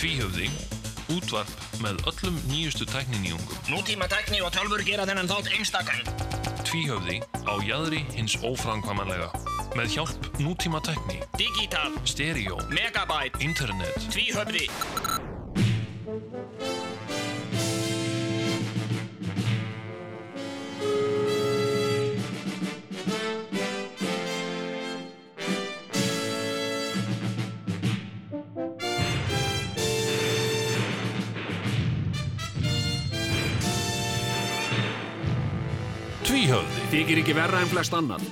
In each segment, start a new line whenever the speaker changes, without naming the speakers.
Tvíhöfði, útvarp með öllum nýjustu tækninýjungum.
Nútíma tækni og tölfur gera þennan þátt einstakann.
Tvíhöfði á jaðri hins óframkvæmanlega. Með hjálp nútíma tækni,
Digital,
stereo,
megabyte,
internet.
tvíhöfði.
Tvíhöfði,
Þykir ekki verra en flest annan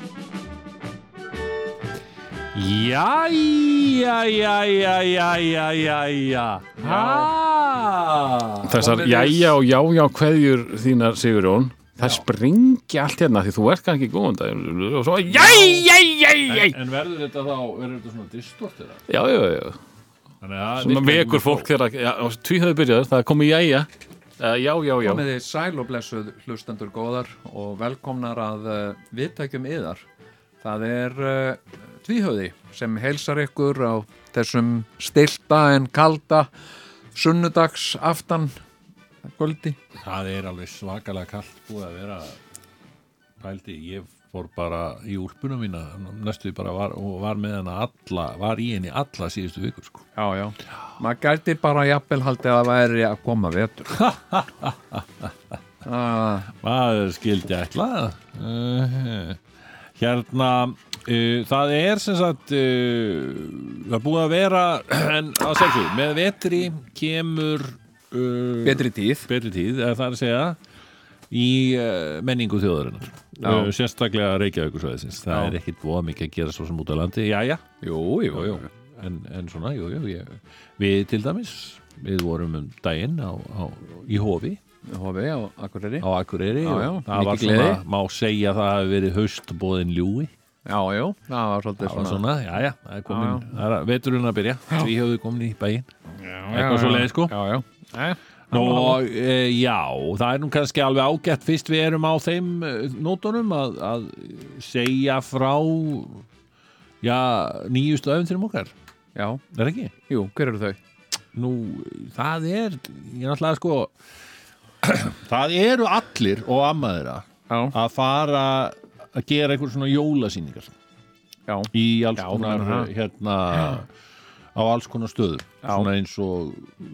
Jæja, jæja, jæja, jæja Ha?
Þessar jæja og jájá kveðjur þínar Sigurjón Það springi allt hérna því þú ert kannski góðan dag og svo jæja, jæja
En verður þetta þá, verður þetta svona distortið
Já, já, já, svona vekur fólk þegar já, tvíhöðu byrjaður, það er komið jæja uh, Já, já, já,
Komið þið sæl og blessuð hlustendur góðar og velkomnar að uh, viðtækjum yðar. Það er uh, tvíhöði sem heilsar ykkur á þessum stilta en kalda sunnudags aftan guldi.
Það er alveg svakalega kallt búið að vera pældi, ég fór bara í úlpunum mína, næstu því bara var, og var með hana alla, var í henni alla síðustu vikur sko.
Já, já. Maður gæti bara jafnvel haldið að væri að koma vetur. Ah,
Maður skildi ætla uh, Hérna uh, það er sem sagt uh, það er búið að vera en að sjálfsög, með vetri kemur uh,
betri tíð.
betri tíð, eða það er að segja í uh, menningu þjóðarinnar uh, sérstaklega Reykjavíkursvæðisins það
Já.
er ekkit voða mikið að gera svo sem út á landi já, já,
Jú, jú, jú.
en, en svona, jú, jú, ég, við til dæmis við vorum um daginn á, á, í Hofi
Hófið á Akureyri.
á Akureyri
Já,
og
já,
það var
mikið
svona,
gleði.
má segja að það hafi verið haustbóðin ljúi
Já, jú. Það var svolítið
það var
svona.
svona, já, já, það er komin það er að- veturinn að byrja, við höfum komin í bæinn
Já,
eitthvað
já.
svo leið sko
Já, já. Nei,
Nú, e, já, það er nú kannski alveg ágætt fyrst við erum á þeim eh, nótunum að, að segja frá já, nýjustu öfntirum okkar,
Já,
er ekki?
jú, hver eru þau?
Nú, það er, ég náttúrulega sko það eru allir og amma þeirra
Já,
að fara að gera einhver svona jólasýningar
já.
í alls
Já,
konar
það.
hérna á alls konar stöðum
Já.
svona eins og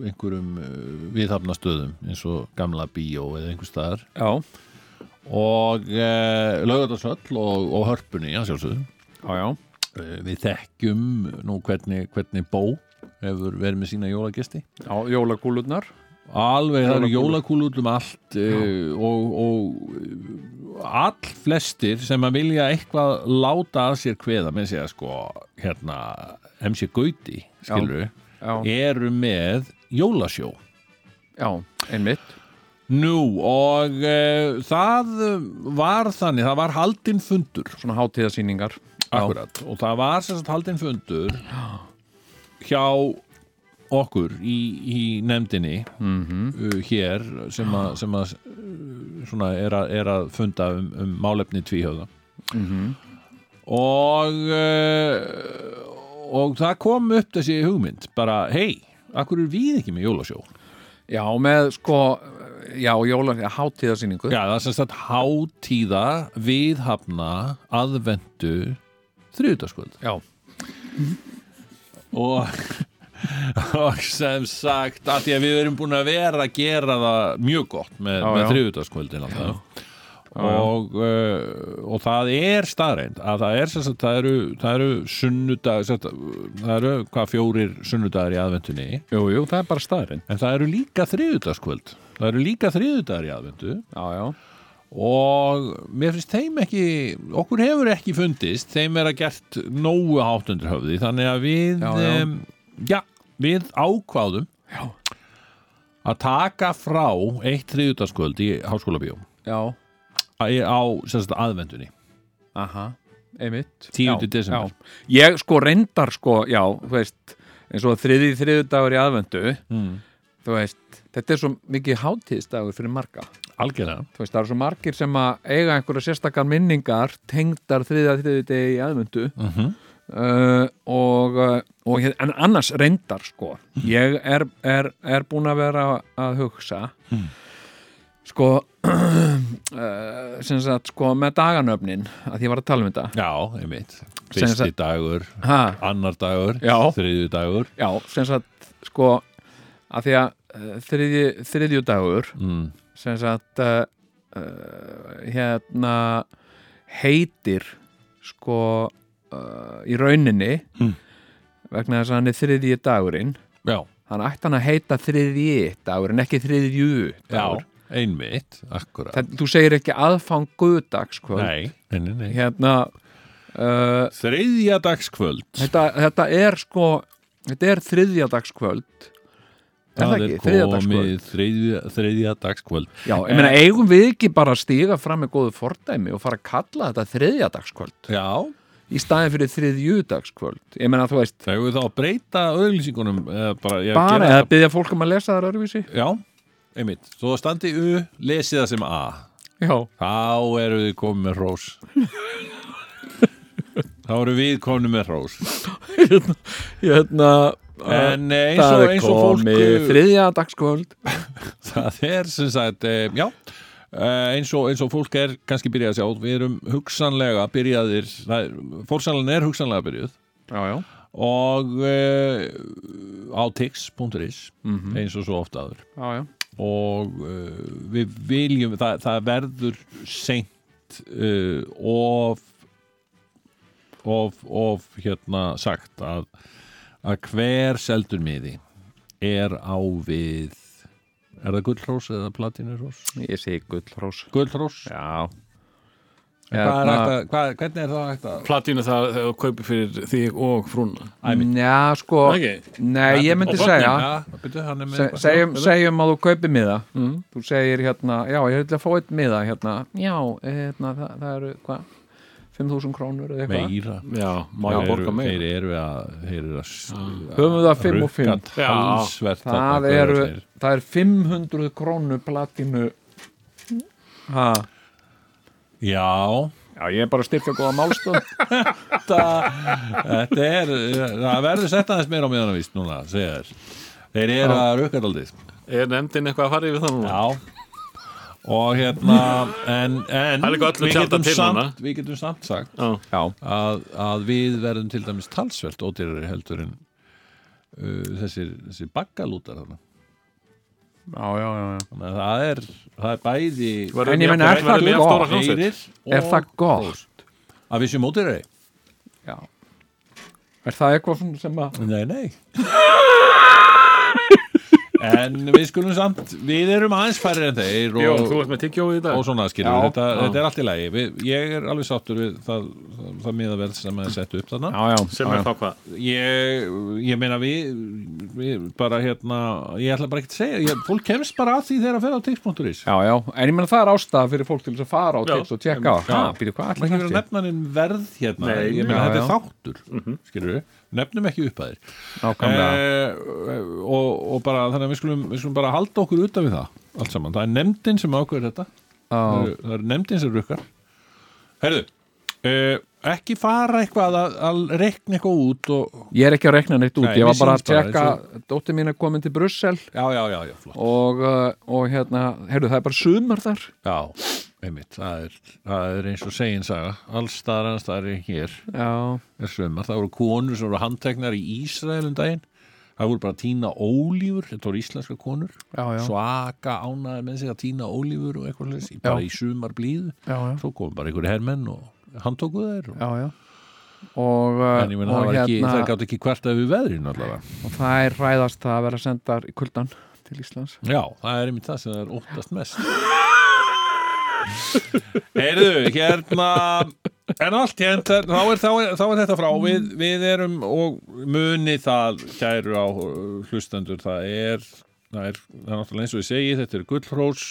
einhverjum eh, viðhafna stöðum eins og gamla bíó eða einhver staðar
Já,
og e, laugardagsöll og, og hörpunni að sjálfsögðu
já, já.
e, við þekkjum nú hvernig, hvernig bó hefur verið með sína jólagesti
Já, jólakúlurnar.
alveg það eru jólakúl út um allt e, og, og all flestir sem að vilja eitthvað láta að sér kveða með segja sko hérna MC Gauti skilur
Já,
eru með jólasjó
já, einmitt.
Nú, og e, það var þannig, það var haldinn fundur
Svona hátíðasýningar.
Akkurat, og það var sem sagt haldinn fundur hjá okkur í, í nefndinni uh, hér sem að, sem að uh, svona er að, er að funda um, um málefni tvíhjóða og uh, og það kom upp þessi hugmynd bara, hei, akkur er við ekki með jólasjó?
Já, með sko, já, jóla, hátíðasýningu.
Já, það er sem sagt hátíða viðhafna aðvendu þriðutaskvöld
já,
og, og sem sagt að því að við erum búin að vera að gera það mjög gott með,
Já,
með
já.
þriðutaskvöldin alltaf og, uh, og það er staðreind að það er sem sagt það eru, það eru sunnudag sem sagt, það eru hvað fjórir sunnudagar í aðvendunni
jú, jú, það er bara staðurinn.
en það eru líka þriðutaskvöld það eru líka þriðutagar í aðvendu
Já, já,
og mér finnst þeim ekki okkur hefur ekki fundist þeim er að gert nógu hátt undir höfði þannig að við
Já, já.
em, já, við ákváðum já. að taka frá eitt þriðutaskvöld í háskóla bíó
já,
á sem sagt, aðvendunni
aha, einmitt.
10.
Já,
desember.
Já, ég sko reyndar sko, já, þú veist, eins og þriði þriðudagur í aðvendu,
mm.
þú veist, þetta er svo mikið hátíðsdagur fyrir marga.
algjörlega
Þú veist, það eru svo margir sem að eiga einhverja sérstakar minningar tengdar þriða þriði degi í aðvendu.
Mhm.
uh, og, uh, og hér- en annars reyndar sko ég er, er, er búin að vera að hugsa sko uh, sem sagt sko með daganöfnin að ég var að tala um þetta
Já, einmitt
Sem
Fyrsti
sagt-
dagur,
ha,
annar dagur
Já.
þriðju dagur
já, sem sagt sko að því að uh, þriðju, þriðju dagur
mm.
sem sagt uh, uh, hérna heitir sko uh, í rauninni
Mm.
vegna þess að hann er þriðji dagurinn
Já,
hann ætti hann að heita þriðji dagur en ekki þriðju
já,
dagur
einmitt Akkurat
Það, þú segir ekki aðfangudagskvöld
Nei, nei, nei, nei.
hérna uh,
Þriðja dagskvöld
þetta, þetta er sko þetta er þriðjadagskvöld er það ekki,
komið
þriðjadagskvöld
þriðja, þriðja dagskvöld
já, ég meina eigum við ekki bara að stíga fram með góðu fordæmi og fara að kalla þetta þriðjadagskvöld
Já,
í staðin fyrir þriðjudagskvöld ég meina þú veist,
þegar við þá að breyta auðlýsingunum eða bara, ég
bara
gera
eða byggja fólk um að lesa þar öðruvísi
Já, einmitt Svo standi U, lesið það sem A
já,
Þá eru við komin með hrós Þá eru við komin með hrós
hérna
En eh, eins
það
og,
er
eins og fólk eh,
komið þriðjadagskvöld
Það er sem sagt, eh, já eh, eins og, eins og fólk er kannski byrjað að sjá Við erum hugsanlega byrjaðir það er- Fórsalan er hugsanlega byrjuð
já, já,
Og uh, á tix.is eins og svo ofta aður
já, já
og uh, við viljum það, það verður seint uh, of, of of hérna sagt að, að hver seldur miði er á við er það gullrós eða platinurós?
ég segi gullhrós
Gullrós?
já Hérna,
Hvað er hægt að, hvað, hvernig er það hægt að
Platínu það þegar þú kaupir fyrir þig og frúna
Já, sko,
Ok.
nei, ég myndi
Og
segja
ja, byrju, hann er með
Se,
eitthvað.
segjum, segjum að þú kaupir miða þú segir hérna, já ég ætla að fá eitt miða hérna, já, hérna það, það eru hvað, 5.000 krónur eða eitthvað,
meira
Já, má
Þeir
ég borga
eru-
meira
þeir eru að þeir eru að
höfum við það 5 og 5
rukka
Já.
talsvert
það
þarna,
eru,
þeir-
það er 500 krónu platinu ha,
já
já ég er bara að styrka góða málstöð
þetta, þetta er það verður sett aðeins meira á miðanavist núna segja þér þeir eru að rukka daldið
Er nefndin eitthvað að fara yfir það núna?
já og hérna en, en
Það er líka öllu
við,
tjaldað
getum
til núna.
samt, við getum samt sagt
Já.
að, að við verðum til dæmis talsvert ódýrari heldur en uh, þessir, þessir baggalútar þarna
já, já, já, já.
Þannig að það er, það er bæði
Verðum
En ég
jafn-
meina, er það
verðum jafn
gott?
stóra hljómsveit?
heyrir
er það gott
að við séum ódýrari
já. er það eitthvað svona sem að
Nei, nei En við skulum samt Við erum aðeins færri en þeir og,
Jón, þú ert með tyggjóið í dag
og svona skilur
Já.
þetta, þetta er allt í lagi við, Ég er alveg sáttur við það, það, það miðaverð sem að setja upp þarna
já, já,
Sem er þá hvað?
Ég, ég meina við, við bara hérna, ég ætla bara ekki að segja ég, fólk kemst bara að því þegar að ferða á tix.is
já, já, en ég meina það er ástæða fyrir fólk til þess að fara á
Já.
tips og tjekka á, ha, býtu hvað
Má
allir
ekki vera nefnaninn verð hérna
Nei,
Ég meina
já,
þetta
já.
er
Mhm.
þáttur, mm -hmm. skilur við Nefnum ekki upp að þér
nákvæmlega
eh, og, og bara þannig að við skulum, við skulum bara halda okkur utan við það allt saman, það er nefndin sem ákveður þetta það
Já,
eru- það er nefndin sem rukkar Herðu, eh, ekki fara eitthvað að, að reikna eitthvað út og,
ég er ekki að rekna neitt út,
Nei,
ég var
mér
bara að
sýnist bara
tjekka dóttir mín er komin til Brussel
já, já, já, já, flott
og, uh, og hérna, heyrðu það er bara sumar þar
Já, einmitt, það er, það er eins og segin saga, alls staðar annars staðar en hér
Já,
er svömmar, það voru konur sem voru handteknar í Ísrael um daginn það voru bara að tína ólífur, þetta voru íslenska konur
já, já,
svaka ánaði með sig að tína ólífur og eitthvað leys, bara
Já.
í sumar blíðu
já, já,
svo komum bara einhverju hermenn og handtóku þær og,
já, já. og, uh,
en ég meina
og
það var ekki,
hérna
það gátt ekki hvert að við veðrin allavega
og það er ræðast það að vera sendar í kuldan til Íslands
já, það er einmitt það sem það er óttast mest heyrðu, hérna en allt hérna, þá er, þá, er, þá er þetta frá
Mm.
við, við erum og muni það kæru á uh, hlustendur það er, það er, það er náttúrulega eins og ég segi, þetta er gullhrós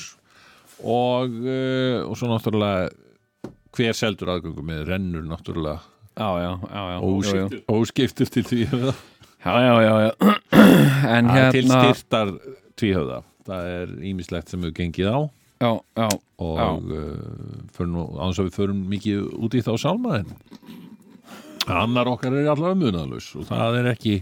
og, uh, og svo náttúrulega hver seldur aðgöngum með rennur náttúrulega
Já, já, já, já, já,
óskiptur, óskiptur til því að
já, já, já, já. En
Það er til
hérna
styrtar tvíhöfða það er ýmislegt sem við gengið á
Já, já,
og uh, förum nú- án þess að við förum mikið út í þá sálmaðin annar okkar er allavega munalus og það er ekki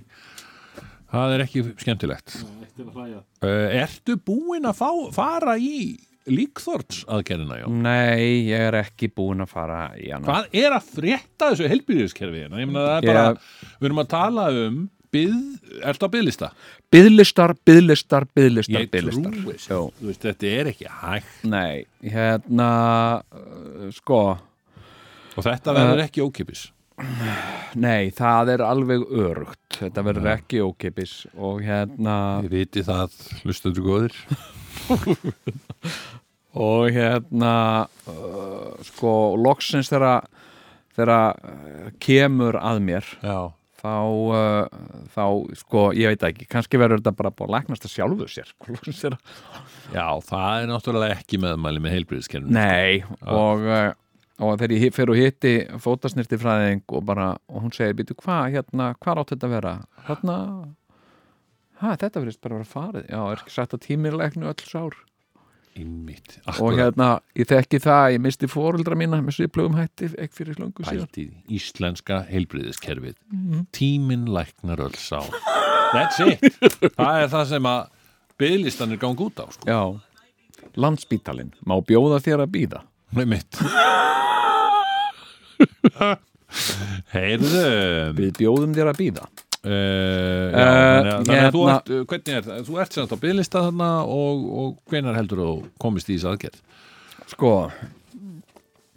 það er ekki skemmtilegt uh, Ertu búinn að fá, fara í líkþorts aðgerðina, já?
Nei, ég er ekki búin að fara í hana
Hvað er að frétta þessu helbyrðiskerfi hérna? Ég meina það er bara, við erum að tala um byð, ertu á byðlista?
Byðlistar, byðlistar, byðlistar,
Ég
byðlistar
trúi þessu.
Jó.
Þú veist, þetta er ekki hægt
Nei, hérna uh, Sko,
og þetta verður
Eh.
ekki ókipis.
nei, það er alveg örugt Þetta verður ekki ókipis Og hérna
Ég viti það, hlustaður góðir.
og hérna uh, sko loksins þegar þegar uh, kemur að mér
Já.
þá, uh, þá sko ég veit það ekki, kannski verður þetta bara búið að læknast að sjálfu sér sko, loksins þegar
Já, það er náttúrulega ekki meðmæli með helbyrðiskerfinu.
Nei, og, uh, og þegar ég hi- fer og hitti fótasnirti fræðing og bara, og hún segir, býtu, hvað hérna, hvað átt þetta að vera? Hérna, ha, þetta verðist bara að vera farið Já, er ekki sagt að tímirleiknu öll sár
Einmitt,
og
akkurat
hérna, ég þekki það, ég misti fóruldra mína með sviplugum hætti ekki fyrir löngu síðan
bæltið íslenska helbriðiskerfið.
Mhm.
Tíminn læknar öll sá. That's it. það er það sem að byðlistanir gangi út á, sko.
Já, landspítalinn má bjóða þér að býða
Nei mitt. Heyrðu,
Við bjóðum þér að býða
Uh, já,
Eh,
þannig að þú
hérna-
ert, uh, hvernig er það? Þú ert semst á bygglista þarna og, og hvenar heldur þú komist í þess aðgerð?
Sko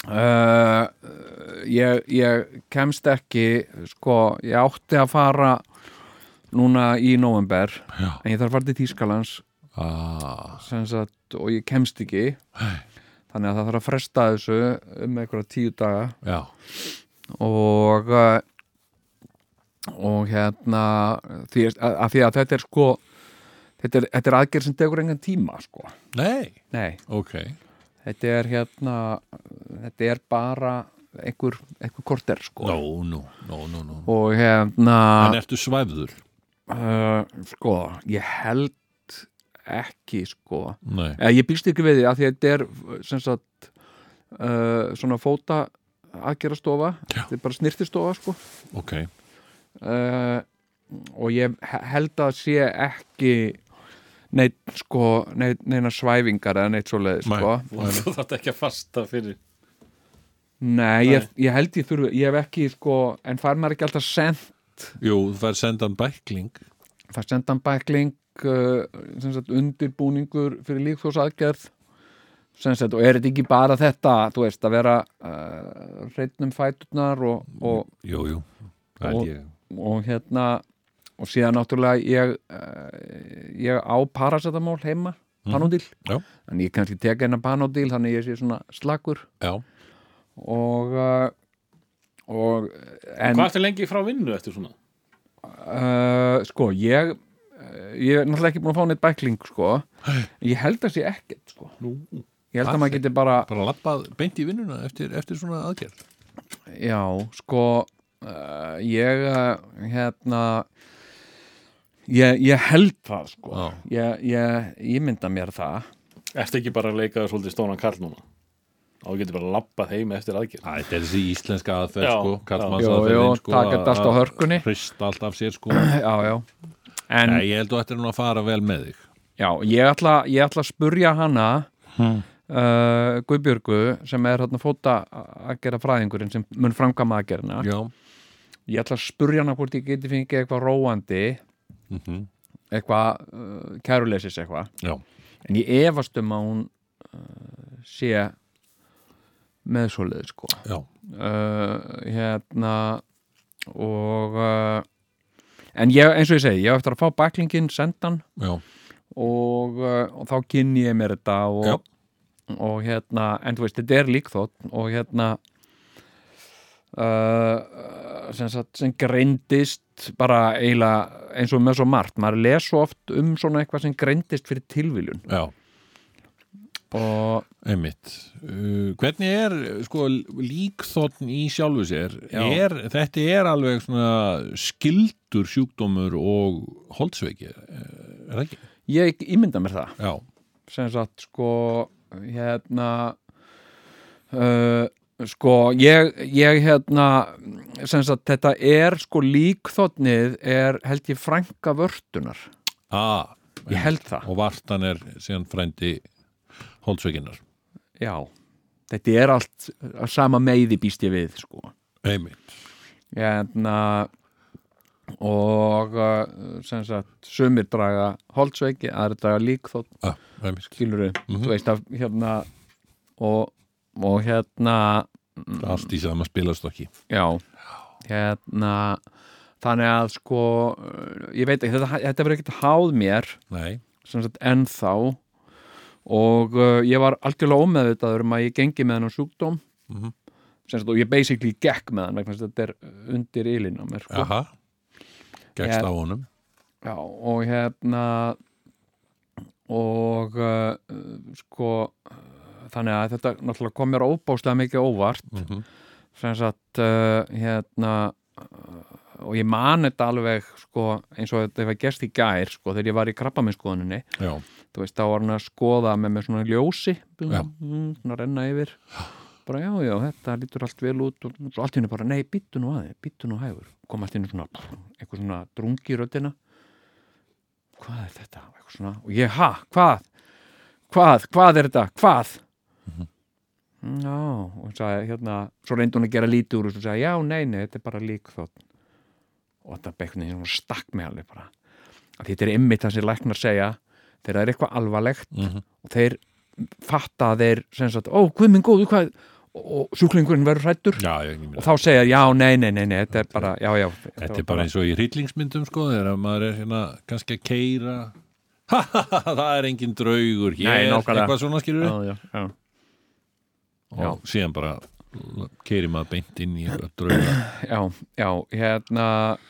uh, ég, ég kemst ekki sko, ég átti að fara núna í november
Já.
en ég þarf að fara til Tískalands
Ah,
sem sagt, og ég kemst ekki þannig að það þarf að fresta þessu um einhverja tíu daga
já,
og eh, og hérna því, að, að því að þetta er sko þetta er, þetta er aðgerð sem tekur engan tíma sko.
nei,
nei,
ok
þetta er hérna þetta er bara einhver, einhver korter sko.
Nó, nú, nó, nú, nú
og hérna
En ertu svæfður?
uh, sko, ég held ekki sko
Nei,
Eh, ég býst ekki við því að því að þetta er sem sagt uh, svona fóta aðgerðastofa
Já.
þetta er bara snirtistofa sko
ok
uh, og ég he- held að sé ekki neitt sko neitt, neina svæfingar eða neitt svoleiði
Nei.
sko.
Þú þarft ekki að fasta fyrir
Nei, ég, ég held ég þurfi ég hef ekki sko, en fær maður ekki alltaf send
Jú, þú fær sendan bækling
fær sendan bækling uh, sem sagt undirbúningur fyrir líkþósaðgerð sem sagt og er þetta ekki bara þetta þú veist að vera uh, reyndum fæturnar og, og,
Jú, jú, það
Og-
er ég
og hérna og síðan náttúrulega ég, uh, ég á parasetamól heima panodil,
Já.
þannig ég kannski teka hennar panodil, þannig ég sé svona slakur
Já,
og uh, og en
Hvað ertu lengi frá vinnu eftir svona?
uh, sko, ég eh, ég er náttúrulega ekki búin að fá neitt bækling sko, ég held að sé ekkert sko,
nú,
ég held að maður geti bara
bara labbað beint í vinnuna eftir, eftir svona aðgerð
já, sko uh, ég eh, hérna ég, ég held það sko,
Já.
ég, ég, ég mynda mér það
Ertu ekki bara að leika þér svolítið stónan kall núna? Og getur bara labbað heim eftir aðgerð
Æ, þetta er þessi íslenska aðferð,
Já,
sko
já.
Jú,
Kallmannsaðferðin,
jú,
sko
taka þetta allt á hörkunni
Hrist allt af sér, sko
Já, já En
Nei, ég held að þetta er nú að fara vel með þig
já, ég ætla, ég ætla að spurja hana uh, Guðbjörgu sem er hérna fóta að gera fræðingurinn sem mun framkama að gera hana
Já,
Ég ætla að spurja hana hvort ég geti fengið eitthvað róandi eitthvað uh, kæruleysis eitthvað
Mhm. já,
En ég efast um að hún uh, sé með svoleiði sko
já
uh, hérna og uh, en ég, eins og ég segi, ég á eftir að fá baklingin sendan
Já,
og, uh, og þá kynni ég mér þetta
Já.
og, og hérna en þú veist, þetta er líkþótt og hérna uh, sem, sagt, sem greindist bara eiginlega eins og með svo margt, maður les svo oft um svona eitthvað sem greindist fyrir tilviljun
já
og
Einmitt. Uh, hvernig er sko, líkþotn í sjálfu sér?
Já.
Er, þetta er alveg svona skildur sjúkdómur og holdsveiki, eh, er það ekki?
ég ímynda mér það
Já,
sem sagt sko hérna uh, Sko, ég, ég hérna sem sagt, þetta er sko líkþotnið er held ég frænka vörtunar
ah,
ég held það,
og vartan er síðan frændi holdsveikinnar
já þetta er allt sama meiði býst ég við sko
einmitt
hérna og uh, sem sagt, sumir draga holdsveiki, aðri draga líkþotn
ah, einmitt.
skilur við,
Mhm.
þú veist að hérna og, og hérna
allt í sama spilastokki
Já, hérna þannig að sko eh, ég veit ekki, þetta, þetta verður ekkert háð mér
nei,
sem sagt ennþá og uh, ég var algjörlega ómeðvitaður um að ég gengi með hennan sjúkdóm
Mhm.
sem sagt og ég basically gekk með hann vegna þess að þetta er undir ylinn á mér sko.
aha gegst
Ég-
á honum
Já, og hérna og uh, sko þannig að þetta náttúrulega kom mér óbáslega mikið á óvart
Mhm.
sem sagt uh, hérna uh, og ég man þetta alveg sko, eins og þetta hefur gerst í gær sko, þegar ég var í krabbaminnskoðuninni
já,
þú veist, þá var hann að skoða með mér svona ljósi
Já.
mm, svona renna yfir bara já, já, þetta lítur allt vel út og svo allt í henni bara, nei, býttu nú aðeins býttu nú hægur, kom allt í henni svona eitthvað svona drungi í röddina hvað er þetta, eitthvað svona og ég, ha, hvað hvað, hvað er þetta, hvað
Mhm.
Mm, já, og hún sagði hérna, svo reyndi hún að gera lítið úr þessu og sagði, já, nei, nei, þetta er bara lík þótt og þetta bekknið hún stakk mig alveg bara að þetta er ymmið það sem læknar segja þegar það er eitthvað alvarlegt
Mhm.
og þeir fatta að þeir sem sagt, ó, hvað minn góðu, hvað og sjúklingurinn verður hrættur
já, ég, ég
og þá segja, þeir, já, nei, nei, nei, nei, þetta er bara já, já,
Þetta er bara eins og í hryllingsmyndum sko þegar maður er hérna kannski að keira það er engin draugur hér,
Nei, nákvæmlega.
eitthvað svona skilur
já, já, já. já.
og síðan bara keiri maður beint inn í eitthvað drauga
já, já, hérna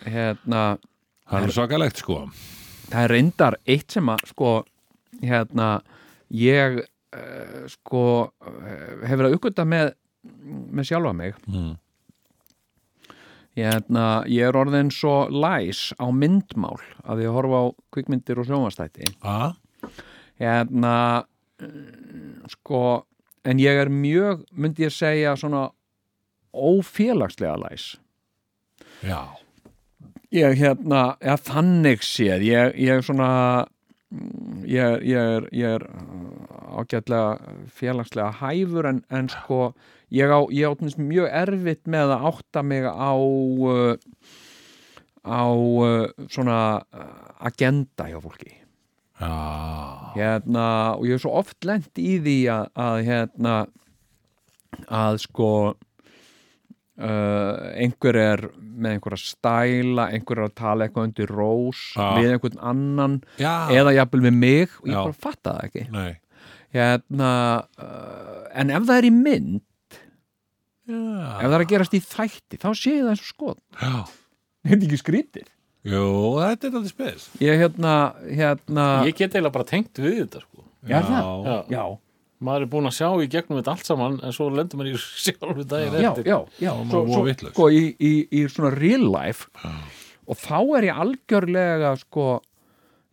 hérna,
Það er svakalegt sko
það er reyndar eitt sem að, sko, hérna ég uh, sko, eh, hef verið að uppgöta með með sjálfa mig
mm.
hérna, ég er orðin svo læs á myndmál að ég horfa á kvikmyndir og sjónvastætti
A?
hérna mm, sko, en ég er mjög myndi ég segja svona ófélagslega læs
Já,
ég hérna, eða þannig séð ég, ég svona mm, ég, ég er, ég er uh, ágætlega félagslega hæfur en, en sko ég á, ég á tjúnst, mjög erfitt með að átta mig á uh, á uh, svona uh, agenda hjá fólki
já,
hérna, og ég hef svo oft lent í því að, að hérna að sko uh, einhver er með einhverja stæla, einhver er að tala eitthvað undir rós
Ah.
við einhvern annan
já.
eða jafnvel við mig og ég
Já.
bara fatta það ekki
Nei.
hérna, uh, en ef það er í mynd ef
Já.
það er að gerast í þætti þá sé ég það eins og skoð
já
þetta er ekki skrítið
Jú, þetta er alltaf spes
ég hérna, hérna
Ég get eiginlega bara tengt við þetta sko.
er
Já,
það?
Já.
já,
Maður er búin að sjá í gegnum þetta allt saman en svo lendur maður í sjálfu daginn
já,
eftir.
já, já.
maður
Svo,
voða
svo,
vitlaus.
sko, í, í, í svona real life og þá er ég algjörlega sko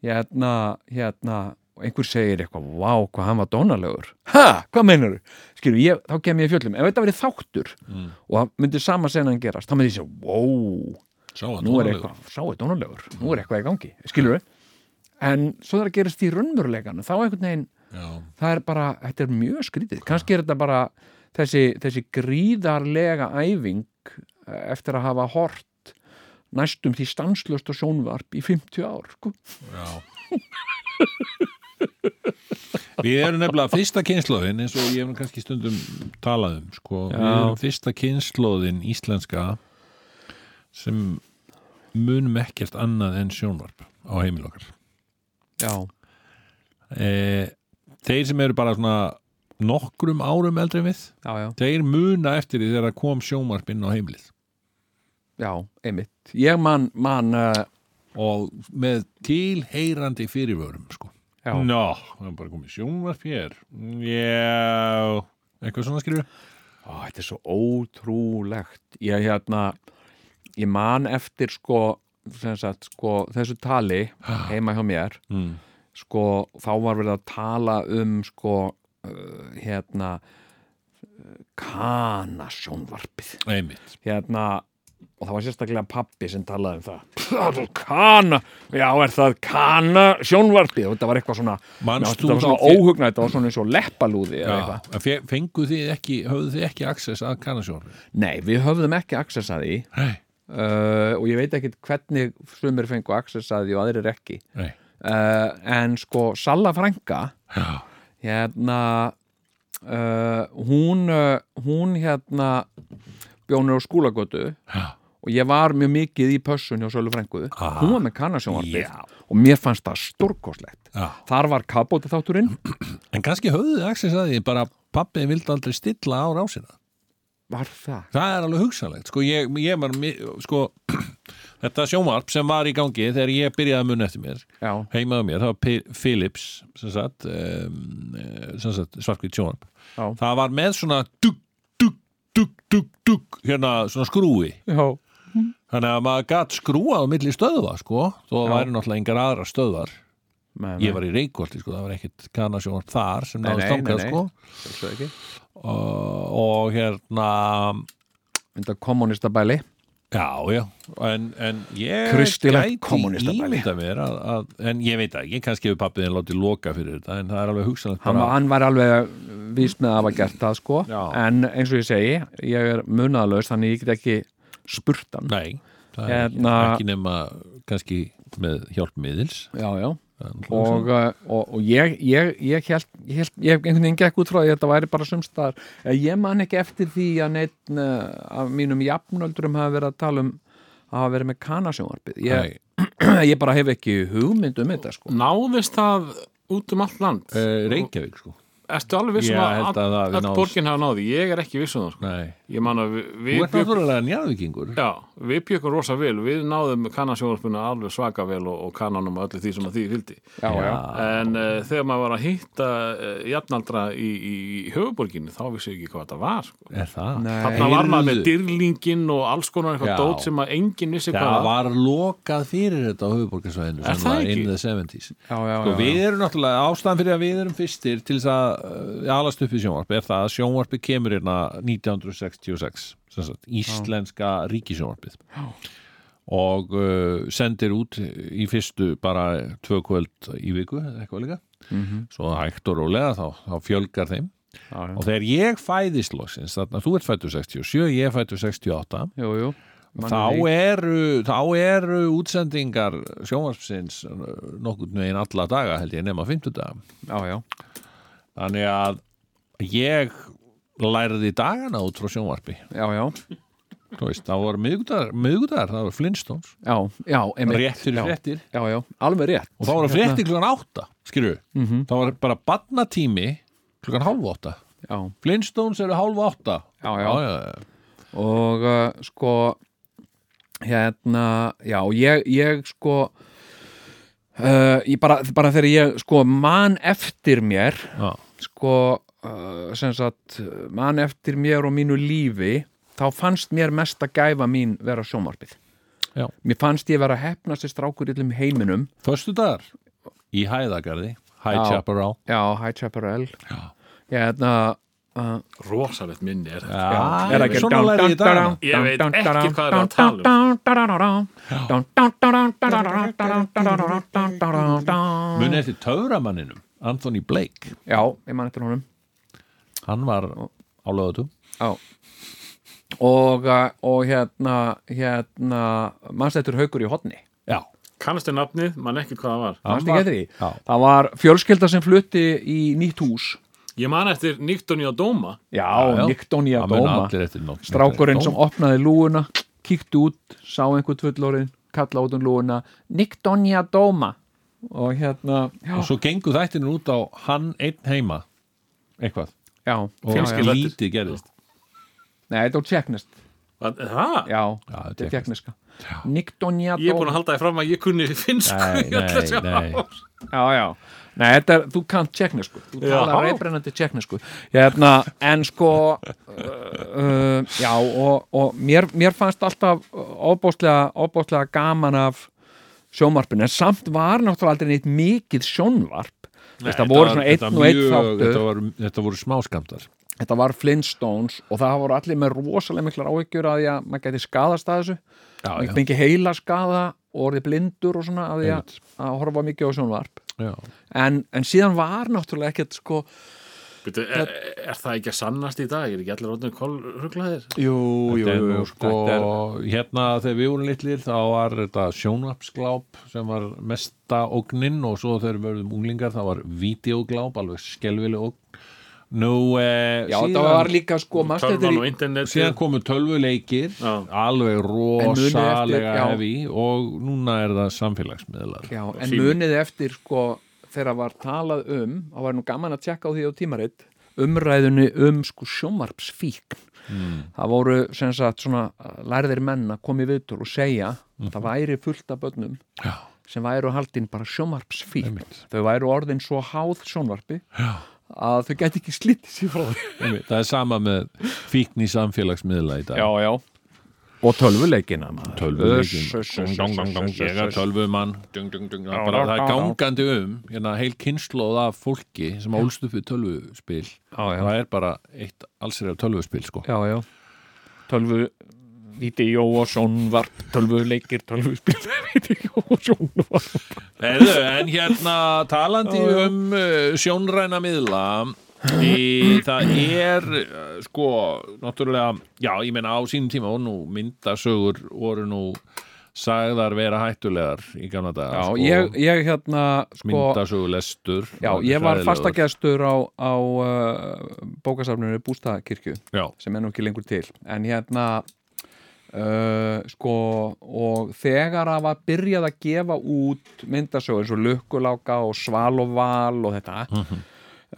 hérna, hérna og einhver segir eitthvað, vá, hvað hann var dónalegur ha, hvað meinar þú? skilur, ég, þá kem ég í fjöllum, ef þetta verið þáttur
Mm.
og það myndi sama senan gerast þá myndi ég segja, wow,
Sá að
nú er
dónalegur. Mm.
eitthvað sá er dónalegur, nú er eitthvað í gangi skilur en svo það gerast í raunverulegan þá einhvern veginn
Já,
það er bara, þetta er mjög skrítið kannski er þetta bara þessi, þessi gríðarlega æfing eh, eftir að hafa hort næstum því stanslöst og sjónvarp í 50 ár sko.
já Við erum nefnilega fyrsta kynnslóðin eins og ég hef nú kannski stundum talað um sko. við
Já.
erum fyrsta kynnslóðin íslenska sem munum ekkert annað en sjónvarp á heimil okkar
já,
e, Þeir sem eru bara svona nokkrum árum eldri en við
já, já,
þeir muna eftir því þegar það kom sjónvarp inn á heimilið
já, einmitt ég man, man uh,
og með tilheyrandi fyrirvörum sko.
já,
Ná, það er bara komið sjónvarp hér Já Eitthvað svona skrifu
Ó, þetta er svo ótrúlegt ég hérna ég man eftir sko, sem sagt, sko þessu tali heima hjá mér
Ah. mm.
sko, þá var verið að tala um sko, uh, hérna kanasjónvarpið
einmitt
hérna og það var sérstaklega pappi sem talaði um það það er kana, já er það kana sjónvarpið, þetta var eitthvað svona
Manst þú
já, þetta var svona
þá fyrir-
óhugnað, þetta var svona eins og leppalúði eða
Já,
eitthvað.
en fe- fenguð þið ekki, höfðu þið ekki access að kannasjónu?
nei, við höfðum ekki access að því
Nei,
uh, og ég veit ekkit hvernig sumir fengu access að því og aðrir ekki
nei
uh, en sko Salla Franka
Já.
hérna uh, hún uh, hún hérna bjónur á skúlagötu
Já.
og ég var mjög mikið í pössun hjá Sölu Frænguðu
Ah.
hún var með kannasjónvarpið og mér fannst það stórkoslegt
Já.
þar var kabóta þátturinn
En kannski höfðu þið access að því bara pappið vildi aldrei stilla á rásina
var það
Það er alveg hugsanlegt Sko, ég, ég var, mi- sko Þetta sjónvarp sem var í gangi þegar ég byrjaði að munna eftir mér
já,
heimaðu mér, það var P- Philips sem sagt, um, sem sagt svarkvít sjónvarp
Já.
það var með svona dugg, dugg, dugg, dugg, dugg hérna svona skrúi
já.
þannig að maður gat skrúað á milli stöðva sko, þó að
Já.
væri náttúrulega engar aðra stöðvar
Men,
ég var í Reykjolti sko, það var ekkit kannasjónvarp þar sem
Nei,
náðu
nei,
stangað
nei, nei.
sko
ekki
og, og hérna
þetta kommunistabæli
Já, já, en, en ég gæti
Kristilegt kommúnistabæli.
ímynda mér að, að, en ég veit það ekki, kannski hefur pappiðin látið loka fyrir þetta, en það er alveg hugsanlegt
hann, var-
bara-
hann var alveg víst með að hafa gert það sko en eins og ég segi, ég er munaðalaus þannig ég get ekki spurt hann
Nei, það er ekki,
Hérna-
ekki nema kannski með hjálp miðils
já, já og, uh, og, og ég, ég, ég held, ég held ég einhvern veginn gekk út frá því að þetta væri bara sumstaðar Eh, ég man ekki eftir því að neitt uh, af mínum jafnöldurum hafa verið að tala um að hafa verið með kanasjónvarpið ég,
Nei.
ég bara hef ekki hugmynd um þetta sko
Náðist það út um allt land?
Eh, Reykjavík sko
Ertu alveg vissum
Ég
að,
held að það hafi
öll
náðst.
borgin hafa náði? Ég er ekki vissum það sko.
Nei.
Ég man að við,
Þú
við
ert
bjökkum
náttúrulega njarðvikingur
Já, við bjökkum rosa vel, við náðum kannasjónarspunna alveg svaka vel og, og kannanum og öllu því sem að því fylgdi.
já, já.
En uh, þegar maður var að hitta uh, jafnaldra í, í, í höfuborginni, þá vissi ég ekki hvað þetta var. Sko.
Er það?
Þarna var maður með
Heyrðu.
dyrlingin og alls konar
Já.
eitthvað dót sem að enginn vissi hvað
Það var lokað fyrir þetta á höfuborgarsvæðinu
Er
sem
það
var
ekki?
in the 70s
Já, já,
Sko,
já,
við erum náttúrulega, ástæðan fyrir að við erum fyrstir til þess að uh, alast upp í sjónvarp er það að sjónvarpi kemur hérna 1966, sem sagt, íslenska ríkisjónvarpið og uh, sendir út í fyrstu bara tvö kvöld í viku, eitthvað líka svo hægt og rólega þá, þá fjölgar þeim
já, já.
og þegar ég fæðist loksins, þarna þú ert fættur 67, ég er fættur 68
Jú, jú.
þá eru, þá eru útsendingar sjónvarpsins uh, nokkurn veginn alla daga held ég nema 50
já, já.
þannig að ég lærði dagana út frá sjónvarpi
já, já,
Þú veist, þá voru miðgudagar, miðgudagar það voru Flintstones,
já, já, einmitt.
rétt fyrir
já. Hérna.
fréttir
já, já, alveg rétt
og þá voru fréttir klukkan átta skilju, mm
Mhm.
þá var bara barnatími klukkan hálfa átta
já,
Flintstones eru hálfa átta
já, já,
já, já,
og uh, sko hérna, já, ég, ég sko uh, ég bara, bara þegar ég sko man eftir mér
já.
sko, uh, sem sagt man eftir mér og mínu lífi þá fannst mér mest að gæfa mín vera sjónvarpið
Já.
mér fannst ég vera hefnasti strákur í illum heiminum
Föstu dagar í Hæðagarði High
Já.
Chaparral
já, High Chaparral
Já.
hérna uh,
var. Rosalegt minni er þetta.
Já,
er ekki
svona lærði ég dagana
Ég veit ekki hvað er að tala
um
Munið eftir töframanninum, Anthony Blake
Já, ég man eftir honum
Hann var á lögatum
Já Og, uh, og hérna hérna, mannstættur haukur í hodni
Já,
Kannast er nafnið, mann ekki hvað það var.
mannstu ekki eftir því
Já.
það var fjölskylda sem flutti í nýtt hús
Ég man eftir Nikton í að dóma.
já,
já.
Nikton í
það
að
muna
dóma
allir eftir nóg
strákurinn sem opnaði lúuna kíkti út, sá einhver tvullorinn kalla út um lúuna Nikton í að dóma og hérna, já,
Og svo gengur þættinu út á hann einn heima Eitthvað
já,
Og
já, já.
Fjölskylda.
lítið gerðist
Nei, þetta er tjekknest
Var- Það?
Já,
Já,
þetta er
tékkneska.
tjekkneska Niktonja
Ég er búin að halda þið fram að ég kunni finnsku
Nei,
í öll
nei,
þessi
nei.
ár.
Já, já Nei, þetta er, þú kannt tjekknesku Þú
Já.
talar reybrennandi tjekknesku Hérna, en sko uh, uh, Já, og, og mér, mér fannst alltaf óbóðslega, óbóðslega gaman af sjónvarpinu en samt var náttúrulega aldrei neitt mikið sjónvarp Nei, þetta voru svona einn og einn
mjög-
þáttur
þetta, var, þetta voru smáskamtar
þetta var Flintstones og það voru allir með rosalega miklar áhyggjur að því að maður gæti skadast að þessu
já,
maður fengi heila skada og orðið blindur og svona að því að, að horfa mikið á sjónvarp
já.
en, en síðan var náttúrulega ekkert sko
Bíddu, er, er það ekki að sannast í dag? Er ekki allir orðinu kolruglaðir?
jú,
Þetta er nú sko,
þetta er,
hérna þegar við vorum litlir þá var þetta sjónvapsgláp sem var mesta ógninn og svo þegar við verðum unglingar þá var videogláp, alveg skelvileg ógn Nú, eh,
já,
síðan, eh,
það var líka sko manstu þetta
Tölvan
í-
og internet
síðan komu tölvuleikir
Já.
alveg
munið eftir-
rosalega
já.
hefi og núna er það samfélagsmiðlar
Já, en munið eftir sko þegar var talað um og var nú gaman að tjekka á því á tímaritt umræðunni um sko sjómarpsfíkn það voru sem sagt svona lærðir menn að koma í viðtur og segja að það væri fullt af börnum
Já.
sem væru haldin bara sjómarpsfíkn þau væru orðin svo háð sjónvarpi Já. að þau gæti ekki slítið sér frá því
Einmitt, það er sama með fíkn í samfélagsmiðla í dag
já og tölvuleikina maður.
tölvuleikin
Uss, uss, uss,
Dung, dung,
uss,
dung,
uss,
ég er
uss,
tölvumann Dung, dung, dung. Það er bara- það er gangandi um hérna, heil kynnslóð af fólki sem álst upp við tölvuspil
já.
það er bara eitt allsir af tölvuspil sko.
já, já tölvu vídeo og sjónvarp tölvuleikir, tölvuspil vídeo og sjónvarp
Heðu, en hérna talandi um uh, sjónræna miðla í, það er uh, sko, náttúrulega já, ég meina á sínum tíma og nú myndasögur voru nú sagðar vera hættulegar í gamla dag
já, ég, ég hérna sko,
myndasögulestur
já, ég var fastagestur á, á uh, bókasafnunni Bústakirkju
já,
sem er nú ekki lengur til en hérna uh, sko og þegar að var byrjað að gefa út myndasögur eins og lukkuláka og sval og val og þetta
Mhm.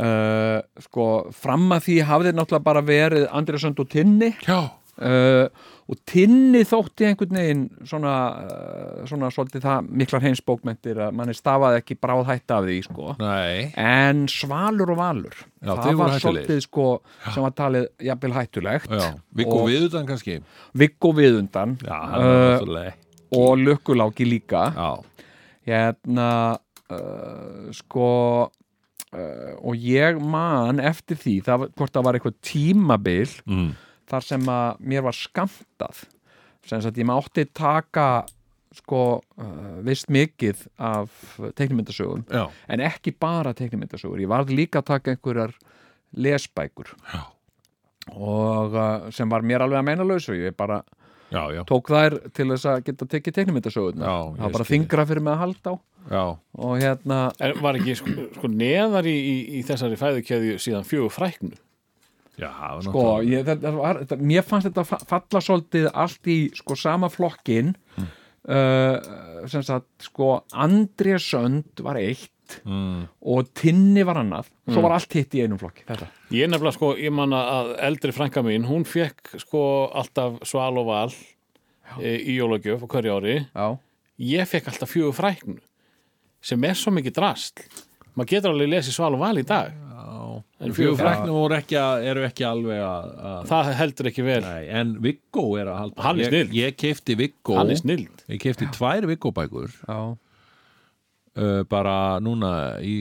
uh, sko fram að því hafði náttúrulega bara verið Andrið Sönd og Tinni
já.
uh, og Tinni þótti einhvern veginn svona, uh, svona svolítið það miklar heimsbókmentir að manni stafaði ekki bráð hætta af því sko
Nei,
en Svalur og Valur
Já, þeir
það
voru
var
hættulegir.
svolítið sko sem var talið jafnvel hættulegt
já, Viggo
Og-
Viðutan kannski Já,
Viggo Viðundan
hann er
uh,
náttúrulega
og Lukkuláki líka
Já,
hérna uh, sko uh, og ég man eftir því það, var- hvort það var eitthvað tímabil
Mm.
þar sem að mér var skamtað sem sagt ég mátti taka sko uh, vist mikið af teiknumyndasögum
já,
en ekki bara teiknumyndasögur ég varð líka að taka einhverjar lesbækur
Já.
og uh, sem var mér alveg að meina lausu ég bara
já, já,
tók þær til þess að geta tekið teiknumyndasögurnar
Já,
það
ég
var bara
skil.
þingra fyrir mig að halda á
já.
og hérna
En var ekki sko, sko neðar í, í, í þessari fæðukeðju síðan fjögur fræknu?
já það var
sko,
náttúrulega-
ég, það, það var, það, mér fannst þetta fa- falla svolítið allt í sko sama flokkin
Mm.
uh, sem sagt sko Andrés Sönd var eitt
mm.
og Tinni var annað svo var allt hitt í einum flokki þetta.
Ég nefnilega sko, ég manna að eldri frænka mín, hún fekk sko alltaf sval og val e, í jólagjöf á hverju ári.
já,
Ég fekk alltaf fjögur fræknu sem er svo mikið drast. Maður getur alveg lesið sval og val í dag. En
Fjögur
fjögur fræknu,
fræknum voru ekki að, eru ekki alveg að, að
það heldur ekki vel.
Nei, en Viggo er að halda
Hann er
Ég,
snill.
ég keipti Viggo
Hann er snild.
Ég keipti tvær Viggo bækur
já,
uh, bara núna í,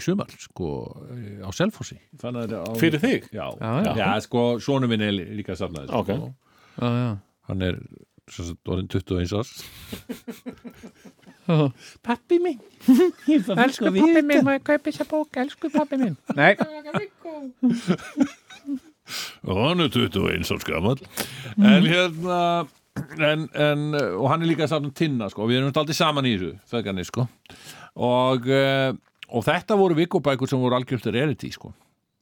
í sumar sko, eh, á Selfossi Þannig að þetta á-
Fyrir þig?
Já,
Já, já.
sko, sonu minn er lí- líka safnaði
Ok.
sko.
já, já.
Hann er sem sagt, orðin 21 árs
pappi minn elsku pappi minn, maður kaupi þessa bók elsku pappi minn nei,
og hann er 21 árs gammal en
Mhm.
hérna en, en, og hann er líka saman tinna sko. við erum alltaf saman í þessu feðgarnir, sko. og, eh, og þetta voru vikubækur sem voru algjört rarity sko.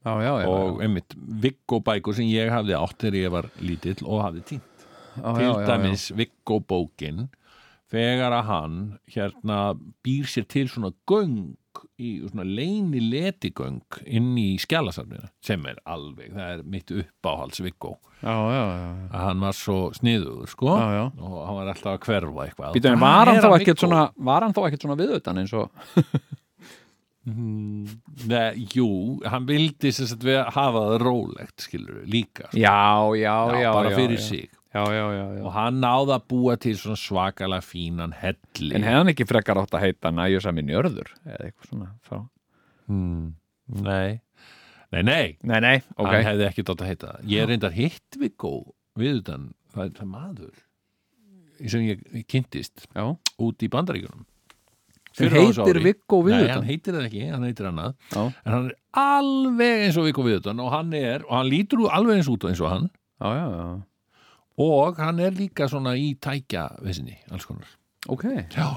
já, já, já,
og einmitt vikubækur sem ég hafði átt þegar ég var lítill og hafði tínt
já, já,
til
já, já.
dæmis vikubókin þegar að hann hérna býr sér til svona göng í svona leini letigöng inn í skjálasafnina sem er alveg, það er mitt uppáhalds Viggo
já, já, já.
að hann var svo sniðugur sko
Já, já.
og hann var alltaf að hverfa eitthvað
Býtum,
Hvað
var, Ah, hann
er
þá
að
ekkert
Viggo?
svona, var hann þá ekkert svona viðutan eins og
Nei, jú, hann vildi sem sagt við að hafa það rólegt skilur líka, sko,
já, já, já, já
bara fyrir
já.
sig
já, já, já, já.
og hann náði að búa til svona svakalega fínan helli
en hefðan ekki frekar átt að heita næjusa minn jörður eða eitthvað svona frá
Nei Nei, nei,
Nei, nei,
hann
ok
hefði ekkert átt að heita það ég reyndar hitt við góð við utan, það er það er maður sem ég ég kynntist
Já.
út í bandaríkunum
Sem
Fyrr á þessu
heitir
ári.
Viggo
Nei, hann
Viðutan
heitir það ekki, hann heitir annað
Já.
en hann er alveg eins og Viggo Viðutan og hann er, og hann lítur út alveg eins út eins og hann
Já, já, já
og hann er líka svona í tækja vissinni, alls konar
Ok,
Já,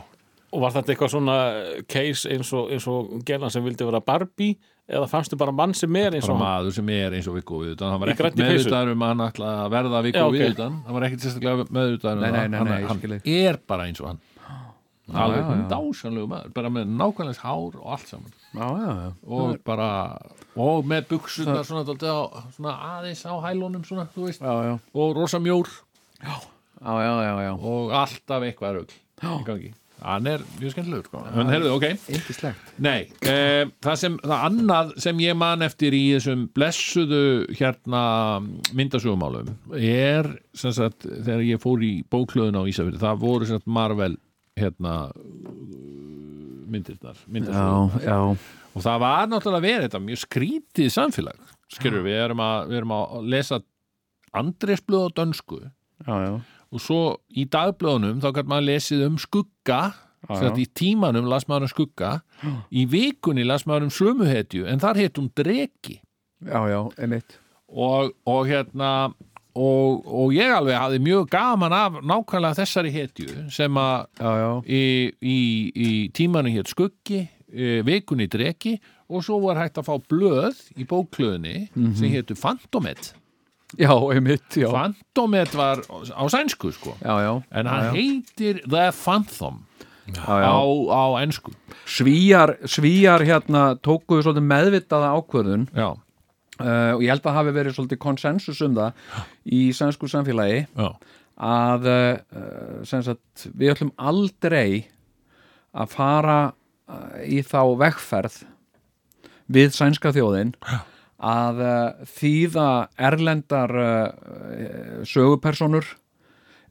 Og var þetta eitthvað svona eh, case eins og, eins og gelan sem vildi vera Barbie eða fannstu bara mann sem er eins
bara
og hann?
maður sem er eins og Viggo Viðutan hann var
Í
ekkert
grænni peysu.
meðvitaður um að hann ætla að verða Viggo
Já,
Já,
ok.
Viðutan hann var ekkert sérstaklega meðvitaður um
Nei, nei,
það.
nei, nei,
hann,
ég skil
hann er bara eins og hann alveg
já,
hún
já.
dásanlegu maður bara með nákvæmlegs hár og allt saman
já, já, já
og bara, og með buksuna svona, dálítið á, svona aðeins á hælunum svona, þú veist,
Já, já,
og rosa mjór
já, já, já, já.
og alltaf eitthvað rugl í gangi hann er mjög skemmtilegur sko. en herðu, ok,
Indislegt
nei e, það sem, það annað sem ég man eftir í þessum blessuðu hérna myndasögumálum er, sem sagt, þegar ég fór í bóklöðun á Ísafjörðu, það voru sem sagt Marvel, hérna myndirnar, myndasögum
Já, já,
og það var náttúrulega verið þetta mjög skrítið samfélag skilur við erum að, við erum að lesa andresblöð á dönsku
já, já
og svo í dagblöðunum þá gæt maður lesið um skugga Sett, í tímanum las maður um skugga í vikunni las maður um slömuhetju en þar hétt hún dreki
Já, já, emitt
og, og hérna og, og ég alveg hafði mjög gaman af nákvæmlega þessari hetju sem að
Já, já,
í, í, í tímanum hétt skuggi eh, vikunni dreki og svo var hægt að fá blöð í bóklöðinni
Mhm.
sem héttu Fantomet
já, emitt, já
Fantomet var á sænsku sko
Já, já,
en
já, já.
hann heitir The Phantom
já,
á,
já.
á ensku
Svíjar, svíjar hérna tókuðu svolítið meðvitaða ákvörðun
já,
uh, og ég held að hafi verið svolítið konsensus um það í sænsku samfélagi
já,
að uh, sem sagt, við ætlum aldrei að fara uh, í þá vegferð við sænska þjóðin að uh, þýða erlendar uh, sögupersonur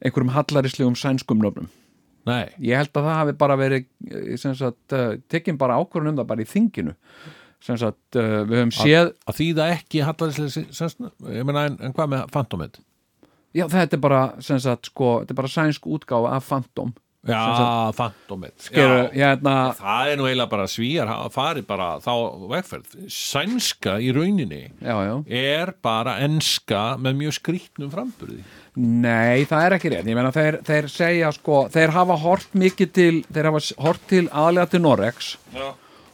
einhverjum hallarislegum sænskum nöfnum
nei
ég held að það hafi bara verið eh, sem sagt, eh, tekin bara ákvörðun um það bara í þinginu sem sagt, eh, við höfum séð
að þýða ekki hallarislega sænsna ég meina en, en hvað með Fantomet
já, þetta er bara, sem sagt, sko, þetta er bara sænsk útgáfa af Phantom
já, Fantomet
Geru, hérna,
það er nú eiginlega bara svíjar hafa farið bara þá vegferð sænska í rauninni
já, já,
er bara enska með mjög skrýtnum framburði
nei, það er ekki rétt ég meina, þeir, þeir segja, sko, þeir hafa hort mikið til, þeir hafa s- hort til aðlega til Norex
Já.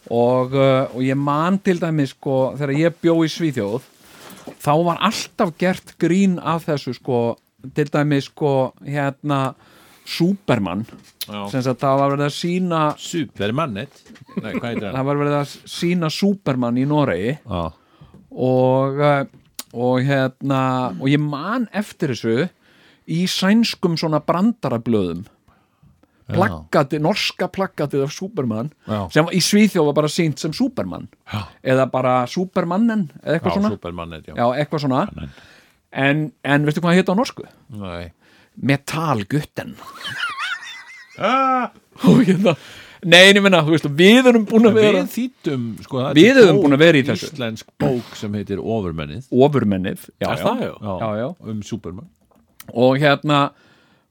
og, eh, og ég man til dæmis, sko, þegar ég bjó í Svíþjóð þá var alltaf gert grín af þessu sko, til dæmis sko, hérna Superman sem sagt það var verið að sína
Supermannet Nei, hvað heitir hann?
það var verið að sína Superman í Noregi
Já,
og eh, og hérna og ég man eftir þessu í sænskum svona brandarablöðum plakkati, norska plakkatið af Superman
Já.
sem í Svíþjóð var bara sínt sem Superman Já. eða bara Supermannen eða eitthvað
já
svona
Supermannet, já,
já, eitthvað svona en, en veistu hvað hann hétt á norsku?
Nei.
Metallgutten og hérna nei, en ég minna, þú veist, við erum búin að vera
Við þýttum, sko það er
Við
til
höfum
bók-
búin að vera í þessu.
Íslensk bók sem heitir Ofurmennið
ofurmennið, já,
Er
já,
það, já?
já, já
Um Superman
og hérna,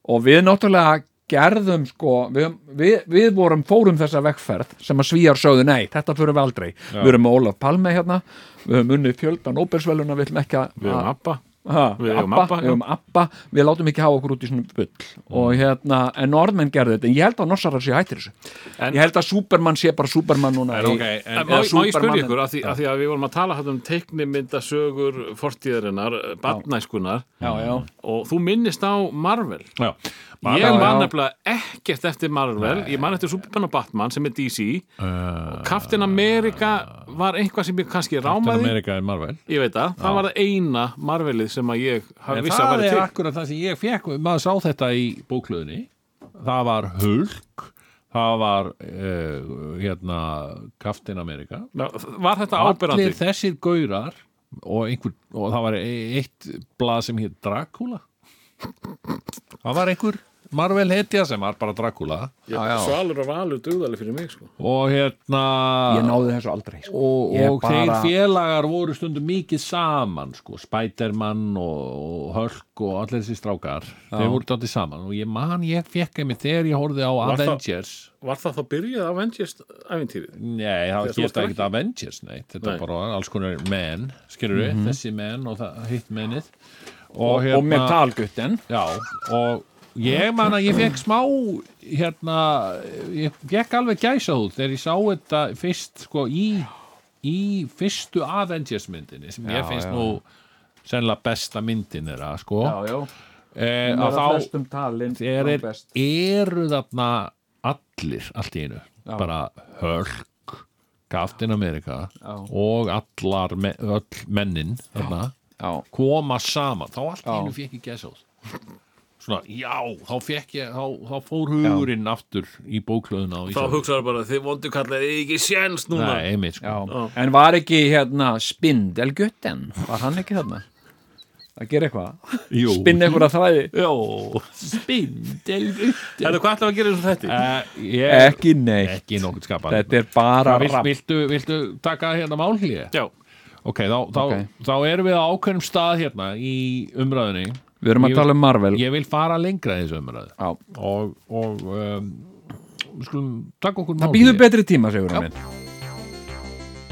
og við náttúrulega gerðum sko við, við, við vorum fórum þessa vegferð sem að svíjar sögðu, nei, þetta fyrir við aldrei við erum með Ólaf Palme hérna við höfum unnið fjöldan óbersveluna, við ætlum ekki að
Við höfum Abba
Ha,
Við eigum
Abba,
Abba,
við eigum Abba, við látum ekki hafa okkur út í svona bull og hérna, en norðmenn gerðu þetta en ég held að norsarar sé hættir þessu
En-
ég held að Superman sé bara Superman núna
En
í-
ok, en-
En Má, má ég spyrja
Supermannen.
ykkur, að því, að því að við vorum að tala hérna um teiknimyndasögur fortíðarinnar, barnæskunar
já, já,
og þú minnist á Marvel
Já,
Ég
já,
man
já.
nefnilega ekkert eftir Marvel ég man eftir Superman og Batman sem er DC
Eh.
og Captain America var eitthvað sem ég kannski
Captain
rámaði
America er Marvel
ég veit það, það var það eina Marvelið sem að ég
En
hafði vissi að
það
væri
er
til
akkurat það sem ég fekk maður sá þetta í bóklöðinni það var Hulk það var uh, hérna Captain America
Ná, Var þetta ábyrrandi?
allir þessir gaurar og, einhver, og það var e- eitt blað sem hétt Dracula það var einhver Marvel hetja sem var bara Dracula
já.
Svalur og Valur dugðaleg fyrir mig sko
og
Ég
hérna
náði þessu aldrei sko.
og,
Ég
og
bara-
þeir félagar voru stundum mikið saman sko, Spiderman og, og Hulk og allir þessi strákar þeir voru dætti saman og ég man ég fekk einmitt þegar ég horfði á
það-
Avengers
Var það þá byrjað Avengers æfintýrið?
Nei, það
Þegar þú varst
hétt ekkert Avengers neitt, þetta
Nei. Mhm.
nei. bara alls konar menn, skilur við, þessi menn og það, hitt mennið og, hérna-
Og, og metalgutten
Já, og ég man að ég fekk smá hérna, ég fekk alveg gæsa út þegar ég sá þetta fyrst sko í, í fyrstu Avengers myndinni sem ég finnst nú sennilega besta myndin þeirra sko
já
eh,
Að
að þá
flestum talin
þeir
þá
er,
best.
eru þarna allir allt í einu bara Hulk, Captain America og allar me, öll mennin þarna
Já.
koma saman, þá allt í
Já.
einu fekk ég gæsað svona, já, þá fekk ég þá, þá fór hugurinn aftur í bóklöðuna og
Þá hugsaður bara þið vondu kallar eða ekki séns núna
Nei, einmitt
Já.
sko
En var ekki hérna spindelgutten Var hann ekki þarna? Að gera eitthvað?
Jú.
Spinna eitthvað þræði?
Jó, spindel
Þetta hvað ætlaði að gera þessu þetta?
uh, Ég
Ekki neitt
ekki nokkuð skapað
Þetta er bara
Vilt,
rapp
viltu, viltu taka hérna málhlið?
Já,
Ok, þá, þá,
Ok.
þá erum við á ákveðnum stað hérna í umræðinni.
Við erum
Ég
að
vil-
tala um Marvel
Ég vil fara lengra í þessu umræðu
Já.
og, og um, við skulum taka okkur
Það býður betri tíma, segur hann minn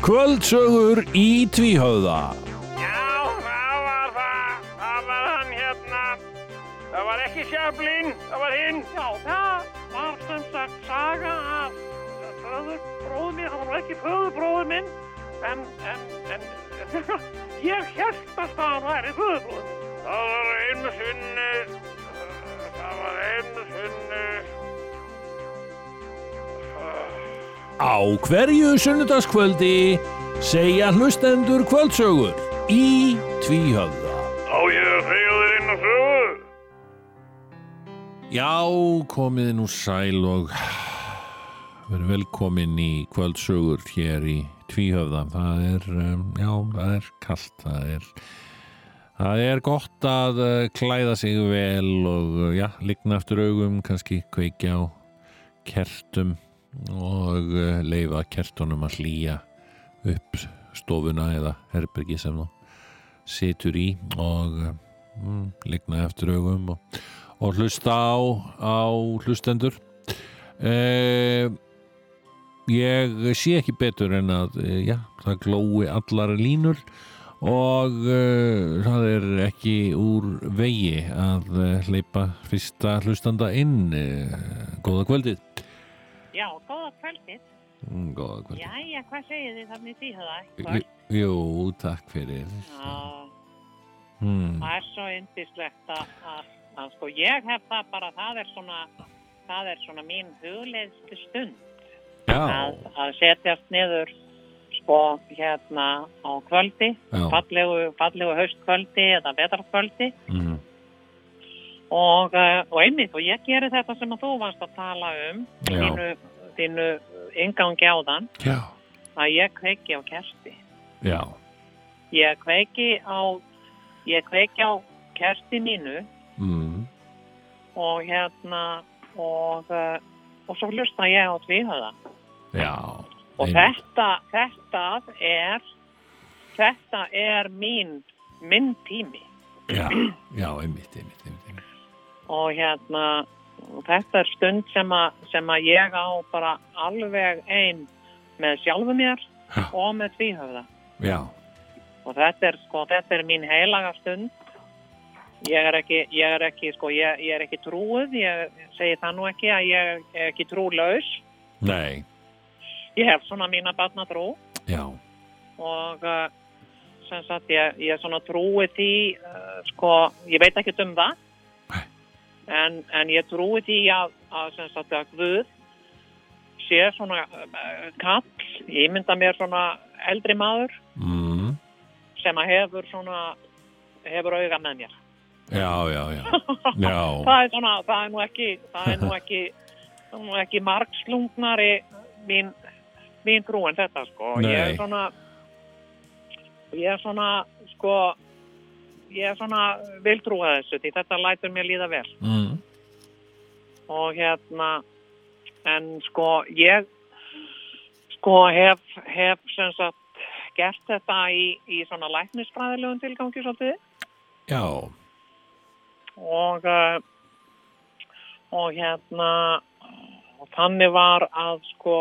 Kvöldsögur í tvíhauða.
Já, það var það. Það var hann hérna. Það var ekki Sjöflin, það var hinn. Já, það var sem sagt saga af föðurbróðu minn. Það var nú ekki föðurbróðu minn, en, en, en, ég held að það væri föðurbróðu minn. Það var einu sinni, það var einu sinni.
Á hverju sunnudagskvöldi segja hlustendur kvöldsögur í tvíhauða.
Á ég að segja þér inn á sögu?
Já, komið nú sæl og verið velkomin í kvöldsögur hér í Tvíhöfða. Það er, um, já, það er kallt, það er, það er gott að uh, klæða sig vel og, uh, já, ligna eftir augum, kannski kveikja á kertum og uh, leifa kertunum að hlýja upp stofuna eða herbergi sem þú situr í og uh, mm, ligna eftir augum og og hlusta á, á hlustendur eh, ég sé ekki betur en að eh, já, það glói allar línur og eh, það er ekki úr vegi að eh, hleypa fyrsta hlustanda inn eh, góða kvöldið
Já, góða kvöldið.
Mm, góða kvöldið
Jæja, hvað segir þið þannig því
Jú, Jú, takk fyrir
Já,
hmm.
það er svo yndislegt að, að, að sko ég hef það bara, það er svona, það er svona mín hugleiðstu stund
Já,
að, að setjast niður sko hérna á kvöldi,
já
fallegu, fallegu haustkvöldi eða vetarkvöldi
mm,
og, eh, og einmitt og ég geri þetta sem að þú varst að tala um,
Já.
þínu, þínu ingangi á þann,
Já,
að ég kveiki á kerti.
já
Ég kveiki á, ég kveiki á kerti mínu
mm,
og hérna og, uh, og svo hlusta ég á tvíhöða
Já
og
einmitt.
þetta, þetta er þetta er mín minn tími
Já, já, einmitt, einmitt, einmitt, einmitt.
og hérna og þetta er stund sem að, sem að ég á bara alveg ein með sjálfu mér
Já.
og með tvíhöða
Já,
og þetta er sko, þetta er mín heilaga stund ég er ekki, ég er ekki sko, ég, ég er ekki trúið ég segi það nú ekki að ég er ekki trúlaus
nei
ég hef svona mína barnatrú
Já,
og uh, sem sagt ég, ég svona trúi því uh, sko, ég veit ekki um það
Nei.
en, en ég trúi því að, að sem sagt að Guð sé svona uh, kall, ég mynda mér svona eldri maður
mm,
sem að hefur svona hefur auga með mér
já, já, já Já,
það er svona, það er nú ekki það er nú ekki, það er nú ekki margslungnari mín, mín trú en þetta sko ég er
Nei.
svona ég er svona sko ég er svona vil trúa þessu því þetta lætur mér líða vel
mm,
og hérna en sko ég sko hef, hef sem sagt gert þetta í, í svona læknisfræðilegum tilgangi svolítið
Já,
og eh, og hérna og þannig var að sko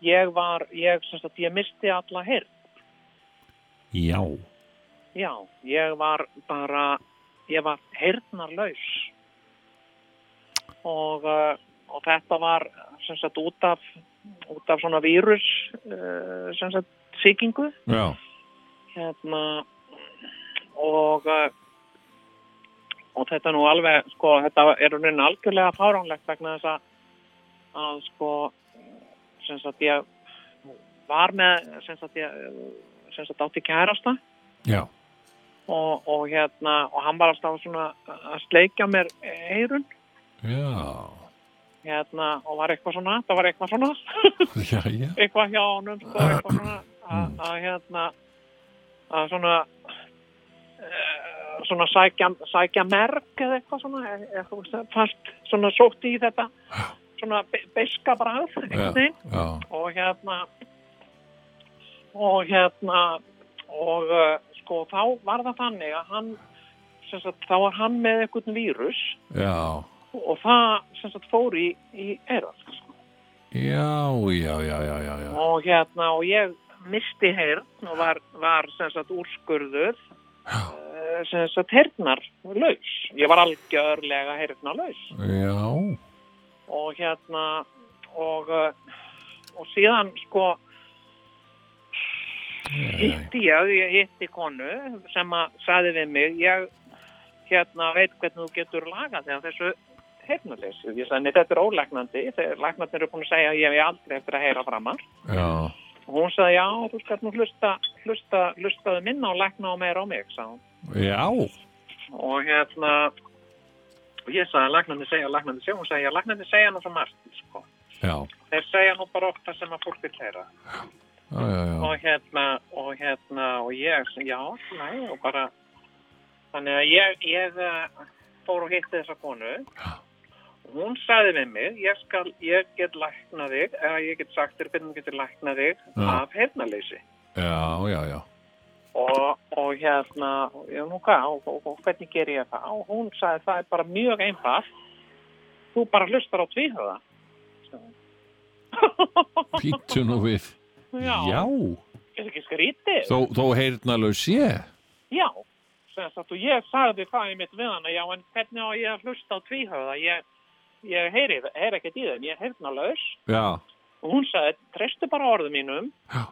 ég var ég sem sagt ég misti alla heyrn
já,
já, ég var bara ég var heyrnarlaus og eh, og þetta var sem sagt út af út af svona vírus eh, sem sagt sýkingu
já,
hérna og eh, og þetta er nú alveg sko, þetta er raunin algjörlega fáránlegt vegna þess að, að sko sem sagt ég var með sem sagt ég sem sagt átti kærasta
já,
og, og hérna og hann var alltaf svona að sleikja mér eirun
já,
hérna og var eitthvað svona það var eitthvað svona
já, já,
eitthvað hjá honum sko, eitthvað svona að- að hérna að svona eh, svona sækja, sækja merk eða eitthvað svona eh, eh, þú veist, fast svona sótti í þetta svona be beiska bragð einhvern veginn
já,
og hérna og hérna og eh, sko þá var það þannig að hann sem sagt, þá var hann með einhvern vírus
já,
og það sem sagt fór í, í eirað sko
já, já, já, já, já, já.
og hérna og ég misti heyrn og var, var sem sagt úrskurður eh, sem sagt heyrnar laus ég var algjörlega heyrnar laus
Já,
og hérna og, eh, og síðan sko hitti ég, ég hitti konu sem að saði við mig ég hérna veit hvernig þú getur lagað þegar þessu heyrnarleysi ég sagði, nei þetta er ólegnandi þegar læknarnir eru búin að segja að ég hef aldrei eftir að heyra framar
já,
og hún sagði já, þú skalt nú hlusta hlusta, hlustaðu minna og lækna á meira á mig sagði hún
já,
og hérna og ég sagði læknandi segja, læknandi segja hún sagði já, læknandi segja nú svo margt sko.
já,
þeir segja nú bara oft það sem að fólk vil heyra
já, já, já.
og hérna og hérna og ég, já, næ og bara þannig að ég, ég eh, fór og hitti þessa konu og hún sagði við mig ég, skal, ég get læknað þig eða ég get sagt þér hvernig þú getur læknað þig
Já.
af heyrnaleysi
Já, já, já.
og, og hérna, já nú hvað, og, og, og hvernig ger ég það? Og hún sagði það er bara mjög einfalt, þú bara hlustar á tvíhöða.
Pítu nú við.
Já,
Já,
er ekki skrítið?
þó, þó heyrnalaus ég.
Já, sem sagt, og ég sagði það í mitt við hana, já en hvernig á ég að hlusta á tvíhöða? Ég, ég heyri, heyri ekkert í þeim, ég er heyrnalaus.
Já,
Og hún sagði, treystu bara orðu mínum
Já.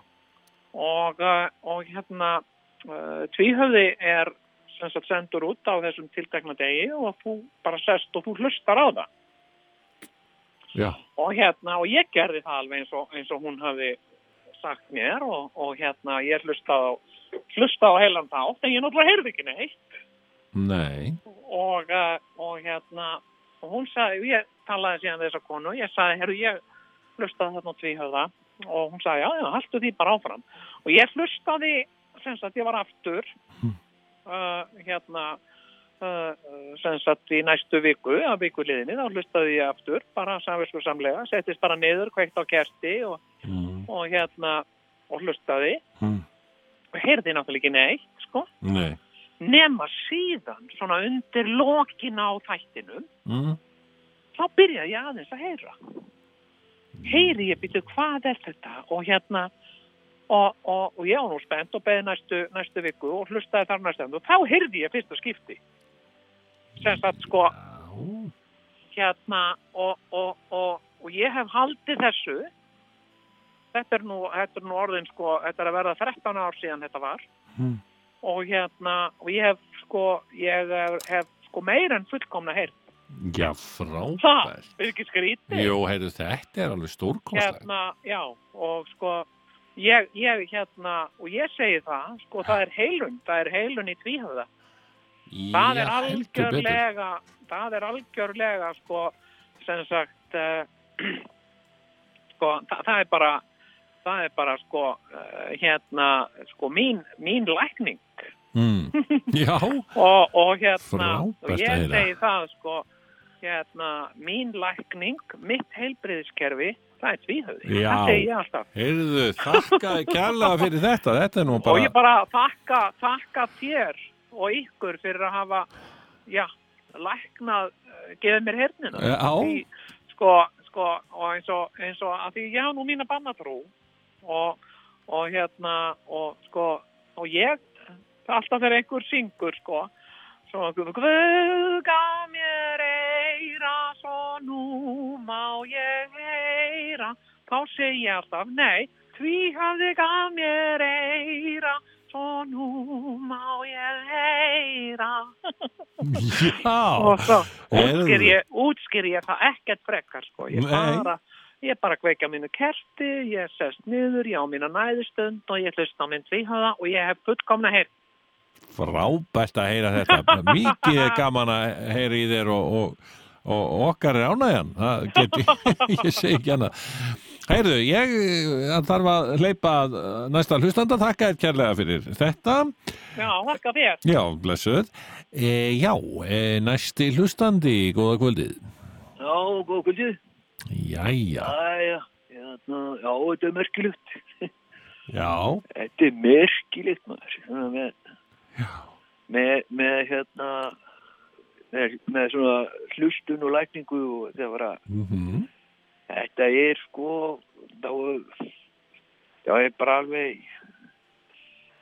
og, uh, og hérna uh, tvíhöfði er sem sagt sendur út á þessum tiltekna degi og þú bara sest og þú hlustar á það.
Já.
Og hérna, og ég gerði það alveg eins og, eins og hún hafði sagt mér og, og hérna, ég hlustaði á, hlustaði á heilan þátt en ég náttúrulega heyrði ekki neitt
nei,
og, eh, og hérna og hún sagði, og ég talaði síðan við þessa konu ég sagði, herru, ég hlustaði þarna á tvíhöfða og hún sagði, já, já, haltu því bara áfram og ég hlustaði, sem sagt, ég var aftur uh, hérna uh, sem sagt, í næstu viku á vikuliðinni, þá hlustaði ég aftur bara samvisku samlega, settist bara niður kveikt á kerti og, og hérna, og hlustaði
Mm.
og heyrði náttúrulega ekki neitt sko
nei.
nema síðan svona undir lokin á þættinum
Mm.
þá byrjaði ég aðeins að heyra heyri ég býtu hvað er þetta og hérna og, og, og ég var nú spennt og beði næstu, næstu viku og hlustaði þar næstu og þá heyrði ég fyrsta skipti sem sagt sko hérna og, og, og, og ég hef haldið þessu þetta er nú, þetta er nú orðin sko, þetta er að verða 13 ár síðan þetta var
Mm.
og hérna og ég hef sko ég hef, hef sko meira en fullkomna heyrt
Já,
það,
frábært.
er ekki skrítið
Jó, heyrðu, þetta er alveg stórkostlega.
hérna, já, og sko ég, ég hérna og ég segi það, sko það er heilun það er heilun í tvíhöfða það er algjörlega það er algjörlega sko sem sagt uh, sko það, það er bara það er bara sko uh, hérna sko mín, mín lækning
Mm. Já,
og, og hérna
Frábært
og
að
ég
heyra.
segi það sko hérna, mín lækning, mitt heilbriðiskerfi, það er tvíhöfði.
Já.
Það segi ég alltaf.
Heyrðu, þakka kærlega fyrir þetta Þetta er nú
Og
bara
ég bara þakka, þakka þér og ykkur fyrir að hafa, já, læknað, eh, gefið mér hernina.
Já.
Því, sko, sko, og eins og, eins og, að því ég hafa nú mína bannatrú og, og hérna, og sko, og ég, alltaf þegar einhver syngur, sko, svo Guð Guð gaf mér eira, svo nú má ég heyra, þá segi ég alltaf, nei, Því hafði gaf mér eira, svo nú má ég heyra.
Já,
og svo
heyrðu.
útskýr ég, útskýr ég það ekkert frekar, sko. Ég
Nei.
bara, ég bara kveikja mínu kerti, ég sest niður, ég á mína næðustund og ég hlusta á minn tvíhöða og ég hef fullkomna heyrt.
frábært að heyra þetta Mikið er gaman að heyra í þér og, og, og okkar er ánægjan Það get ég, ég segi ekki annað Heyrðu, ég eh, þarf að hleypa að, eh, næsta hlustanda þakka þér kærlega fyrir þetta
Já, þakka þér.
Já, blessuð e, Já, e, næsti hlustandi góða kvöldið
Já, góð kvöldið.
Jæja,
Æja, hérna, já, þetta er merkilegt.
já
Þetta er merkilegt maður svona með, með, með hérna með, með svona hlustun og lækningu og þetta var að
Mhm.
þetta er sko þá þá er bara alveg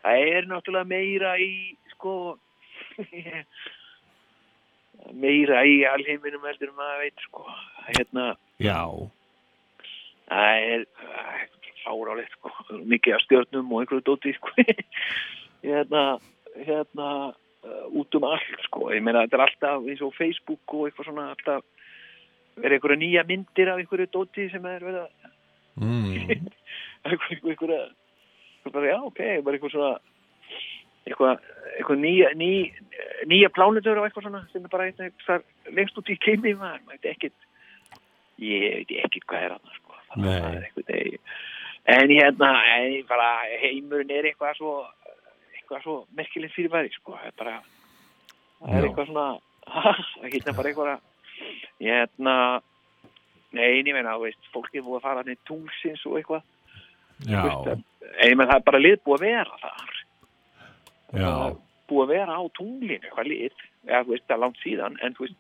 það er náttúrulega meira í sko meira í alheiminum heldur en maður veit sko hérna
Já,
Það er fárálegt sko, mikið af stjörnum og einhverju dóti sko, hérna, hérna uh, út um allt sko, ég meina þetta er alltaf eins og Facebook og eitthvað svona alltaf er einhverja nýja myndir af einhverju dóti sem er verið að
mm.
einhverja, einhverja, einhverja já ok, bara einhver svona eitthvað, eitthvað nýja, ný, nýja plánutur og eitthvað svona sem er bara eitthvað lengst út í keimi maður, maður veit ekkert ég veit ekkert hvað er annars sko, þannig
Nei.
að það er eitthvað degi en hérna, en bara heimurinn er eitthvað svo eitthvað svo merkilegt fyrir væri sko, það er bara það er
Já.
eitthvað svona það hérna bara eitthvað að- hérna nei, en ég meina, þú veist, fólk er búið að fara hann í tungsins og eitthvað
já,
Veist, En ég menn það er bara lið búið að vera þar.
já
Búið að vera á tunglinu, eitthvað lið. Eða, þú veist, það er langt síðan, en þú veist,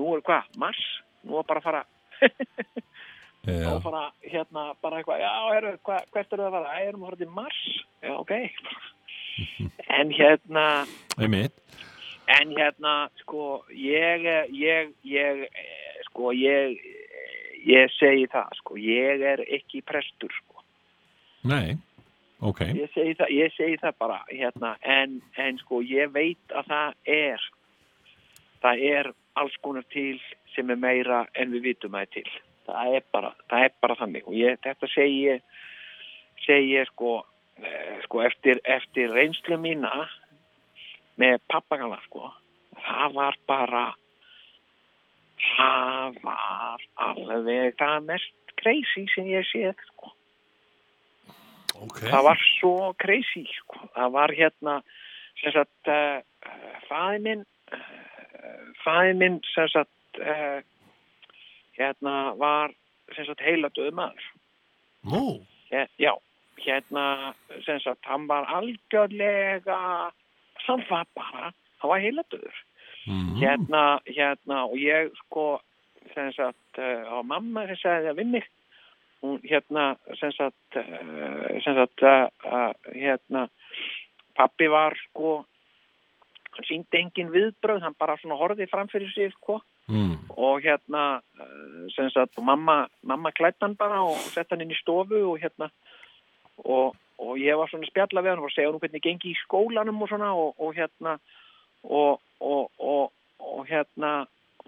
nú er hvað, mars? Nú er bara að fara,
Já,
að fara hérna, bara eitthvað, já, heru, hva, hvert eru það að fara? Æ, erum að fara til mars? Já, ok. en hérna,
einmitt
en hérna, sko, ég, ég, ég, eh, sko, ég, eh, ég segi það, sko, ég er ekki prestur, sko.
Nei, ok
ég segi það, ég segi það bara hérna, en, en sko ég veit að það er það er alls konar til sem er meira en við vitum að er til það er bara, það er bara þannig og ég, þetta segi ég segi ég sko, eh, sko eftir, eftir reynslu mína með pappagana sko það var bara það var alveg það mest crazy sem ég séð sko
okay.
það var svo crazy sko. það var hérna sem sagt uh, fæði minn uh, fæði minn sem sagt uh, hérna var sem sagt heila döðmaður
Nú,
já, hérna sem sagt hann var algjörlega hann var bara hann var heila döður
mm.
hérna, hérna og ég sko sem sagt uh, og mamma sem sagði það við mig hún hérna sem sagt uh, sem sagt uh, uh, hérna pappi var sko hann síndi engin viðbröð hann bara svona horfið fram fyrir sig sko
Mm.
og hérna eh, sem sagt, og mamma, mamma klætt hann bara og sett hann inn í stofu og hérna og, og ég var svona að spjalla við hann og segja hann hvernig gengi í skólanum og svona og, og hérna og, og, og, og hérna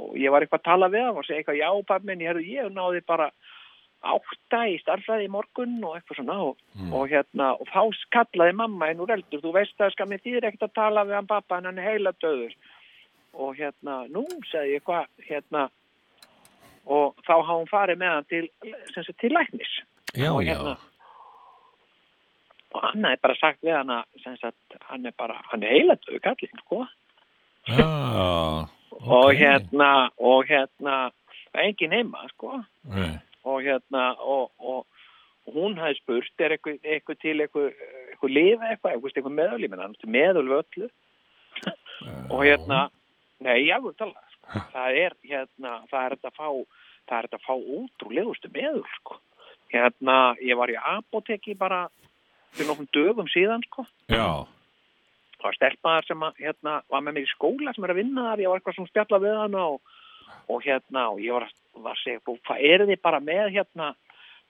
og ég var eitthvað að tala við hann og segja eitthvað já pappi minn, ég, heyrðu, ég náði bara átta í starfræði í morgun og eitthvað svona og, og hérna og þá kallaði mamma henn úr eldur þú veist að skamið þýðir ekkert að tala við hann pappa en hann er heila döður og hérna, nú sagði ég hvað hérna og þá hafði hún farið með hann til, sem sagt, til læknis
Já,
og,
já,
og hann hefði bara sagt við hann að sem sagt, hann er bara, hann er heilandöðu kallinn sko.
já
og
Ok.
hérna og hérna, engin heima sko
Nei.
og hérna og, og, og hún hafði spurt er eitthvað, eitthvað til eitthvað, eitthvað lifa eitthvað, eitthvað, eitthvað meðal ég menn hann er meðal við öllu og hérna, nei, ég alveg tala sko. það er hérna, það er þetta að fá það er þetta að fá ótrúlegustu meðal sko. hérna, ég var í apoteki bara fyrir nokkrum dögum síðan sko
Já,
það var stelpaðar sem að, hérna, var með mig í skóla sem er að vinna þar, ég var eitthvað svona spjalla við hana og, og hérna og ég var, að- var að segja, "Bú, hvað eru þið bara með hérna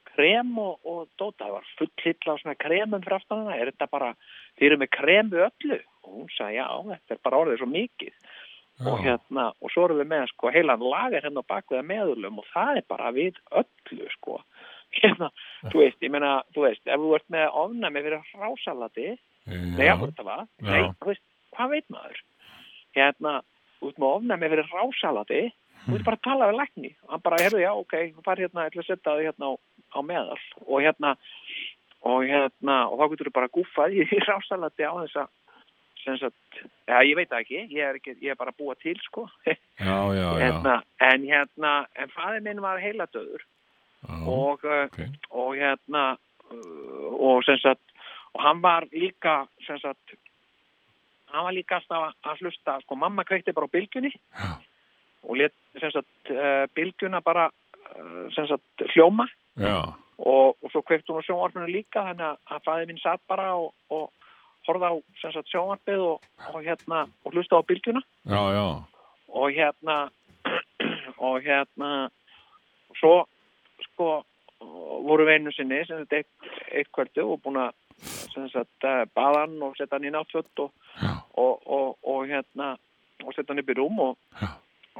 krem og, og dóta, það var fullhill á svona kremum fyrir aftan hana, er þetta bara þið eru með krem við öllu og hún sagði, já, þetta er bara orðið svo mikið og hérna, og svo erum við með sko heilan lagar hérna á bakveða meðurlum og það er bara við öllu sko hérna, þú veist, ég meina þú veist, ef þú ert með ofnæmi fyrir hrásalati Nei,
Já.
já, þetta var. Nei, þú veist, hvað veit maður? Hérna, út með ofnæmi fyrir rásalati,
Hmm.
þú veist bara að tala við lækni. Hann bara, herðu, já, ok, þú fær hérna, ég ætla að setja þig hérna á, á meðal. Og hérna, og hérna, og þá getur þú bara gúfað í í rásalati á þessa, sem sagt, já, ég veit það ekki, ég er, ekki, ég er bara að búa til, sko.
já, já, já.
hérna, en hérna, en fæði minn var heiladöður
já.
og, uh,
ok.
og hérna uh, og sem sagt og hann var líka sem sagt hann var líka alltaf að hlusta sko mamma kveikti bara á bylgjunni
Já.
og let sem sagt uh, bylgjuna bara uh, sem sagt hljóma
Já,
og, og svo kveikti hún á sjónvarpinu líka þannig að- að fæði minn satt bara og, og horfði á sem sagt sjónvarpið og, og hérna og hlusta á bylgjuna
já, já.
og hérna og hérna og svo sko voru við einu sinni sem þetta eitt, eitt kvöldu og búin að sem sagt eh, baða hann og setja hann í náttfjött og, og, og, og hérna og setja hann upp í rúm og,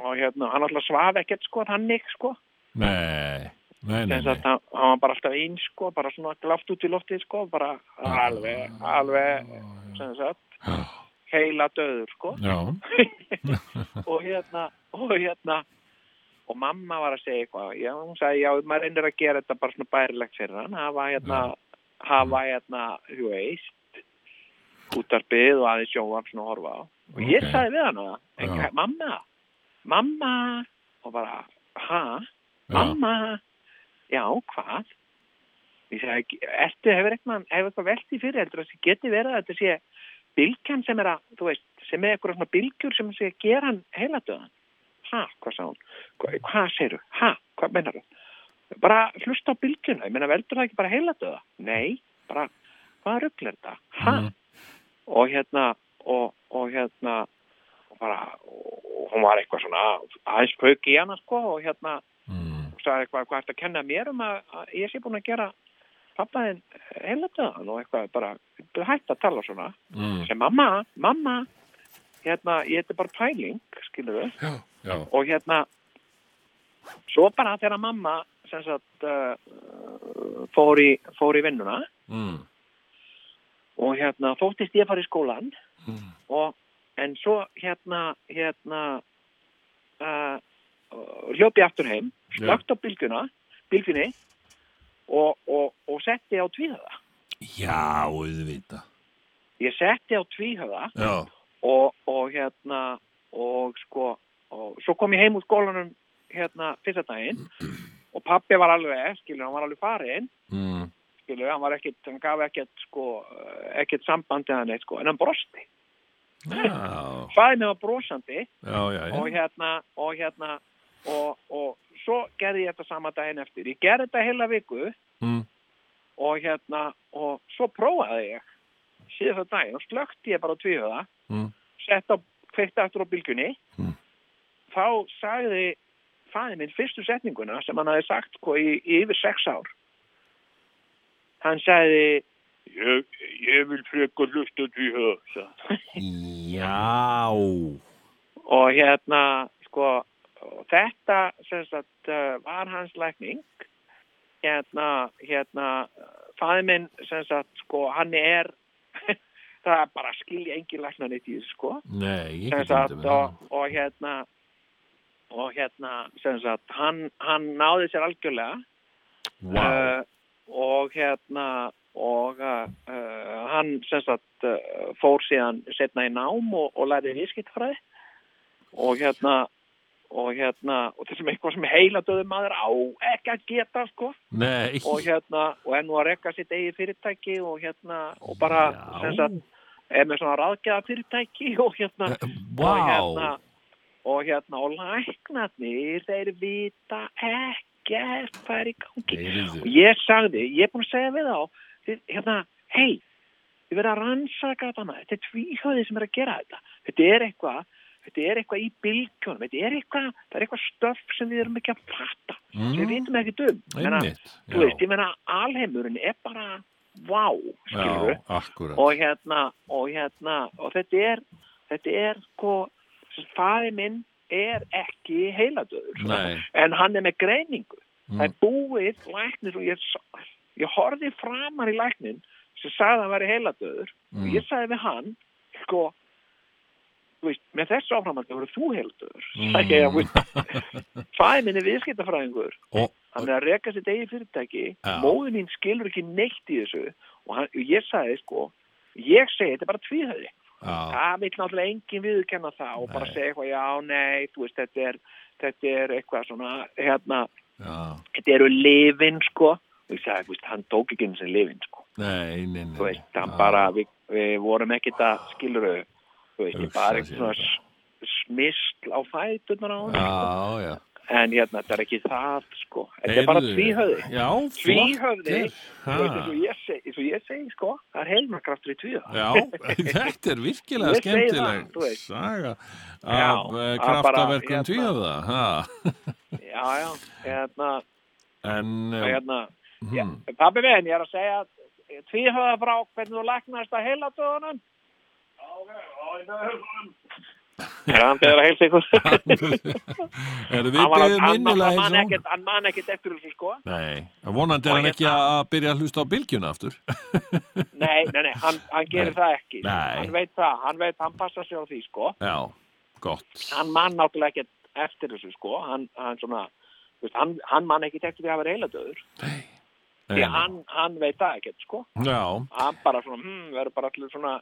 og hérna hann alltaf svaf ekkert sko hann ekki sko
Nei, nei, nei,
sem
nei.
sagt hann, hann var bara alltaf eins sko bara svona glaft út í loftið sko bara alveg, alveg sem sagt heila döður sko
Já,
og hérna og hérna og mamma var að segja eitthvað já, hún sagði, já, maður reynir að gera þetta bara svona bærilegt fyrir hann hafa hérna, hafa hérna, þú veist útarpið og aðeins sjóan svona að horfa á og ég
Ok.
sagði við hann það, en
Já.
hvað- mamma mamma og bara, ha,
Já.
mamma já, hvað ég sagði, ertu, hefur eitthvað hefur eitthvað veltið fyrir, heldur að geti verið að þetta sé bylgjan sem er að, þú veist, sem er eitthvað svona bylgjur sem sé að gera hann heiladöðan. Ha, hvað sá hún? Hva, hvað segir þú? Ha, hvað mennar þú? Bara hlusta á bylgjuna, ég menna veldur það ekki bara heiladöða? Nei, bara, hvað rugglar þetta? Ha?
Mhm.
Og hérna, og, og hérna, og bara, og hún var eitthvað svona aðeins pauk í hana, sko, og hérna,
mm,
og sagði eitthvað, hvað ertu að kenna mér um að, að ég sé búin að gera pappaðin heiladöðan og eitthvað bara, hætt að tala svona
mm,
sem mamma, mamma hérna, ég heiti bara pæling skilur við,
já,
og hérna svo bara þegar mamma sem sagt uh, fór, í, fór í vinnuna
mm,
og hérna þóttist ég að fara í skólan
Mm.
og en svo hérna hérna uh, hljópi aftur heim slögt á bylgjuna, bylgjunni og, og, og setti á tvíhöða
já, auðvita.
ég setti á tvíhöða
Já,
og, og hérna og sko og svo kom ég heim úr skólanum hérna fyrsta daginn og pappi var alveg, eh, skilur, hann var alveg farinn
mm,
skilur, hann var ekkert, hann gaf ekkert sko, ekkert sambandi hann eitt sko, en hann brosti
já,
fæði mig var brosandi
já, já,
og
já,
hérna og hérna og, og svo gerði ég þetta sama daginn eftir ég gerði þetta heila viku
Mm.
og hérna og svo prófaði ég síðan það daginn og slökti ég bara á tvíhöða
Mm.
sett á kveikta aftur á bylgjunni
Mm.
þá sagði fæði minn fyrstu setninguna sem hann hafi sagt sko, í, í yfir sex ár hann sagði ég, ég vil frekar hlusta á tvíhöða sagði hann.
já,
og hérna sko og þetta sem sagt uh, var hans lækning hérna hérna fæði minn sem sagt sko hann er það er bara að skilja engin læknan eitt í þessu sko
nei, ég get
sem
um
sagt
þetta
og, og hérna og hérna sem sagt hann, hann náði sér algjörlega
Vá,
Eh, og hérna og uh, uh, eh, hann sem sagt uh, fór síðan setna í nám og, og lærið viðskiptfræði og hérna og hérna, og þessum eitthvað sem heila döðum maður á ekki að geta sko
Nei,
og hérna, og enn og að rekka sitt eigið fyrirtæki og hérna, og bara sem sagt, er með svona ráðgeða fyrirtæki og hérna og hérna
vá
og hérna, og læknarnir þeir vita ekkert hvað er í gangi
Heyrðu.
og ég sagði, ég er búin að segja við þá þið, hérna, hei þið verða að rannsaka þetta maður þetta er tvíhjóðið sem er að gera þetta þetta er eitthvað Þetta er eitthvað í bylgjónum, þetta er eitthvað, það er eitthvað stöf sem við erum ekki að fatta, sem við vitum ekki um. Ég meina,
Mm. Einmitt,
Þú
já.
veist, ég meina, alheimurinn er bara, vá, skilur
Já, akkurat
og hérna og hérna og þetta er þetta er sko fæði minn er ekki heiladöður
Nei.
en hann er með greiningu
Mm.
það er búið læknir og ég, s- ég horfði framar í læknin sem sagði að hann væri heiladöður
Mm.
og ég sagði við hann sko þú veist, með þessu áframandi voru þú heiladöður mm. fæði minn er viðskiptafræðingur
og,
hann er að reka sitt eigin fyrirtæki
Já.
móður mín skilur ekki neitt í þessu og hann, og ég sagði sko ég segi þetta er bara tvíhöfði
já,
það vil náttúrulega engin viðkenna það og bara
Nei.
segja eitthvað já, nei, þú veist þetta er, þetta er eitthvað svona hérna,
já,
þetta eru lifin sko og ég sagði, þú veist, hann tók ekki eins og lifin sko
nei, nei, nei
þú veist, hann
Já.
bara, við, við vorum ekkit að skilur þú veist, ég
Hugsa
bara eitthvað
sér
svona
þetta.
s- smysl á fætunar á sko. hann
Já, já
en hérna, þetta er ekki það sko, þetta er bara
Heyrðu.
tvíhöfði
Já, flott
Tvíhöfði,
er. Ha.
Þú veist, eins og ég seg- eins og ég segi sko, það er heilmarkraftur í tvíða
Já, þetta er virkilega
Ég segi það,
skemmtileg
þú veist.
saga
Já,
af já,
að bara,
kraftaverkum
hérna.
tvíða
já, já, hérna,
en já, Mhm.
hérna mm. pabbi minn, ég er að segja tvíhöða frá hvernig þú læknaðist að heila döðunum Já, hann beður að heilsa ykkur
eh, er við
Hann var að-
byggðum
hann- hann
innilega
man
eins og
ekkert- Hann man ekkert eftir þessu sko
Nei, vonandi er hann ekki að byrja að hlusta á bylgjuna aftur
Nei, nei, nei, hann, hann gerir það ekki
Nei.
Hann veit það, hann veit, hann passa sér á því sko
Já, gott
hann man náttúrulega ekkert eftir þessu sko hann, hann, svona, þú veist, hann, hann man ekkert eftir því að vera heiladöður því að hann, hann veit það ekkert sko
Já,
hann bara svona, hmm, verður bara allir svona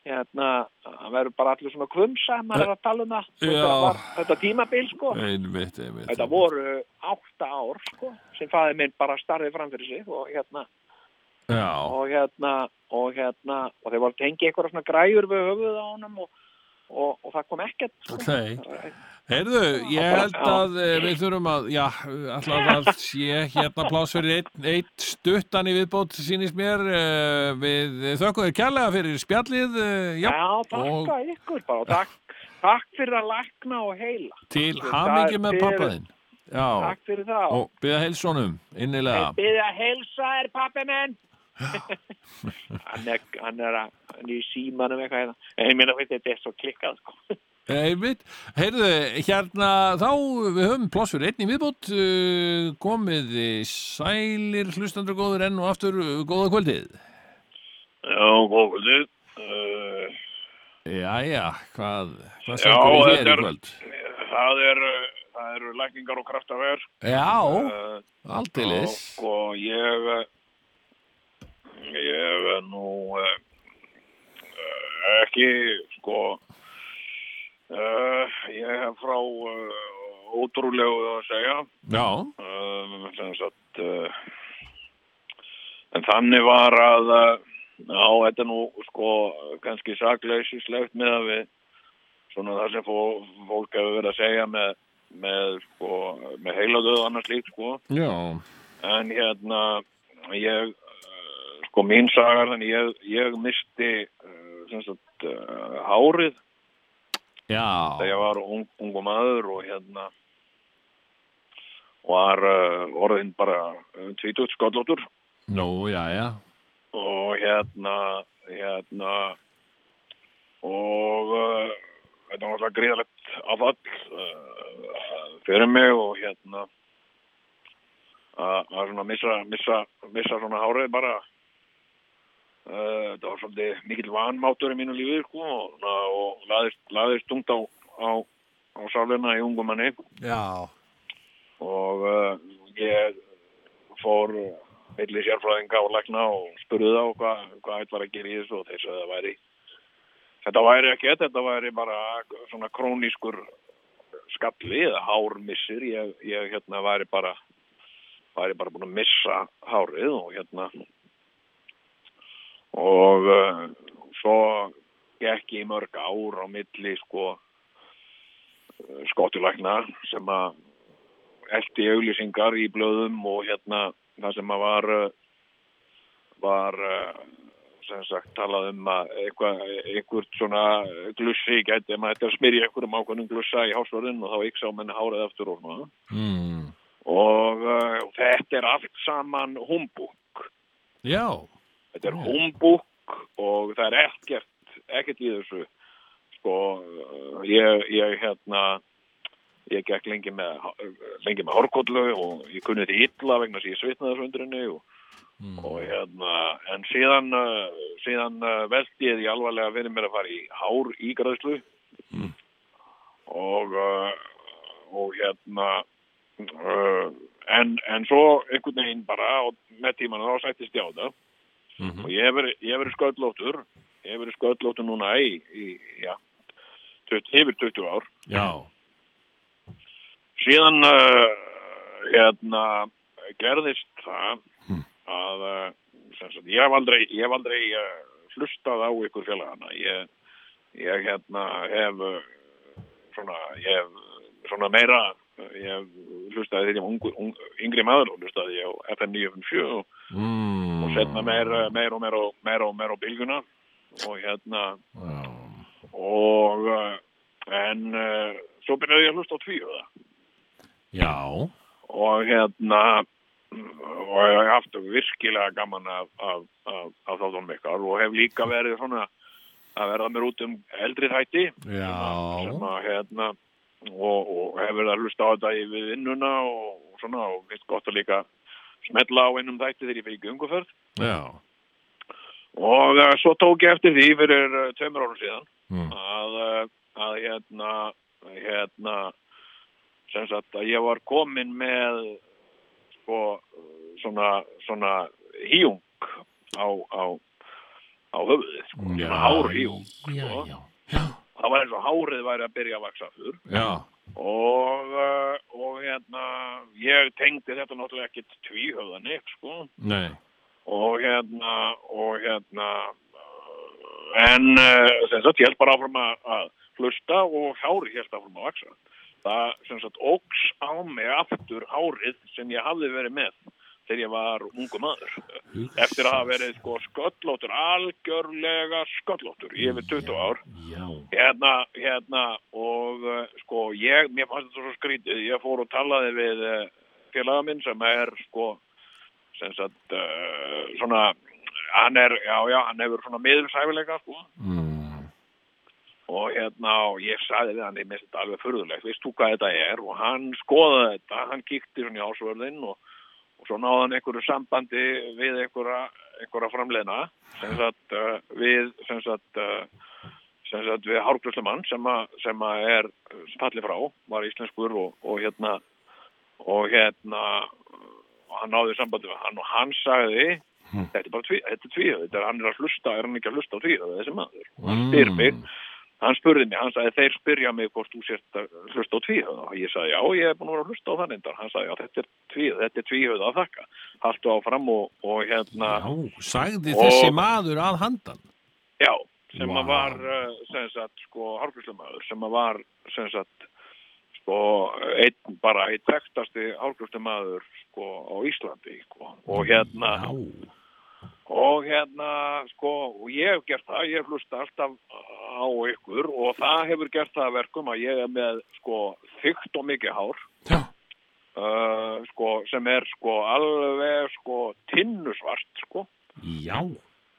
hérna, hann verður bara allir svona kvumsa, maður er að tala um það
Já.
þetta, var, þetta tímabil sko
einmitt, einmitt
þetta
einmitt.
voru átta ár sko sem fæði minn bara starfið fram fyrir sig og hérna
Já,
og hérna og hérna og þeir voru að tengja eitthvað svona græjur við höfuð á honum og, og, og það kom ekkert sko.
Nei. Heyrðu, ég held að eh, við þurfum að, já, alltaf að sé hérna pláss fyrir eitt, eitt stuttan í viðbót sínist mér. eh, Við þökkum þér kærlega fyrir spjallið, eh, já,
Já,
Og-
takk að ykkur bara og takk, takk fyrir að lækna og heila.
til
það
hamingi með
fyrir-
pappaðinn. Já,
Takk fyrir það.
og byggða heilsónum, innilega.
Byrði að heilsa er pappi minn. hann, er, hann er að, hann er í símanum eitthvað hérna. En Ég meina veit þetta er svo klikkað sko.
Eh, Einmitt, heyrðu, hérna þá við höfum pláss fyrir einn í viðbót eh, komið þið sælir hlustandur góður enn og aftur eh, góða kvöldið.
Já, góðið. Uh,
Jæja, hvað, hvað
Já,
sagður við hér
þetta
í
er-
kvöld?
það er, það eru lækningar og kraftaver.
Já,
Eh,
aldeilis.
og ég, ég er nú
eh,
ekki sko
Uh, ég hef frá uh, ótrúlegu að segja
Já,
um, sem sagt uh, en þannig var að uh, á þetta er nú sko kannski sakleysislegt með að við svona það sem fó, fólk hefur verið að segja með, með sko með heiladöð annars líkt sko
já,
en hérna ég uh, sko mín sagar þannig ég, ég misti uh, sem sagt uh, hárið
já,
þegar ég var ung, ungu maður og hérna var uh, orðin bara um, tvítugt skollotur
nú, jæja,
og hérna hérna og uh, þetta var alltaf gríðalegt afall uh, fyrir mig og hérna að að svona missa, missa, missa svona hárið bara uh, þetta var svolítið mikill vanmátur í mínu lífi sko, og, na, og laðist, laðist tungt á, á, á sálina í ungum manni
já,
og
eh,
uh, ég fór milli sérfræðinga og lækna og spurði þá hvað hva ætlar að gera í þessu og þeir sagði að það væri
Þetta væri ekki, þetta væri bara svona krónískur skalli eða hármissir. Ég, ég hérna væri bara, væri bara búin að missa hárið og hérna og uh, svo gekk ég í mörg ár á milli sko eh, skottulækna sem að eldi auglýsingar í blöðum og hérna það sem að var uh, var uh, sem sagt talað um að eitthvað, einhvert svona glussi gæti, maður ætti að smyrja einhverjum ákveðnum glussa í hásvörðin og þá yksa á menni hárið aftur og svona
mm.
og uh, þetta er allt saman humbúk
Já,
Þetta er humbúk og það er ekkert, ekkert í þessu. Sko, uh, ég, ég hérna, ég gekk lengi með, lengi með hórkollu og ég kunni þetta illa vegna sem ég svitnaði þessu undir henni og, og hérna, en síðan, uh, síðan uh, veldi ég því alvarlega verið mér að fara í hár ígræðslu og, uh, og hérna, uh, en, en svo einhvern veginn bara og með tíman þá sættist ég á það og ég hef verið- ég hef verið sköllóttur ég hef verið sköllóttur núna í, í já, 20, yfir 20 ár
já,
síðan uh, hérna gerðist það að uh, sem sagt, ég hef aldrei, ég hef aldrei uh, hlustað á ykkur félagana ég, ég hérna hef uh, svona, ég hef svona meira uh, ég hef hlustaði þegar ég var ungu- ung- yngri maður og hlustaði ég á FM 957 og
mm.
og setna meir, uh, meir og meir og meir og meir á bylguna og hérna og uh, en uh, svo byrjaði ég að hlusta á tvíhöða
já
og hérna og ég hef haft virkilega gaman af, af, af, af þáttunum ykkar og hef líka verið svona að verða mér út um eldri þætti sem
Já,
að hérna og, og hef verið að hlusta á þetta í við vinnuna og svona og finnst gott að líka smetla á einum þætti þegar ég fyrir gönguferð
já,
Og uh, svo tók ég eftir því fyrir uh, tveimur árum síðan
Mm.
að, uh, að hérna, hérna, sem sagt að ég var komin með sko, uh, svona, svona híung á, á, á höfuðið, sko,
Já,
svona hár híung.
já,
sko.
já.
Það var eins og hárið væri að byrja að vaksa fyrir
já,
og, uh, og hérna, ég tengdi þetta náttúrulega ekkit tvíhöfðan ykkur, sko
nei,
og hérna og hérna uh, en uh, sem sagt ég held bara áfram að, að hlusta og hárið held áfram að vaksa það sem sagt óks á mig aftur hárið sem ég hafði verið með þegar ég var ungu maður eftir að hafa verið sko sköllóttur algjörlega sköllóttur í yfir 20 ár
já,
hérna, hérna og uh, sko ég, mér fannst þetta svo skrítið ég fór og talaði við uh, félaga minn sem er sko sem sagt uh, svona hann er, já já, hann hefur svona miðursæfileika sko og hérna og ég sagði við hann ég minnst þetta alveg furðulegt, veist þú hvað þetta er og hann skoðaði þetta, hann kíkti svona í ásvörðin og, og svo náði hann einhverju sambandi við einhverja einhverja framleina sem sagt uh, við sem sagt uh, sem sagt við Hárgröslumann sem, að- sem að er falli frá, var íslenskur og, og hérna og hérna og hann náði sambandi við hann og hann sagði þetta er bara tví, þetta er tvíhöð, þetta er hann er að hlusta, er hann ekki að hlusta á tvíhöð þessi maður, og hann spyr mig hann spurði mig, hann sagði þeir spyrja mig hvort þú sért að hlusta á tvíhöð og ég sagði já, ég er búin að vera að hlusta á það reyndar hann sagði já, þetta er tvíhöð, þetta er tvíhöð að þakka haltu áfram og, og hérna
já, sagði
Og-
þessi maður að handan
Já, sem
Vá.
að var uh, sem sagt, sko, hárgrúslemaður sem að var, sem sagt sko, einn, bara einn þekktasti hárgrúslemaður, sko, á Íslandi, sko, og hérna
Já,
og hérna, sko, og ég hef gert það, ég hef hlusta alltaf á ykkur og það hefur gert það að verkum að ég er með, sko, þykkt og mikið hár
Já.
Uh, sko, sem er sko alveg sko tinnusvart sko
já,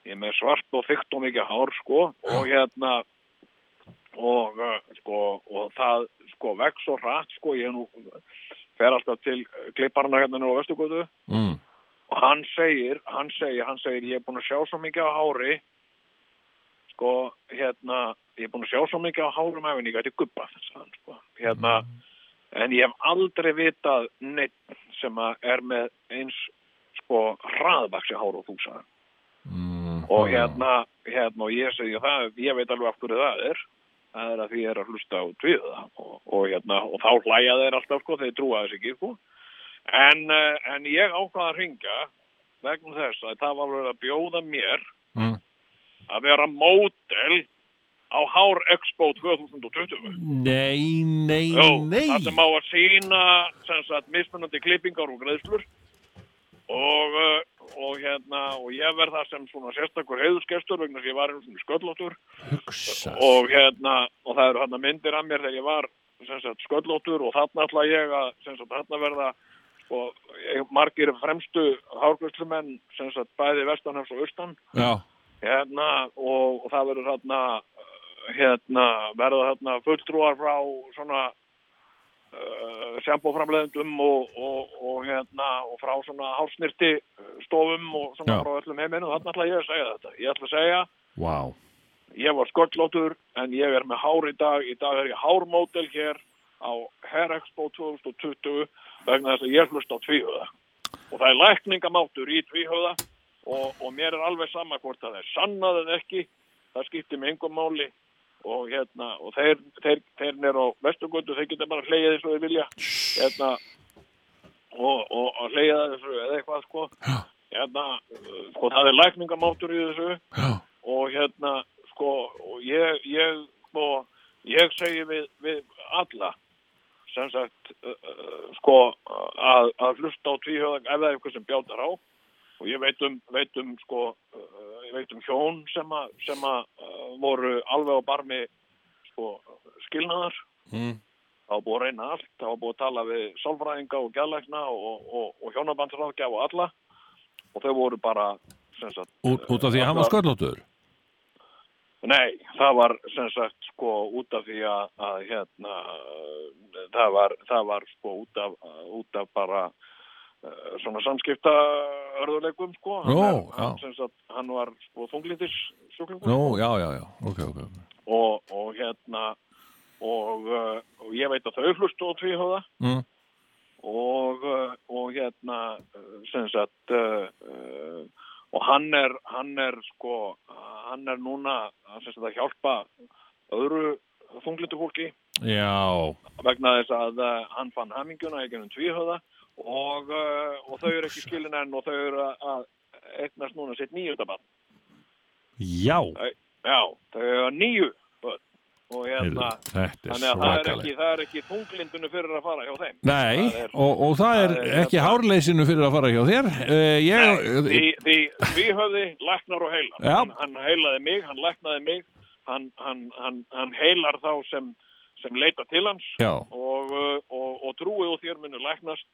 ég er með svart og þykkt og mikið hár sko og hérna og uh, sko og það sko vex og rætt sko ég nú fer alltaf til klipparna hérna nú á Vesturgötu
mm.
og hann segir, hann segir, hann segir ég er búin að sjá svo mikið á hári sko, hérna ég er búin að sjá svo mikið á hárum ef en ég gæti gubba þess að hann, sko hérna, en ég hef aldrei vitað neitt sem að er með eins, sko, hraðvaksi hár og þú sagði mm, og hérna, hérna og ég segi það, ég veit alveg af hverju það er það er að því ég er að hlusta á tviða og, og hérna, og þá hlæja þeir alltaf sko, þeir trúa þess ekki sko en, eh, en ég ákvaða að ringa vegna þess að það var verið að bjóða mér
Mm.
að vera mótel á Hár Expo 2020
Nei, nei,
Jó, það
nei
sem á að sína sem sagt mismunandi klippingar og greiðslur og, uh, og hérna og ég verð það sem svona sérstakur heiðuskestur vegna sem ég var einu svona sköllóttur
Hugsa
og hérna og það eru hérna myndir af mér þegar ég var sem sagt sköllóttur og þarna ætla ég að sem sagt þarna verða og ég- margir fremstu hárgöðslumenn sem sagt bæði vestanhefs og austan
Já,
hérna og, og það verður hérna hérna verður hérna fulltrúar frá svona uh, sambóframleðendum og, og, og hérna og frá svona hálsnirti stofum og svona
Já.
frá öllum heiminu þannig ætla ég að segja þetta ég ætla að segja
wow
ég var sköllóttur en ég er með hár í dag í dag er ég hármótel hér á Hair Expo 2020 vegna þess að ég hlust á tvíhöða og það er lækningamáttur í tvíhöða og, og mér er alveg sama hvort það er sannað en ekki það skiptir með engum máli og hérna og þeir, þeir, þeir nýr á vesturgötu þeir geta bara hleyið eins og þeir vilja hérna og, og, og hleyið þessu eða eitthvað sko hérna, uh, sko það er lækningamáttur í þessu og hérna sko og ég, ég, sko, ég segi við, við alla sem sagt uh, uh, sko að, að hlusta á tvíhjóðan ef það er eitthvað sem bjátar á og ég veit um, veit um sko uh, ég veit um hjón sem að, sem að uh, voru alveg á barmi sko skilnaðar
Mm.
það var búið að reyna allt það var búið að tala við sálfræðinga og gælækna og, og, og hjónabandsráðgjaf og alla og þau voru bara sem sagt
Út út af því að hann var sköllóttur
Nei, það var sem sagt sko út af því að, að hérna, uh, það var, það var sko út af, uh, út af bara uh, svona samskipta örðuleikum sko. Hann
Nú,
er-
já.
hann, sem sagt, hann var sko þunglindis sjúklingur
Nú, já, já, já, ok, ok
og, og hérna og, uh, og ég veit að þau hlustu á tvíhóða
Mm.
og, uh, og hérna uh, sem sagt uh, uh, og hann er hann er sko hann er núna sem sagt að hjálpa öðru þunglindu fólki
Já,
vegna þess að uh, hann fann haminguna í gennum tvíhöða og, uh, og þau eru ekki skilin enn og þau eru að- að eignast núna sitt nýjöndabann.
já
Já, þau eru nýju börn. og
Heyrðu,
hérna
Þetta er
Þannig að það er,
svakaleg
ekki, það er ekki þunglindinu fyrir að fara hjá þeim.
Nei,
það er-
og, og það er
það er- hérna-
ekki hárleysinu fyrir að fara hjá þér uh, ég,
Því, því við höfði læknar og heilar.
Já.
Hann, hann heilaði mig, hann læknaði mig, hann, hann, hann, hann heilar þá sem, sem leita til hans
Já,
og, uh, og, og trúið og þér munu læknast.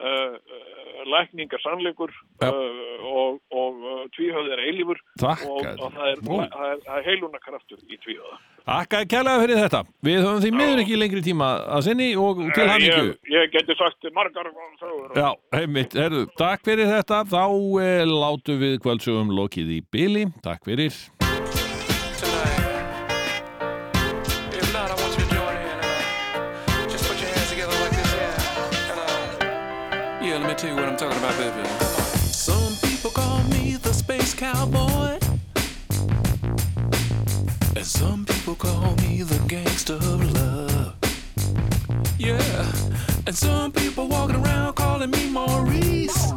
Uh, uh, lækning er sannleikur
Já.
uh, og, og uh, tvíhöfði er eilífur og,
þakka
og það er,
Nú.
það er, það er heiluna kraftur í tvíhöfða.
Þakka kærlega fyrir þetta Við höfum því miður ekki lengri tíma að sinni og til hamingju
Ég, ég geti sagt margar sögur.
Já, heimitt, herðu, takk fyrir þetta þá eh, látum við kvöldsögum lokið í byli, takk fyrir
If not, I want you to join in and uh, just put your hands together like this. Yeah. And, uh, yeah, let me tell you what I'm talking about, baby. Some people call me the space cowboy, and some people call me the gangster of love. Yeah, and some people walking around calling me Maurice.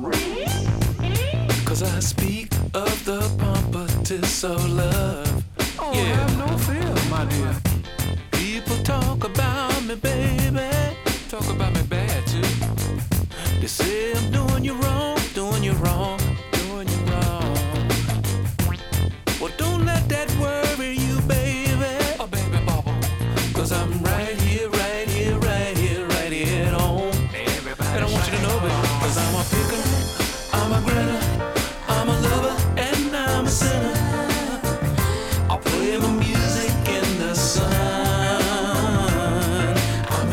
Cause I speak of the pompatus of love. Oh, yeah. have no fear, my dear. People talk about me, baby. Talk about me bad, too. They say I'm doing you wrong, doing you wrong, doing you wrong. Well, don't let that worry you, baby. Oh, baby, bubble. Cause I'm right here, right here, right here, right here at home. and I want you to know, baby, cause I'm a picker, I'm a grinner, I'm a lover, and I'm a sinner. I'll play my music in the sun. I'm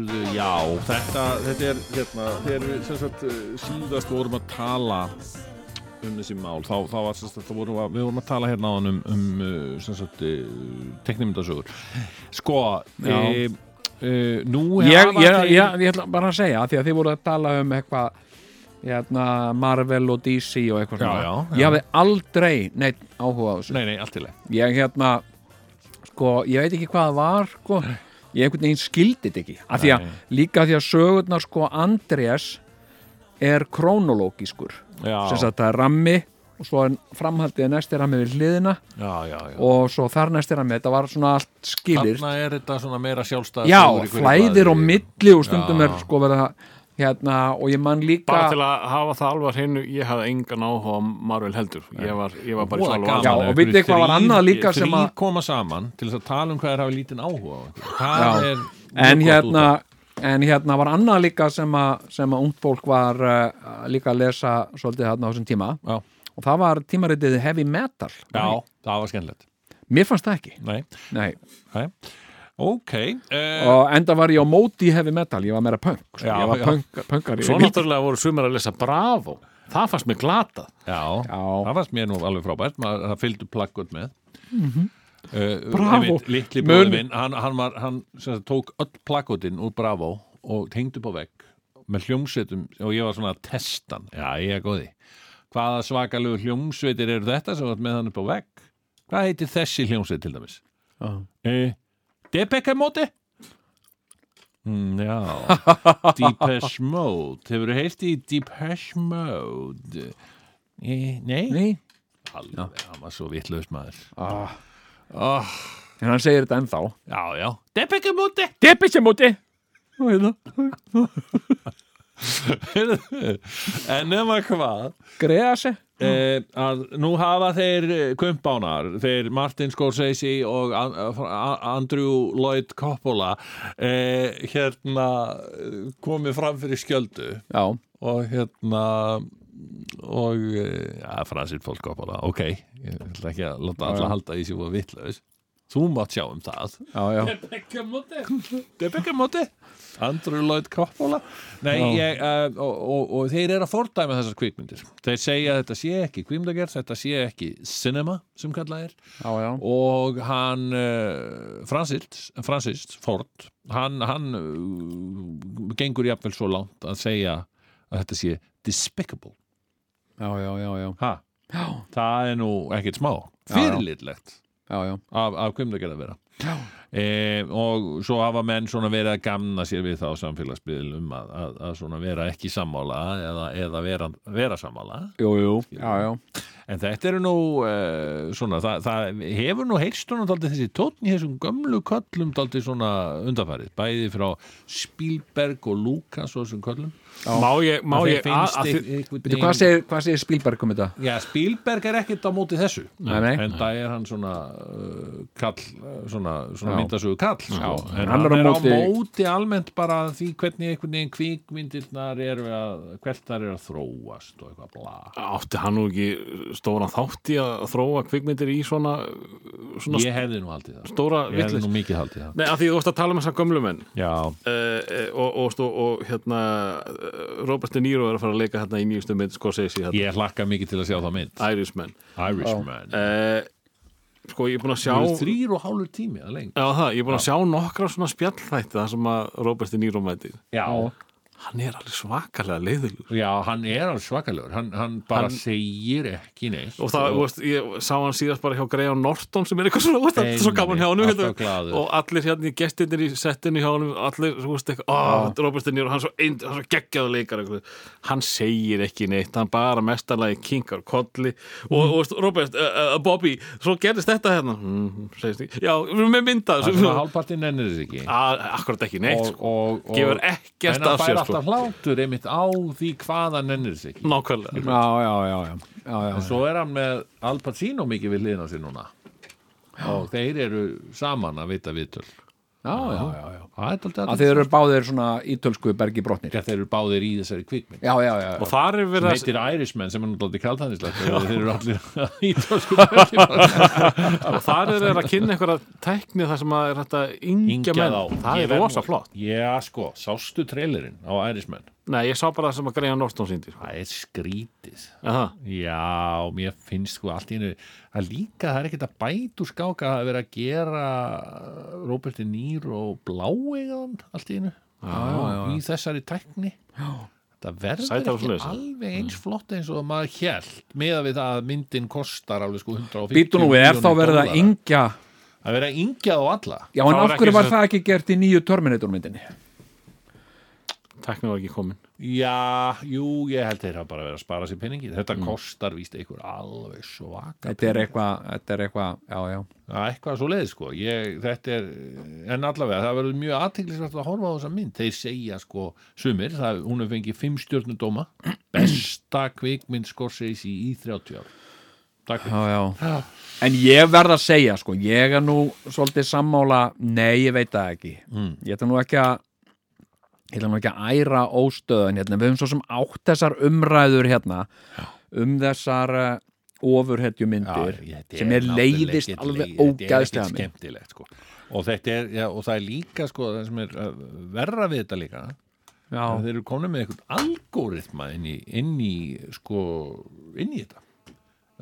þetta, þetta er hérna, þegar við sem sagt eh, síðast vorum að tala um þessi mál, þá, þá var sem sagt, þá vorum að, við vorum að tala hérna áðan um, um eh, sem sagt, teknimyndasögur. Sko,
Já.
e, e, nú
ég,
hafa
ég,
þeir-
ég, ég ætla bara að segja því að þið voru að tala um eitthvað hérna, Marvel og DC og eitthvað
Já,
svona.
já, já.
ég hafði aldrei neitt áhuga á þessu
Nei, nei, allt í leið.
ég hérna sko, ég veit ekki hvað það var sko. ég einhvern veginn skildi þetta ekki af því að,
Nei.
líka af því að sögurnar sko Andrés er krónológiskur
Já.
sem sagt það er rammi og svo er framhaldið að næst er rammi við hliðina
Já, já, já.
og svo þar næst er rammi, þetta var svona allt skilir
Þarna er þetta svona meira sjálfstæð
já, flæðir og milli og stundum er sko verið að hérna, og ég man líka
bara til að hafa það alveg að hreinu ég hafði engan áhuga á Marvel heldur ég var, ég var bara í Svalbard.
Já, og vitið þið hvað var annað líka sem að-
Þrý koma saman til þess að tala um hvað er hafi lítinn áhuga á einhverju. Það er
Já. en
mjög gott
hérna
útvarp.
en hérna var annað líka sem að sem að ungt fólk var uh, líka að lesa svolítið þarna á þessum tíma
Já.
og það var tímaritið Heavy Metal
Já, það var skemmtilegt
mér fannst það ekki
Nei,
Nei.
nei Ok uh,
og enda var ég á móti Heavy Metal ég var meira punk, sko.
Já,
ég var
já.
punk, punkar
svo náttúrulega voru sumir að lesa Bravo það fannst mér glatað
Já,
já,
það fannst mér nú alveg frábært maður, það fylgdu plakkut með Uh,
Bravo.
einmitt, litli
Mun-
bróður minn hann, hann, var, hann sem sagt, tók öll plakkutin úr Bravo og tengd upp á vegg með hljómsveitum og ég var svona að testa hann já ég er góði hvaða svakalegu hljómsveitir eru þetta sem var með hann upp á vegg hvað heitir þessi hljómsveit til dæmis uh, Debecker móti mm, já Deepesh Mode hefur þú heilt í Deepesh Mode eh, nei,
ný
Alveg, hann var svo vitlaust maður
ah.
Ah.
en hann segir þetta ennþá
Já, já Debecker móti
Deppið sem móti
hérna. En nema hvað
greiða sig
eh, að nú hafa þeir eh, kumpánar, þeir Martin Scorsese og An A- Andrew Lloyd Coppola eh, hérna eh, komið fram fyrir skjöldu
já,
og hérna og eh, ja, fransir fólk Coppola, ok ég ætla ekki að láta alla halda í sig og vitlaus þú mátt sjá um það
já, já
Debekkamóti Andrew Lloyd Coppola Nei, ég, uh, og, og, og þeir eru að fordæma þessar kvikmyndir Þeir segja að þetta sé ekki kvikmyndagerð Þetta sé ekki cinema sem kallað er
já, já,
Og hann uh, Francis, Francis Ford Hann, hann uh, gengur jafnvel svo langt að segja að þetta sé despicable
já, já, já, já,
ha, Það er nú ekkert smá
Já, já.
Fyrirlitlegt
já, já.
af, af kvimdagerð að vera e, og svo hafa menn svona verið að gamna sér við þá samfélagsbyðlum að, að, að svona vera ekki sammála eða, eða vera, vera sammála
Jú, jú, já, já,
en þetta eru nú e, svona, það, það hefur nú heilstunum daldið þessi tónn í þessum gömlu köllum daldið svona undarfærið, bæði frá Spielberg og Lucas og þessum köllum
má ég, má
Þeir
ég að, að þið,
einhvern
Veitu, hvað
veginn-
segir, hvað segir Spielberg um þetta?
Já, Spielberg er ekkert á móti þessu
Nei, nei.
en það er hann svona uh, kall, uh, svona,
Já.
svona myndasögu kall sko. en
Hann
hann,
er á
er á
móti-
móti... almennt bara því hvernig einhvern veginn kvikmyndirnar eru að, hvert þar eru að þróast og eitthvað bla
átti hann nú ekki stóran þátt í að þróa kvikmyndir í svona, svona
Ég hefði nú haldið það
stóra
Ég hefði
vitlis
nú mikið haldið það
Nei, af því þú vorst að tala um þessa gömlu menn
Já,
uh, og, og, og, og hérna eh, Robert De Niro er að fara að leika hérna í nýjustu mynd Scorsese, hérna,
ég hlakka mikið til að sjá það mynd
Irishman
Irishman
uh, sko ég er búin að sjá
Það eru þrýr og hálfur tími að lengi
Já, það, ég er búin að sjá nokkra svona spjallþætti það sem að Robert De Niro mætið
Já,
hann er alveg svakalega leiðilur
já hann er alveg svakalur hann, hann bara segir ekki neitt
og það, þú veist, ég sá hann síðast bara hjá Graham Norton sem er eitthvað svona, þú veist, það er svo gaman hjá honum
Einmitt, alltaf
hérna,
glaður.
og allir hérna í gestinir í settinu hjá honum allir, þú veist, eitthvað, ó, Robert De Niro hann er svo, eind- hann er svo geggjaðu leikar eitthvað. hann segir ekki neitt, hann bara mestarlagi kinkar kolli og, og veist, Robert, uh, uh, Bobby, svo gerist þetta hérna, mm, segist ekki, já, við erum með myndað
Það er svona hálfpartinn ennir þess ekki
akkurat ekki neitt,
og,
sko.
og, og
gefur ekkert
en hann
af
fær
sér sko.
alltaf hlátur einmitt á því hvað hann ennir sig ekki.
nákvæmlega
Já, já, já, já, já, já.
en svo er hann með Al Pacino mikið við hliðina sér núna og þeir eru saman að vita viðtöl
já, já, já, já.
Það er dálítið
að þeir eru báðir svona ítölsku bergi brotnir já,
Já, þeir eru báðir í þessari kvikmynd
já, já, já.
og þar er
sem
verið að
heitir Irishman sem er náttúrulega kaldhæðnislegt þeir eru allir ítölsku bergi
og þar er verið að kynna einhverja tækni þar sem að er þetta yngja
Yngja
menn
þá.
það
Ég
er
verð
rosa
nú-
flott
Já, sko, sástu trailerinn á Irishman
nei, ég sá bara það sem að Greina Norton síndi sko.
Það er skrítið
Aha.
Já, mér finnst sko allt í einu að líka það er ekkert að bætu skáka að vera að gera Roberti Nýr og Bláegan allt í einu já, já, já. í þessari tækni já. Mm. það verður
Sætar og
ekki
svoleiðis.
alveg eins flott eins og maður hélt meða við það að myndin kostar alveg sko 150
Býtu nú við, er þá verið að
yngja
yngja
að vera yngjað á alla
Já, en
Það var
af hverju
ekki
var
sem-
það ekki gert í nýju Terminator myndinni?
tækni var ekki komin
Já, jú, ég held þeir hafa bara verið að spara sér peningi þetta kostar víst einhver alveg svaka
Þetta er eitthvað, þetta er eitthvað, já, já
Já, eitthvað svo leið sko ég, þetta er, en allavega það verður mjög aðteglisvægt að horfa á þessa mynd þeir segja sko, sumir, það, hún hefur fengið fimm stjörnudóma besta kvikmynd skorseis í í 30 ár Takk fyrir
Já, já En ég verð að segja, sko, ég er nú svolítið sammála, nei, ég veit það ekki Ég ætla nú ekki að ég ætla nú ekki að æra óstöðun hérna, við höfum svo sem átt þessar umræður hérna, um þessar uh, ofurhetju myndir
Já, þetta
sem er
náttúrulega
leiðist
ekkert
alveg
leið- þetta er ekkert
ógæðslega mér
skemmtilegt sko og þetta er, já, og það er líka sko það sem er uh, verra við þetta líka að
Já,
þeir eru komin með eitthvað algoritma inn í, inn í sko, inn í þetta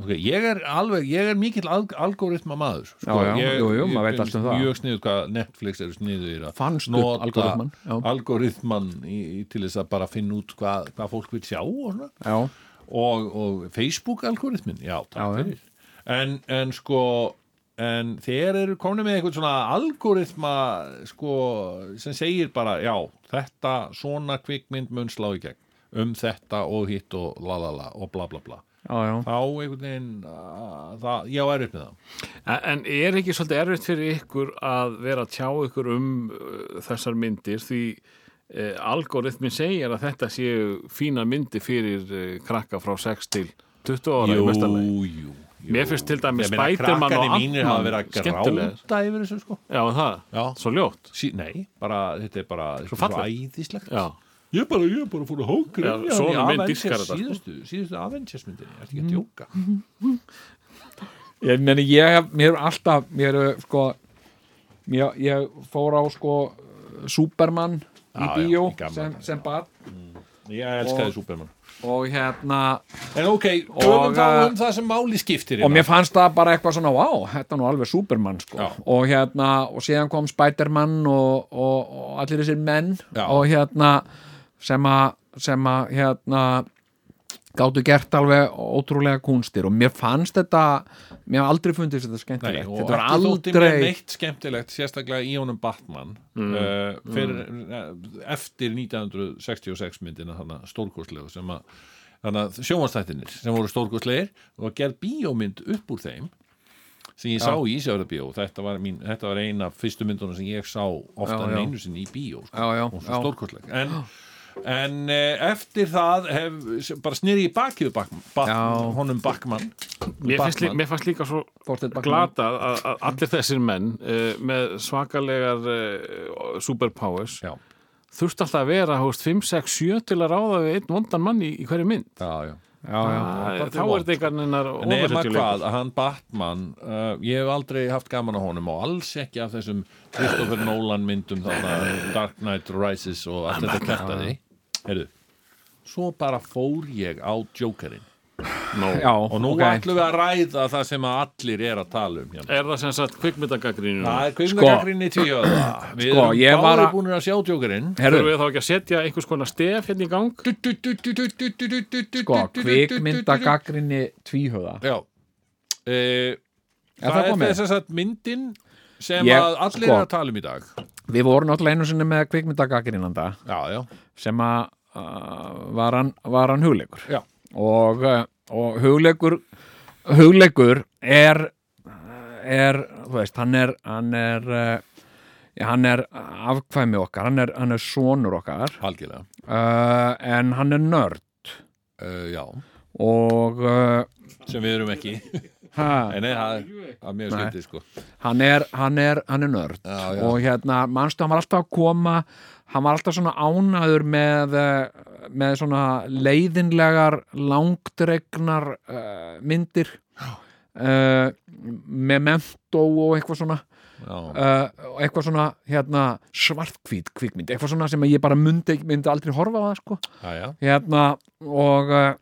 okay, ég er alveg, ég er mikill al algoritma maður sko.
Já, já,
ég,
jú, jú,
ég
maður veit allt um
finnst
það.
mjög sniður hvað Netflix eru sniður í það
Fannst upp
Nota
algoritmann, já.
algoritman í, í, til þess að bara finna út hvað, hvað fólk vil sjá og svona
já,
og, og Facebook algoritmin já, takk
Já, já.
fyrir en, en sko en þeir eru komin með eitthvað svona algoritma sko sem segir bara, já, þetta svona kvikmynd mun slá í gegn um þetta og hitt og lalala og bla bla bla
já, já
þá einhvern veginn að, það, já, er upp með það
En- En er ekki svolítið erfitt fyrir ykkur að vera að tjá ykkur um uh, þessar myndir því uh, algoritmin segir að þetta séu fína myndir fyrir uh, krakka frá 6 til 20 ára í mesta lagi.
jú, jú
Mér finnst til dæmis
Ég meina,
Spiderman og
krakkarnir mínir hafa
Ant-Man
verið að
skemmtilegir.
gráta yfir þessu sko
Já, er það,
Já.
svo ljótt.
sí, nei, bara, þetta er bara þetta er
fallegt.
æðislegt
Já,
Ég er bara, ég er bara fór að hókra
Já, svona mynd dýrkar þetta, sko.
Síðustu, síðustu Avengers myndinni, ég ætti ekki að djóka
Ég meni, ég hef, mér hef alltaf, mér hef, sko, mér, ég fór á, sko, Superman í
Já, já,
bíó
í gamla
sem,
daga,
sem bat
Ég elskaði Superman
og hérna,
En ok, tölum
Og,
þá
uh,
um það sem máli skiptir
og mér fannst það bara eitthvað svona, vá, þetta er nú alveg Superman, sko,
Já.
og hérna, og síðan kom Spiderman og, og, og allir þessir menn
Já.
og hérna, sem að, sem að, hérna, gáttu gert alveg ótrúlega kúnstir og mér fannst þetta, mér hef aldrei fundið þetta
Nei,
skemmtilegt,
og
þetta var
ekki þótti mér
aldrei...
neitt skemmtilegt sérstaklega í honum Batman mm, fyrir, mm. eftir 1966 myndina þannig stórkostlegu sem að þannig að sjónvastættinir sem voru stórkostlegir og gerð bíómynd upp úr þeim sem ég sá í Ísjafjörðabíó þetta, var mín- þetta var eina af fyrstu myndunum sem ég sá ofta en
já.
einu sinni í bíó sko,
Já, já,
og
já.
svo stórkostleg en, en eh, eftir það hef, sem- bara snýri í bakið Bakman, bat,
Já.
honum Bakman
mér finnst, lí,
Batman.
mér fannst líka svo
Fortet Bachmann.
glatað að, að allir þessir menn uh, með svakalegar uh, superpowers
já,
þurft alltaf að vera hóst 5, 6, 7 til að ráða við einn vondan mann í, í hverju mynd.
já, já
Já, já.
Ah,
Æ, þá er þetta einhvern veginn
Nefna
oversetjuleikur.
hvað, að hann Batman uh, ég hef aldrei haft gaman á honum og alls ekki af þessum Christopher Nolan myndum þarna Dark Knight Rises og allt þetta kjartaði Heyrðu, svo bara fór ég á Jokerinn
Já,
og nú
ok.
ætlum við að ræða það sem að allir er að tala um hérna
Er það sem sagt kvikmyndagagríninu?
Það er kvikmyndagagrinni sko, tvíöða Við
Sko, ég
erum
var
báðir
að-
búinir að sjá Jokerinn
Herru,
Þurfum við þá ekki að setja einhvers konar stef hérna í gang?
sko, kvikmyndagaggrinni tvíhöða
Já Eh,
Er
Það
það
er
komið?
þess að myndin sem
Ég-
að allir
sko.
er að tala um í dag
Við vorum náttúrulega einu sinni með kvikmyndagaggrinanda
Já, já,
sem að uh, var, hann, var hann hugleikur
já
og, uh, og hugleikur hugleikur er er, þú veist, hann er hann er, uh, já, hann er afkvæmi okkar, hann er, hann er sonur okkar
Algjörlega
uh, en hann er nörd
uh, Já,
og uh,
sem við erum ekki
Ha.
En nei, það er- það er mjög skemmtið sko
hann er, hann er, hann er nörd
Já, já.
og hérna, manstu, hann var alltaf að koma hann var alltaf svona ánaður með, eh, með svona leiðinlegar, langdregnar uh, myndir uh, með mentó og eitthvað svona
Já,
uh, og eitthvað svona hérna, svartkvít kvikmynd, eitthvað svona sem ég bara myndi, myndi aldrei horfa á það sko
já, já,
hérna og eh,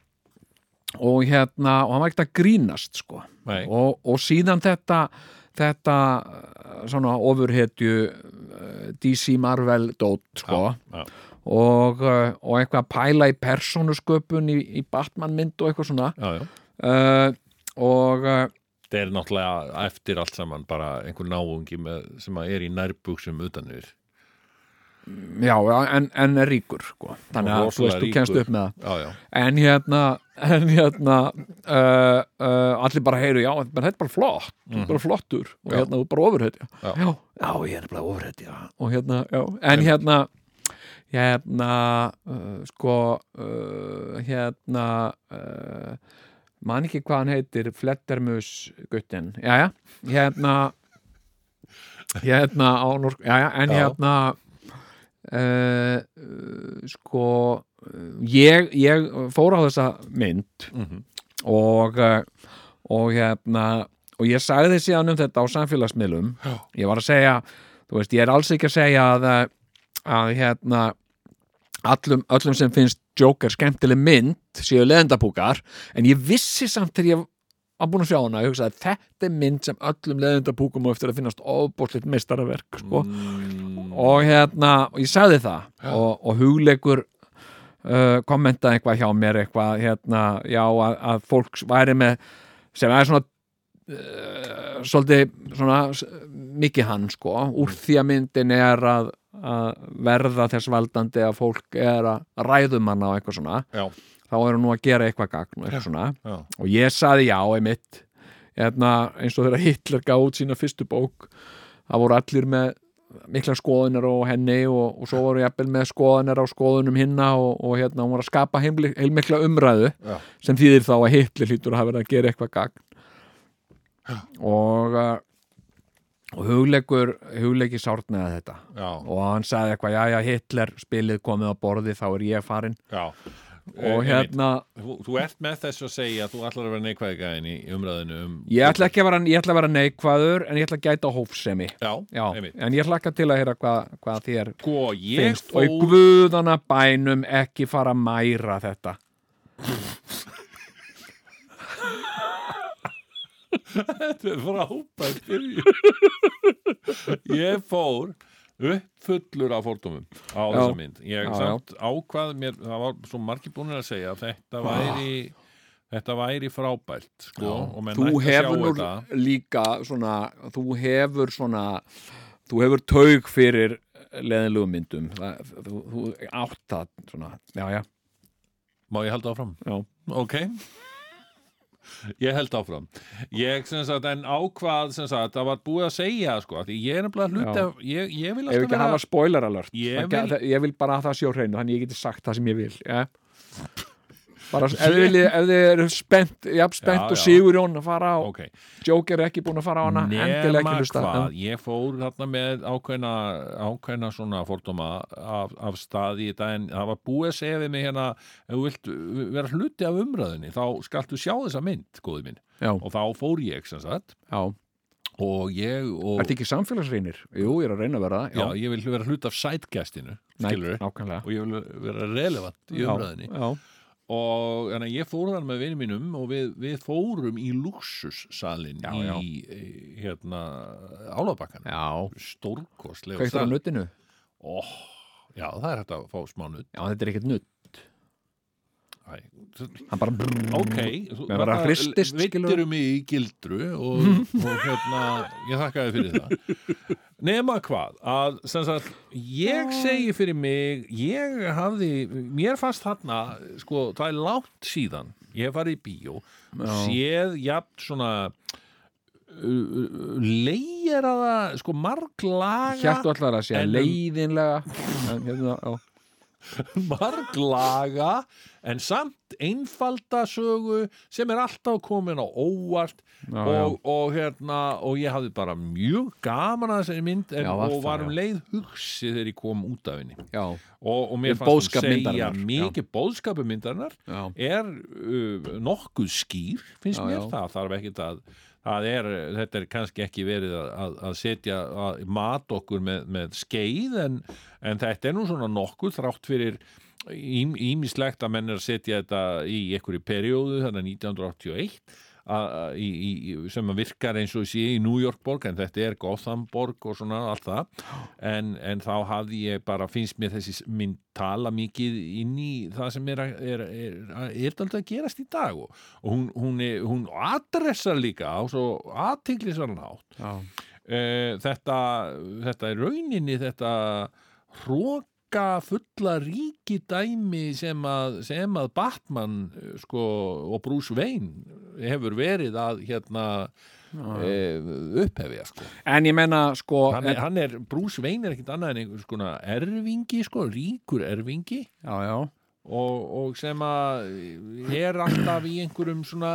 og hérna, og hann var ekkert að grínast sko
nei
og, og síðan þetta þetta eh, svona ofurhetju eh, DC Marvel dót sko
já.
Og, eh, og eitthvað að pæla í persónusköpun í, í Batman mynd og eitthvað svona
Já, já.
uh, og uh,
Þetta er náttúrulega eftir allt saman bara einhver náungi með, sem að er í nærbuksum utan yfir
já, já, en, en er ríkur sko. þannig að þú
rosalega
veist, þú
ríkur.
kennst upp með það
Já, já,
en hérna, en hérna uh, uh, allir bara heyru já, menn þetta er bara flott, þú er bara flottur og
Já.
hérna, þú er bara ofurhetja
Já.
já, já, ég er bara ofurhetja og hérna, já, en hérna hérna uh, sko uh, hérna uh, man ekki hvað hann heitir Flettermus guttin, já, já hérna hérna á norsk, já, já, en
Já.
hérna uh, sko uh, ég, ég fór á þessa mynd og uh, og hérna og ég sagði síðan um þetta á samfélagsmiðlum ég var að segja, þú veist, ég er alls ekki að segja að, uh, að hérna allum, öllum sem finnst Joker skemmtileg mynd séu leðendapúkar, en ég vissi samt þegar ég var búin að sjá hana, ég hugsaði að þetta er mynd sem öllum leðendapúkum og eftir að finnast ofbóðsleitt meistaraverk sko og hérna, og ég sagði það og, og hugleikur uh, kommentaði eitthvað hjá mér eitthvað, hérna, já, að, að fólk væri með, sem er svona uh, svolítið svona s- mikið hann, sko úr
Mm.
því að myndin er að, að verða þess valdandi að fólk er að ræðum hana og eitthvað svona
Já.
þá eru nú að gera eitthvað gagn og eitthvað svona
já.
og ég saði já, einmitt hérna, eins og þegar Hitler gaf út sína fyrstu bók það voru allir með mikla skoðunar á henni og, og svo voru jafnvel með skoðunar á skoðunum hinna og, og hérna, hún var að skapa heimli- heilmikla umræðu
Já.
sem þýðir þá að Hitler hlýtur að hafa verið að gera eitthvað gagn og uh, og hugleikur hugleiki sárnaði þetta
já,
og hann sagði eitthvað, já já Hitler spilið komið á borði þá er ég farin
já.
og
Eh, einmitt.
hérna,
þú, þú ert með þess að segja að þú ætlar að vera neikvæði gæðin í umræðinu um
ég ætla ekki að vera, ég ætla að vera neikvæður en ég ætla að gæta hófsemi
Já,
já,
einmitt
en ég hlakka til að heyra hvað, hvað þér
Sko, ég
finnst og í
fór
guðana bænum ekki fara að mæra þetta
frábært byrjun. Ég fór upp fullur af fordómum á
Já.
þessa mynd Ég
Já,
samt ákvað mér, það var svo margir búinir að segja að þetta væri Þetta væri frábært sko, og menn
þú
ætti að sjá
hefur nú
þetta
líka svona, þú hefur svona þú hefur taug fyrir leðinlegum myndum Það- þú, þú átt það svona, já já,
Má ég halda áfram?
Já.
Ok. Ég held áfram. Ég sem sagt, en ákvað sem sagt, það var búið að segja, sko, því ég er nefnilega hluti
Já.
af, ég, ég vil
ef
alltaf
ekki að hafa spoiler alert
Ég
Það ge-
vil-
það- ég vil bara að það sjó hreinu þannig ég geti sagt það sem ég vil ja. bara ef þið viljið- ef þið eru spennt, jafn spennt
Já,
og
já.
sigur Jón að fara á
Ok.
Joker er ekki búin að fara á hana endilega
Nema
ekki hlusta
hvað, ég fór þarna með ákveðna, ákveðna svona fordóma af, af staði í dag en það var búið að segja við mig hérna ef þú vilt vera hluti af umræðinni þá skaltu sjá þessa mynd, góði minn
Já.
og þá fór ég sem sagt
já,
og ég og,
Ertu ekki samfélagsreinir? Jú, ég er að reyna að vera
já,
það
ég vil vera hluti af sætgæstinu
Næ,
skilur
nákvæmlega
og ég vil vera relevant í
Já,
umræðinni
já,
og þannig að ég fór þar með vinum mínum og við, við fórum í luxussalinn
Já,
í
já.
eh, hérna álabakkan
já.
stórkostlega Oh,
Kveiktur á nuttinu?
já það er hægt að fá smá nutt
Já, þetta er ekkert nutt
Æ,
Hann bara brrrr
ok, þú
Mér bara hristist, skilurðu.
vittir um mig í gildru og, og hérna ég þakkaði fyrir það nema hvað, að sem sagt ég segi fyrir mig ég hafði, mér fannst þarna sko, það er langt síðan ég hef farið í bíó, séð jafn svona leigeraða, sko marglaga
Hjartu allar að segja
En um-
leiðinlega en, hérna, já.
marglaga
en samt einfalda sögu sem er alltaf komin á óvart
Já,
og, og hérna og ég hafði bara mjög gaman að þessari mynd en,
Já, var
og
það,
var um
já.
leið hugsi þegar ég kom út af henni
já,
og, og
Um
mér fannst
boðskap
hún segja
myndarinnar, já.
mikið bóðskapumyndarinnar
já,
er uh, nokkuð skýr finnst
Já,
mér
já.
það þarf ekkit að það er, þetta er kannski ekki verið að- að, að setja að mat okkur með, með skeið en, en þetta er nú svona nokkuð þrátt fyrir ím- ýmislegt að menn er að setja þetta í einhverju periodu þannig að 1981 að- að- í, í, í- sem að virkar eins og ég sé í New York borg en þetta er Gothamborg og svona allt það en, en þá hafði ég bara finnst mér þessi s- mynd tala mikið inn í það sem er, að- er, er, er, er daldið að gerast í dag og, og hún, hún, er, hún adressar líka á svo aðtiklisverðan hátt
já,
e, þetta, þetta er rauninni þetta hróka fulla ríkidæmi sem að, sem að Batman eh, sko, og Bruce Wayne hefur verið að hérna e, upphefja sko
en ég menna sko,
hann
en,
er, hann er, Bruce Wayne er ekkit annað en einhvers konar erfingi, sko, ríkur erfingi
já, já
og, og sem að eh, er alltaf í einhverjum svona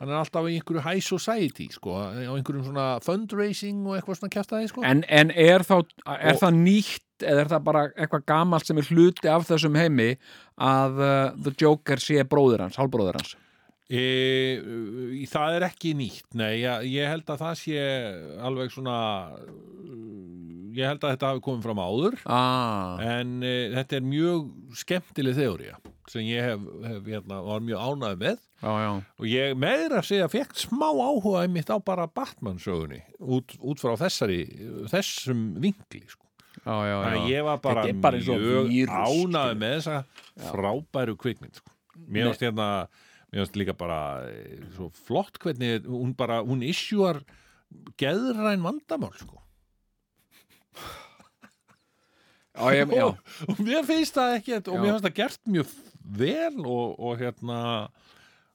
hann er alltaf í einhverju high society, sko, á einhverjum svona fundraising og eitthvað svona kjaftaði, sko
en, en er þá, er
Og-
það nýtt eða er það bara eitthvað gamalt sem er hluti af þessum heimi að uh, The Joker sé bróðir hans, hálbróðir hans
E, e, það er ekki nýtt nei, ég, ég held að það sé alveg svona eh, ég held að þetta hafi komið fram áður
ah,
en e, þetta er mjög skemmtileg þeória sem ég hef, hef hérna, var mjög ánægð með
já, já,
og ég meðra að segja fekk smá áhuga einmitt á bara Batman sögunni út, út frá þessari, þessum vinkli sko.
já, já,
Þannig að
já.
ég var bara,
Þetta er bara eins og
mjög
vírus,
ánæði með þessa frábæru kvikmynd sko. mér varst hérna mér varst líka bara eh, svo flott hvernig hún bara, hún issuar geðræn vandamál sko.
já, ég, já.
og, og mér finnst það ekki og
Já.
mér finnst það gert mjög vel og, og hérna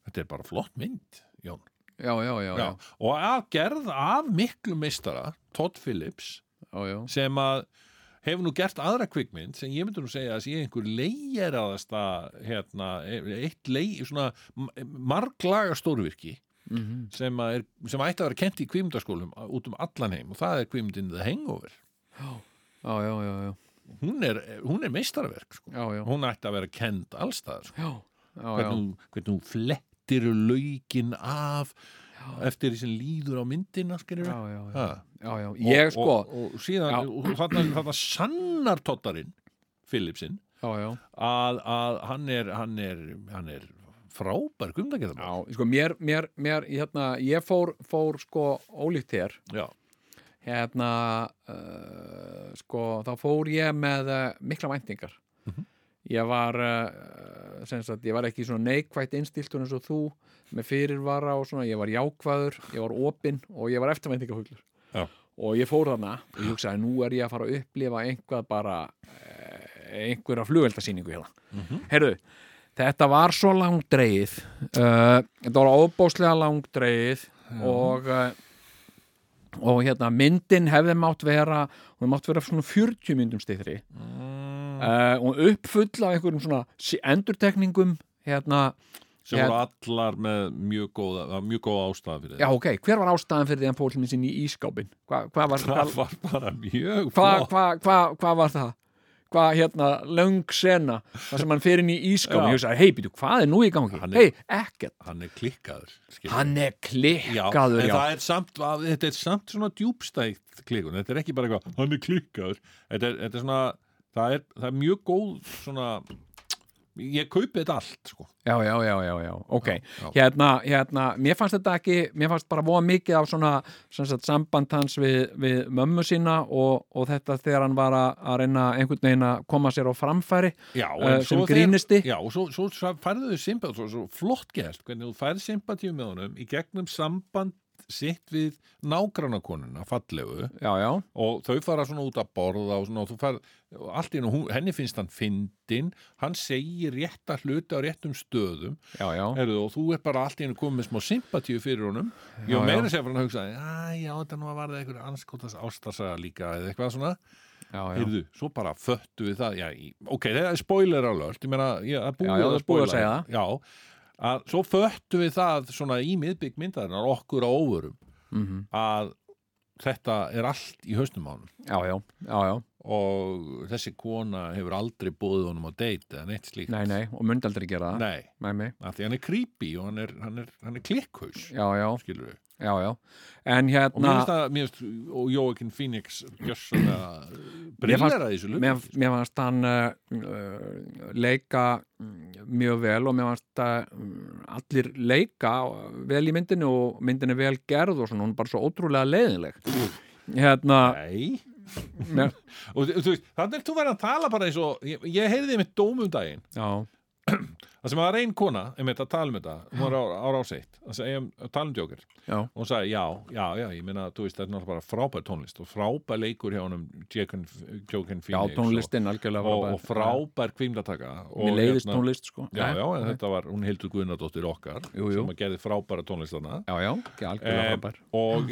þetta er bara flott mynd Jón
Já, já, já, já,
já. og að gerð af miklu meistara Todd Phillips
já, já.
sem að hefur nú gert aðra kvikmynd sem ég myndi nú segja að sé einhver leigeraðasta hérna, eitt leig svona marglaga stórvirki
Mhm.
sem, að er, sem ætti að vera kent í kvikmyndaskólum út um allan heim og það er kvikmyndin The Hangover
Já, já, já, já,
hún er, hún er meistaraverk sko.
já, já,
hún ætti að vera kent allstaðar sko.
já, já, já.
hvernig, hún- hvernig hún flettir lögin af eftir því sem líður á myndina skilur
Já, já, já,
Ha.
já, já. Ég
og,
sko
og, og síðan, og þarna, þarna sannar tottarinn Philipsinn
Já, já,
að, að hann, er, hann, er, hann er frábær
já,
gumdakeðamál
sko mér, mér, mér, hérna, ég fór, fór sko ólíkt þér
Já.
hérna uh, sko, þá fór ég með uh, mikla væntingar ég var uh, sem sagt, ég var ekki svona neikvætt innstiltun eins og þú, með fyrirvara og svona, ég var jákvæður, ég var opinn og ég var eftirvæntingahuglur
Já.
og ég fór þarna og ég hugsaði, nú er ég að fara að upplifa einhvað bara eh, einhverja flugveldasýningu hérna Heyrðu, þetta var svo langdreið uh, þetta var óbóðslega langdreið og uh, og hérna myndin hefði mátt vera hún mátt vera svona 40 myndum stiðri mm. og uppfull af einhverjum svona sí- endurtekningum hérna,
sem
Ég-
voru allar með mjög góða, það var mjög góða ástæða fyrir
já ok, hver var ástæðan fyrir því að hann fór til minn sinni í ískápin hvað hva var,
það var bara mjög
hva,
flott
hva, hva, hva var það hvað hérna, löng sena þar sem hann fyrir inn í ískápin
Já.
ég hugsaði, hei, býtu, hvað er nú í gangi?
Hann er-
hei, ekkert,
hann er klikkaður skilur.
hann er
Já,
klikkaður
en
já,
það er samt, að- þetta er samt svona djúbstækt klikkun, þetta er ekki bara eitthvað hann er klikkaður, þetta er, þetta er svona það er, það er mjög góð svona ég kaupi þetta allt sko.
já, já, já, já, já, ok
já.
Hérna, hérna, mér fannst þetta ekki mér fannst bara voða mikið af svona sem sagt, samband hans við, við mömmu sína og, og þetta þegar hann var að, að reyna einhvern veginn að koma sér á framfæri
já,
Eh,
en
sem
svo þeir-
grínisti.
já, og svo, svo, svo færðu þau sympatíu svo, svo flott gert, hvernig þú færð sympatíu með honum í gegnum samband sitt við nágrannakonuna fallegu
já, já,
og þau fara svona út að borða og, svona, og þú færð, og allt í einu, hún- henni finnst hann fyndin, hann segir rétta hluti á réttum stöðum
já, já,
Heyrðu, og þú er bara allt í hennu komið með smá sympatíu fyrir honum ég var
Já,
meira sér fyrir hann að hugsa já, já, þetta nú að varða einhver anskotas ástarsaga líka eða eitthvað svona
já, já.
heyrðu, svo bara föttu við það já, í- ok, það er spoiler alert ég meina, já, það er búið
Já, já, það er búið að segja það.
já, að, svo föttu við það svona í miðbygg myndarinnar okkur á óvörum
Mhm.
-hmm. að þetta er allt í haustum ánum
já, já, já, já,
og þessi kona hefur aldrei búið honum á date eða neitt slíkt
nei, nei og myndi aldrei gera það,
Nei,
nei, nei
af því hann er creepy og hann er, hann er, hann er klikkhaus
já, já,
skilur við
já, já en
og mér
hérna
finnst það, mér finnst og Jóakin Phoenix gjössanlega brillera í þessu lugu
mér, mér fannst hann uh, uh, leika mm, mjög vel og mér fannst að mm, allir leika vel í myndinu og myndinu vel gerð og svona, hún er bara svo ótrúlega leiðinleg hérna,
Nei
mér,
og þú- þú veist, þannig er þú verið að tala bara eins og ég, ég heyrði einmitt dóm um daginn
já,
það sem var ein kona, einmitt að tala um þetta hún var á, á ráseitt, að segja um að tala um djókir
Já.
og hún sagði, já, já, já ég meina, þú veist, þetta er náttúrulega bara frábær tónlist og frábær leikur hjá honum Jókin Phoenix
já, tónlistin algjörlega
og, og, og
frábær.
frábær kvímdataka og
mér leiðist
hérna-
tónlist sko
Já,
Nei,
já, en þetta var, hún hildur Guðnardóttir okkar
Jú, jú.
sem að gerði frábæra tónlistana
já, já, ekki algjörlega
Eh,
frábær
og,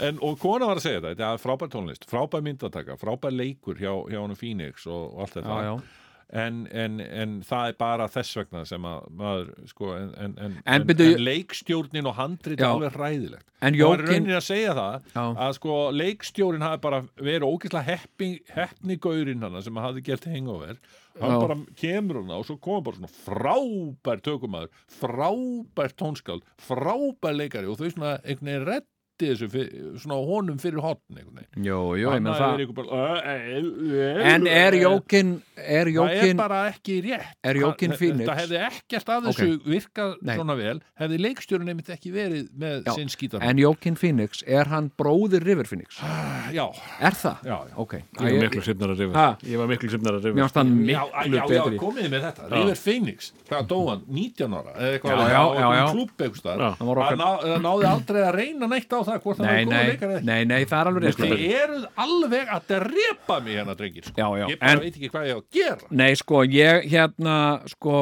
en, og kona var að segja þetta, þetta er frábær tónlist, frábær myndataka, frábær leikur hjá, hjá honum Phoenix og, og allt þetta
já, já.
En, en, en það er bara þess vegna sem að maður, sko, en, en, en,
En byrju-
leikstjórnin og handrit er
Já.
alveg ræðilegt. Og
En
hann er
Jókin-
raunin að segja það
Já.
að sko leikstjórin hafi bara verið ógeðslega heppi, heppni gaurinn hana sem hafði gert hengover hann
Já.
bara kemur hana og svo kom bara svona frábær tökumæður frábær tónskáld, frábær leikari og þau svona einhvern veginn reddi þessu fyrir, svona honum fyrir hotn einhvern veginn
Jó, jó, ég
Hann
með
hafði
það
verið einhver bara, "Ö, ö, ö, ö,
En er
ö."
Jókin er
það er
Jókin,
bara ekki rétt
er Jókin
Hann-
Phoenix
þetta hefði ekkert að þessu virkað
Nei.
svona vel hefði leikstjórinn einmitt ekki verið með
Já.
sinn skítar
en Jókin Phoenix er hann bróðir River Phoenix
já,
Er það?
já, já
Ok,
Ég var
Æ,
miklu hrifnar að
Ha?
rifja Ég var miklu hrifnar að
mér
rifja
fannst hann
Já,
miklu
já, já,
betri
komiði með þetta River Phoenix, hvað dó hann, 19 ára eða
Já,
eitthvað,
já,
á einhverjum
já, já.
klúbb einhvers staðar.
Já,
hann var
Hann
okkar-
ná- það náði aldrei að reyna neitt á það hvort það
nei,
var góða
nei,
leikar eða ekki
nei, nei, það er alveg
Þið
reynd
eruð alveg að drepa mig hérna, drengir sko.
Já, já,
Ég bara
en-
veit ekki hvað ég á að gera
Nei, sko, ég hérna sko,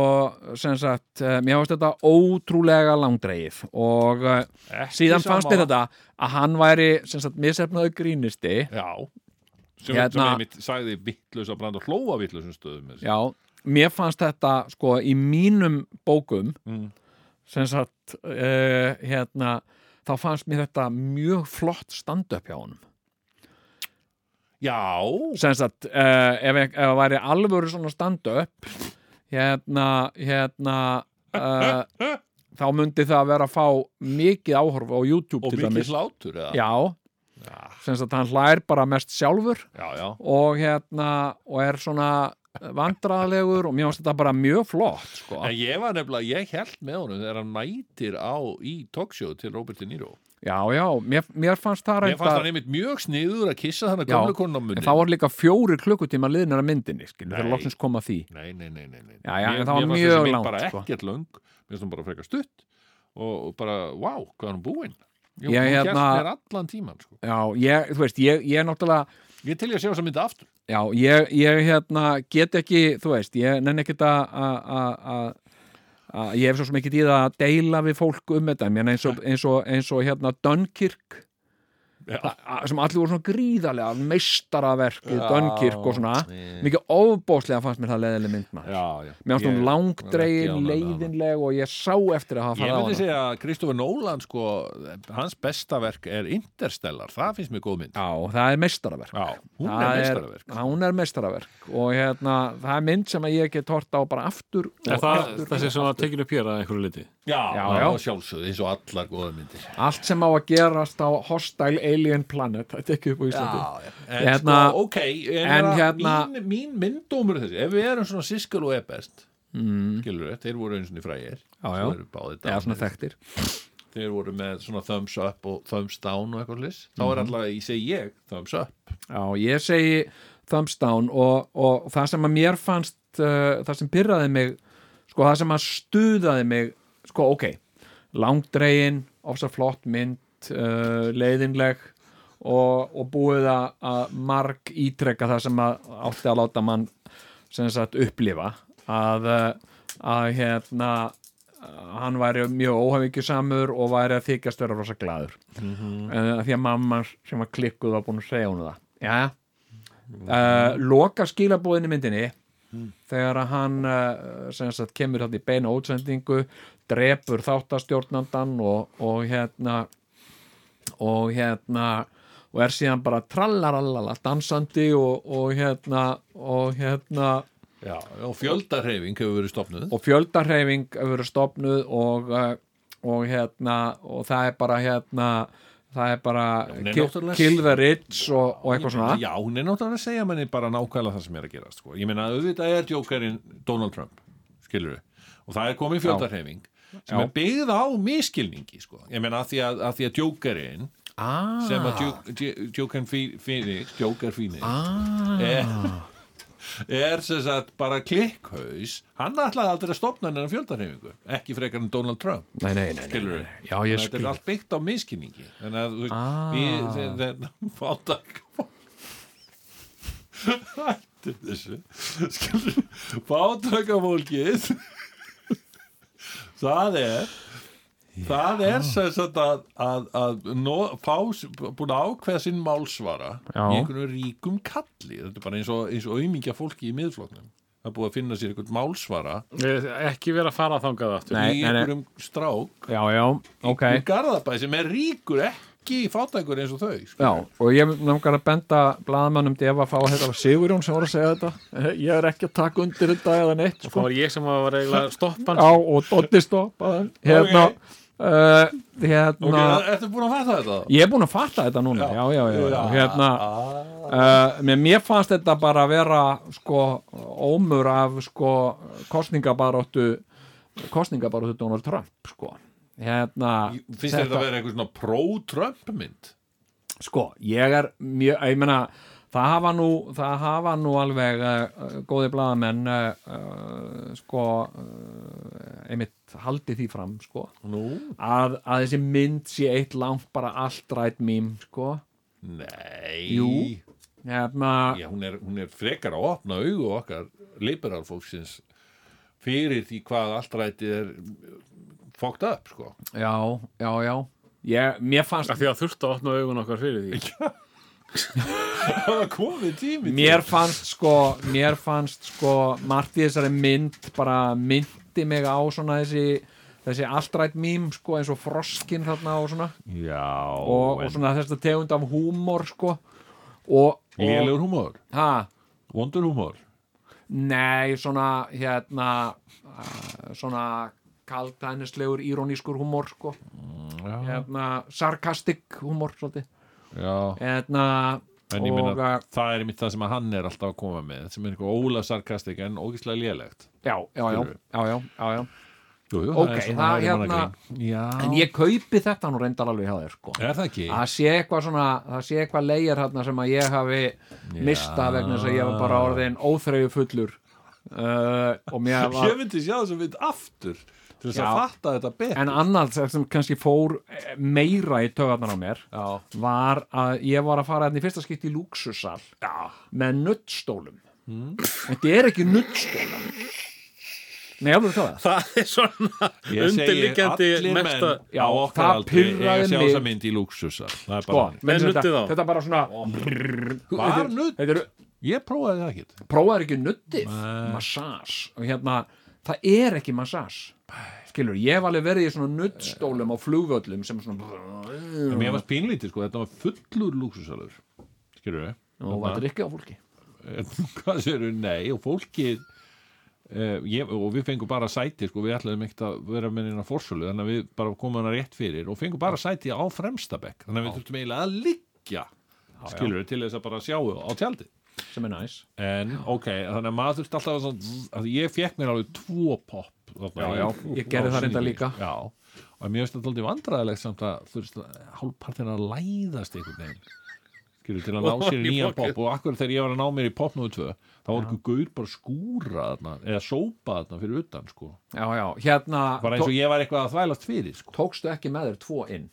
sem sagt eh, mér fannst þetta ótrúlega langdreið og eh, síðan fannst
sammála.
þér þetta að hann væri sem sagt misefnaðu grínisti
Já, sem, sem
Hérna-
ég mitt sagði vittlus að branda hlóa vittlusum stöðum
Já, mér fannst þetta sko í mínum bókum
Mm.
sem sagt uh, hérna, þá fannst mér þetta mjög flott stand-up hjá honum
Já,
sem sagt, uh, ef, ef það væri alvöru svona stand-up hérna, hérna uh, þá myndi það vera að fá mikið áhorf á YouTube
og
til
mikið Ah.
dæmis
hlátur eða?
Já, sem sagt, hann hlær bara mest sjálfur
já, já,
og hérna og er svona vandræðalegur og mér finnst þetta bara mjög flott sko.
En ég var nefnilega, ég held með honum þegar hann mætir á í talkshow til Robert De Niro
já, já, mér, mér fannst það
Mér fannst
reyndar
hann einmitt mjög sniður að kissa þannig
Já,
gamla konun á munni
en þá var líka fjóri klukkutíma liðnir að myndinni, skilur,
Nei.
þegar loksins koma því
Nei, nei, nei, nei, nei.
Já, já,
mér,
en það
mér
var
fannst
mjög
þessi mynd
langt,
bara
sko.
ekkert löng, mér finnst hún bara frekar stutt og, og bara, wow, hvað er hún búin Jú,
Ég,
hún hérna...
hérna-
mér allan tíman sko.
Já, ég, þú veist, ég, ég náttúrulega
Ég til ég að sjá þess að mynda aftur
Já, ég, ég hérna get ekki, þú veist, ég nenni ekkert að- að að- að- að- ég hef svo sem ekkert í það að deila við fólk um þetta, mér eins og, eins og, eins og hérna Dunkirk a- a- sem allir voru svona gríðarlega meistaraverkið, Dunkirk og svona mikið óbóðslega fannst mér það leðileg mynd maður,
Já, já
mér fannst hún
Ég-
langdregin,
var ekki ánægð með hana.
leiðinleg og ég sá eftir að hafa
Ég
farið á
myndi
hana
segja að Kristofur Nólan sko, hans besta verk er Interstellar, það finnst mér góð mynd
Já, það er meistaraverk
Já, hún
Það
er meistaraverk
já, Hún er meistaraverk og hérna, það er mynd sem að ég get hort á bara aftur og
Er það
aftur
það sé sem var tekin upp hér að einhverju liti?
Já,
já,
já.
sjálfsögðu, eins og allar góða myndir
Allt sem á að gerast á Hostile Alien Planet Þetta er ekki upp á Íslandi
en
Hérna-
sko, ok, en,
en
en
hérna-
mín, mín myndómur er þessi, ef við erum svona siskel og ebest mm. skilur við, þeir voru einu svona frægir
Já, já.
Svo eru báðir
Já, svona
dánir.
þekktir
þeir voru með svona thumbs up og thumbs down og eitthvað lis þá
Mhm.
er alltaf, ég segi ég, thumbs up
Já, ég segi thumbs down og, og það sem að mér fannst uh, það sem pyrraði mig sko það sem að stuðaði mig sko ok, langdregin ofsa flott mynd uh, leiðinleg og, og búið að- að marg ítrekka það sem að átti að láta mann sem sagt upplifa að, uh, að hérna að hann væri mjög óhafingjusamur og væri að þykjast vera Eh, rosa glaður mm -hmm. því að mamma sem var klikkuð var búin að segja hún það já, uh, loka skilabóðin í myndinni þegar að hann uh, sem sagt kemur hann í beina útsendingu drepur þáttastjórnandan og, og hérna og hérna og er síðan bara trallarallala dansandi og, og hérna og hérna
Já, og fjöldarheifing hefur verið stopnuð
og fjöldarheifing hefur verið stopnuð og, eh, og hérna og það er bara hérna það er bara
hún er
kill,
náttúrulega-
kill the rich og, og eitthvað svona
Já, hún er náttúrulega að segja manni bara nákvæmlega það sem er að gerast sko. Ég meina, auðvitað er djókarinn Donald Trump, skilur við og það er komið fjöldarheifing sem
Já.
er byggð á miskilningi sko. Ég meina, að því að, að, því að djókarinn ah. sem að djó- djó- djókarinn Phoenix, djókar Phoenix ah. er, er sem sagt bara klikkhaus hann ætlaði aldrei að stopna hennar fjöldarhefingu ekki frekar en Donald Trump
nei, nei, nei, nei,
skilur
nei.
við
já, ég
þetta er
skilur
allt byggt á miskinningi þannig að þú veist við þeir fátak hættu þessu skilur fátakafólkið það er það er sem sagt að, að, að no, fá, búin að ákveða sinn málsvara
Já.
í einhvern ríkum kalli þetta er bara eins og, eins og auðmingja fólki í miðflóknum það er búið að finna sér einhvern málsvara
Ekki vera að fara þangað aftur
í
nei, nei, nei,
einhverjum strák
já, já, ok
í Garðabæ sem er ríkur ekki fátækur eins og þau sko.
Já, og ég náttúrulega að benda blaðmannum til ef að fá þetta var Sigurjón sem voru að segja þetta ég er ekki að taka undir þetta eða neitt
Það
sko.
var ég sem var eiginlega að stoppa
Já, og Dotti stoppaði hann. hérna,
Ok.
uh,
ok,
hérna
ertu búin að fatta þetta?
Ég er búin að fatta þetta núna Já, já, já, já. Hérna,
Ah.
uh, mér, mér fannst þetta bara að vera sko, ómur af sko, kostningabaróttu kostningabaróttu Donald Trump sko. hérna,
finnst þetta að vera eitthvað svona pro-Trump mynd?
sko, ég er mjög, ég meina það hafa nú, það hafa nú alveg uh, góði blaðamenn uh, uh, sko uh, einmitt haldið því fram sko,
nú,
að, að þessi mynd sé eitt langt bara alltrætt mím sko,
nei
Jú. hérna
Já, hún, er, hún er frekar að opna augu okkar liberal fólksins fyrir því hvað alltrætið er fókt upp sko.
já, já, já ég, mér fannst
Því að þurfti að opna augun okkar fyrir því
það var komið tími til.
mér fannst sko mér fannst sko margt í þessari mynd bara myndi mig á svona þessi þessi alltrætt mím sko eins og froskin þarna og svona
já,
og, og svona þess tegund af húmor sko og, og
lélegur húmor,
ha,
vondur húmor
nei svona hérna uh, svona kaldhænislegur írónískur húmor sko hérna, sarkastik húmor svolítið
já,
hérna,
En ég
og,
minna,
uh,
það er mitt það sem að hann er alltaf að koma með sem er eitthvað óla sarkastik en ógislega lélegt
já, já, já,
Skilurðu?
já, já, já, já.
Jú, jú,
Ok,
er svona
það
hægri manna
hérna-
grín. Já,
en ég kaupi þetta nú reyndar alveg hjá þér sko
er það ekki?
það sé eitthvað svona, það sé eitthvað leigjar hérna sem að ég hafi mistað vegna þess að ég var bara orðin óþreyju fullur uh, og mér var
Ég myndi sjá þess að við aftur til þess að
Já.
fatta þetta betur
en annars sem kannski fór eh, meira í tögarnar á mér
Já.
var að ég var að fara hérna í fyrsta skipti í lúksussal Já. með nuttstólum þetta er ekki nuttstóla nei, alveg það
Það er svona
Ég segi
undirliggjandi
allir menn
mesta
á
Já,
okkar
það
aldrei eiga
pirraði
að sjá
mig.
þessa mynd í lúksusar Það er
sko,
bara þannig.
menn
En
þetta,
nuddið þá?
þetta er bara svona
Var nudd?
þetta er,
Ég prófaði það ekki
prófaður ekki nuttið massage og hérna, það er ekki massage skilur, ég hef alveg verið í svona nuttstólum á flugvöllum sem svona
En mér varst pínlítið sko, þetta var fullur lúksusalur Skilur við?
og var drikkið á fólki
Hvað séru? Nei, og fólkið Uh, ég, og við fengum bara sæti sko, við ætlaðum ekkert að vera með hérna fórsölu þannig að við bara komum hana rétt fyrir og fengum bara sæti á fremsta bekk þannig að við þurftum eiginlega að liggja skilur við til þess að bara sjáu á tjaldi
sem er næs
En, ok, þannig að maður þurfti alltaf að svona, að ég fekk mér alveg tvo popp þarna
Já,
í-
já, ég gerði
á
það reyndar
sýningunni.
líka.
Já, og mér finnst þetta alltaf vandræðilegt samt að þú veist, hálfpartin að læðast einhvern veginn skilur til að ná sér í nýjan popp og akkur þegar ég var að ná mér í popp núðu tvö þá var einhver gaur bara að skúra þarna eða sópa þarna fyrir utan, sko
já, já, hérna,
bara eins og ég var eitthvað að þvælast fyrir, sko
tókstu ekki með þér tvo inn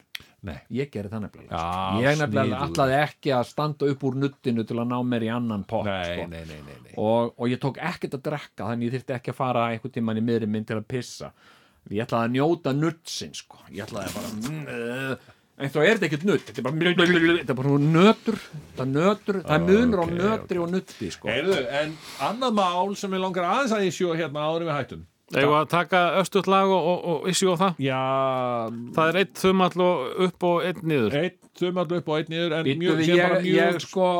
Nei.
ég gerði það nefnilega sko.
Já,
ég nefnilega
sniðugur.
allaði ekki að standa upp úr nuttinu til að ná mér í annan pott
Nei,
sko.
nei, nei, nei, nei.
og, og ég tók ekkert að drekka þannig ég þyrfti ekki að fara einhvern tímann í miðri minn til að pissa ég ætlaði að njóta nutsin sko. ég ætlaði bara mm, uh, En þá er þetta ekkert nutt, þetta er bara Þetta er bara svona nötur, það er nötur
Ah,
Það er munur á nötri og nutti sko.
Heyrðu, en annað mál sem við langar aðeins að ég sjó hérna áður en við hættum
Eða að taka östuðt lag og, og, og issi og það
Já,
Það er eitt þumall og upp og einn niður
eitt þumall upp og eitt niður en
Býttu
mjög,
við,
sem
ég,
bara mjög
ég sko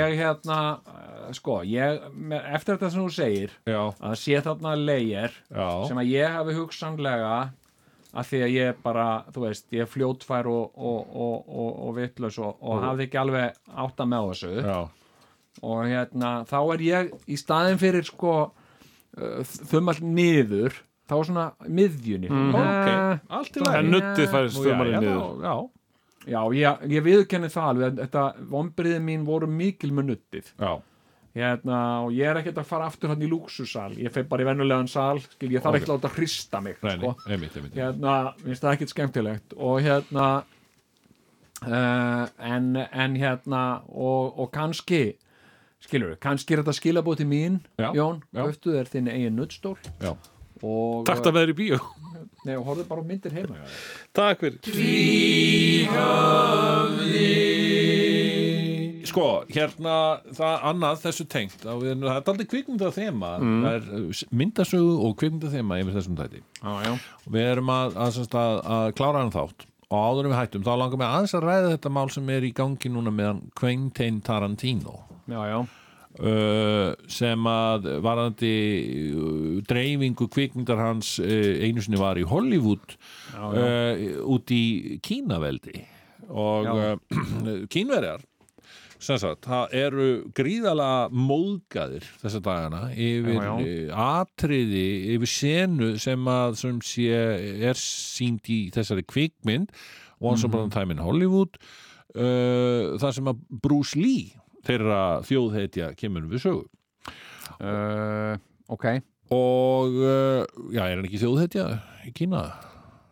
Ég hérna, eh, sko ég, me- Eftir þetta sem þú segir
Já,
að það sé þarna layer
Já.
sem að ég hafi hugsanlega að því að ég bara, þú veist, ég er fljótfær og, og, og, og, og vitlaus og, og hafði ekki alveg átta með á þessu
já,
og hérna, þá er ég í staðin fyrir sko uh, þumall niður þá svona miðjunni mm.
ok Allt í
En
lagi
nuttið færist þumalinn
já,
niður
já,
Já, ég, ég viðkenni það alveg að þetta vombriði mín voru mikil með nuttið
já,
hérna, og ég er ekkert að fara aftur hann í lúksusal ég fer bara í vennulegan sal, skil, ég þarf ekki að láta hrista mig
reyni,
sko.
einmitt, einmitt
hérna, minnst það ekkert skemmtilegt og hérna uh, en, en hérna og, og kannski skilur við, kannski er þetta skilabóð til mín
Já,
Jón,
já.
höftu þér þinn eigin nuttstól
Já.
og,
Takta með þér í bíó
nei, og horfðu bara á myndir heima já.
Takk fyrir
Sko, hérna, það annað þessu tengt þá við- það er aldrei kvikmynda þema það er uh, myndasögu og kvikmynda þema yfir þessum tæti
Já, já.
Við erum að, að, að, að, að klára hann þátt og áður en við hættum, þá langar mig aðeins að ræða þetta mál sem er í gangi núna meðan Quentin Tarantino
Já, já.
uh, sem að varandi uh, dreifingu kvikmyndar hans uh, einu sinni var í Hollywood Uh, út í Kínaveldi og uh, kínverjar sem sagt, það eru gríðala móðgaðir þessa dagana yfir já,
Já,
atriði, yfir senu sem að sem sé er sínd í þessari kvikmynd Once Upon a Time in Hollywood uh, þar sem að Bruce Lee þeirra þjóðheitja kemur við sögu
Eh,
uh, ok,
og uh, já, er hann ekki þjóðheitja í Kína?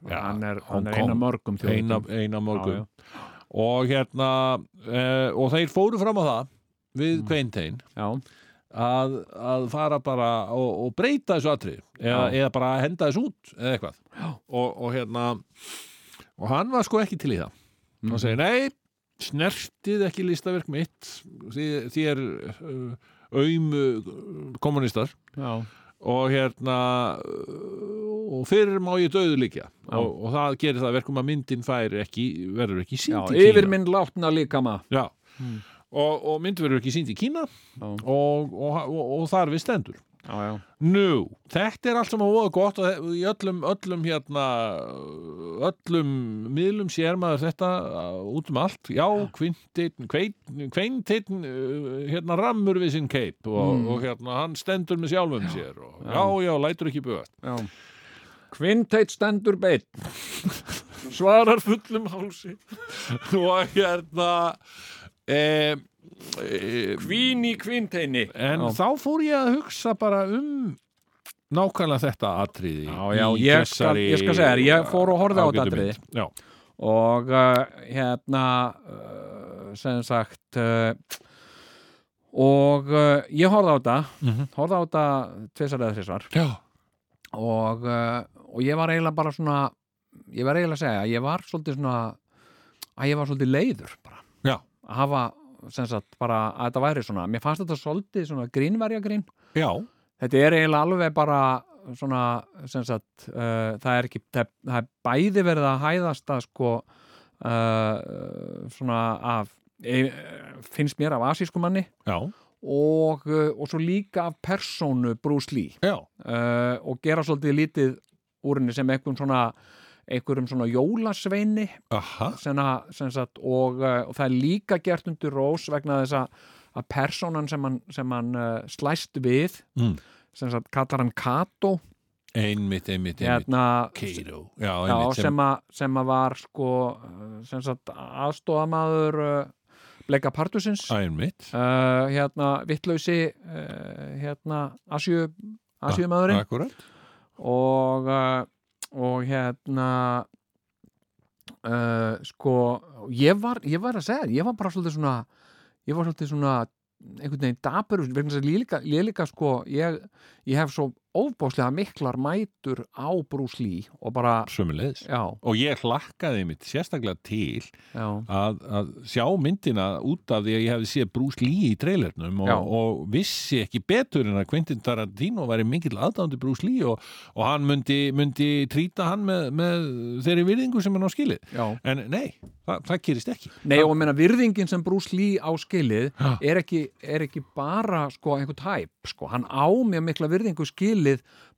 Já,
hann er,
Hong
hann er eina
Kong.
mörgum
eina,
þjóðum
eina morgun og hérna uh, og þeir fóru fram á það við mm. Quentin
Já.
að, að fara bara og, og breyta þessu atri eða, eða bara henda þessu út eða eitthvað og, og hérna og hann var sko ekki til í það hann segir nei, snertið ekki listaverk mitt því, því er uh, aum uh, kommunistar
Já.
og hérna uh, og fyrir má ég döðu líka og, og það gerir það að verkum að myndin fær ekki, verður ekki sínd í Kína
yfir minn látna líka maður
Já. Hmm. og, og mynd verður ekki sínd í Kína og, og, og, og þar við stendur
já, já
Nú, þetta er allt sem að voða gott og þe- í öllum, öllum hérna öllum miðlum sér maður þetta uh, út um allt já, kvintinn kveit- kveintinn uh, hérna rammur við sinn keip og, og hérna hann stendur með sjálfum sér og já, já, lætur ekki bugast
Kvinteit stendur beitt
svarar fullum hálsi og hérna e, e,
Kvín í kvinteini
en þá fór ég að hugsa bara um nákvæmlega þetta atriði
Já, já, ég skal, ég skal segja þér, ég fór og horfði á þetta atriði
já,
og uh, hérna uh, sem sagt uh, og uh, ég horfði á þetta horfði á þetta tvisar eða þrisvar
já,
og, uh, og ég var eiginlega bara svona ég var eiginlega að segja, ég var svolítið svona að ég var svolítið leiður bara
Já.
að hafa sem sagt bara að þetta væri svona mér fannst þetta svolítið svona grínverja grín
já,
þetta er eiginlega alveg bara svona sem sagt uh, það er ekki, það, það er bæði verið að hæðast að sko uh, svona af e, finnst mér af asísku manni
já,
og, uh, og svo líka af persónu Bruce Lee
já,
uh, og gera svolítið lítið úr henni sem einhverjum svona einhverjum svona jólasveini
aha
sena, sem sagt, og, uh, og það er líka gert undir rós vegna þess að, að persónan sem hann, sem hann uh, slæst við
Mm.
sem sagt, kallar hann Kato
einmitt, einmitt, einmitt
hérna,
Keiro, já,
já,
einmitt
sem, að, sem að var sko, uh, sem sagt, aðstóðamaður uh, Bleika Partusins uh,
einmitt
hérna, vittlausi uh, hérna, Asju
Ah,
Asjumaðurinn
akkurat,
og uh, og hérna uh, sko ég var, ég var að segja, þér, ég var bara svolítið svona ég var svolítið svona einhvern veginn dapur, vegna þess að líka, líka sko, ég, ég hef svo óbáslega miklar mætur á Bruce Lee og bara,
sömulegis
já,
og ég hlakkaði mitt sérstaklega til
já
að, að sjá myndina út af því að ég hefði séð Bruce Lee í trailernum og,
Já.
og vissi ekki betur en að Quentin Tarantino væri mikill aðdándi Bruce Lee og, og hann myndi, myndi trýta hann með, með þeirri virðingu sem hann á skilið
Já.
en nei, það, það gerist ekki
Nei og ég meina virðingin sem Bruce Lee á skilið er ekki, er ekki bara sko einhver tæp sko, hann á mjög mikla virðingu skilið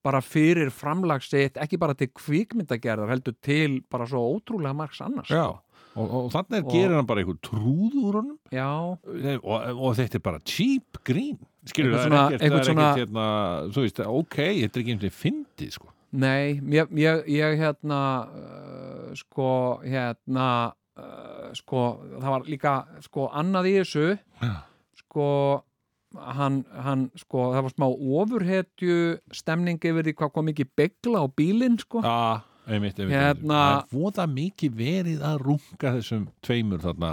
bara fyrir framlagsitt, ekki bara til kvikmyndagerðar heldur til bara svo ótrúlega margs annars
Já,
sko.
og, og þannig
Og-
gerir hann bara einhver trúð úr honum
Já,
og, og þetta er bara cheap grín skilur
Einhvern
það
svona-
er ekkert, það er
einhvern
ekkert hérna, þú veist, ok, þetta er ekki einhvern veginn fyndið sko.
nei, ég, ég, ég hérna uh, sko hérna uh, sko, það var líka sko annað í þessu sko hann, hann sko, það var smá ofurhetju stemning yfir því hvað kom mikið begla á bílinn sko
ah, einmitt, einmitt, einmitt.
Hérna-
það er voða mikið verið að runga þessum tveimur þarna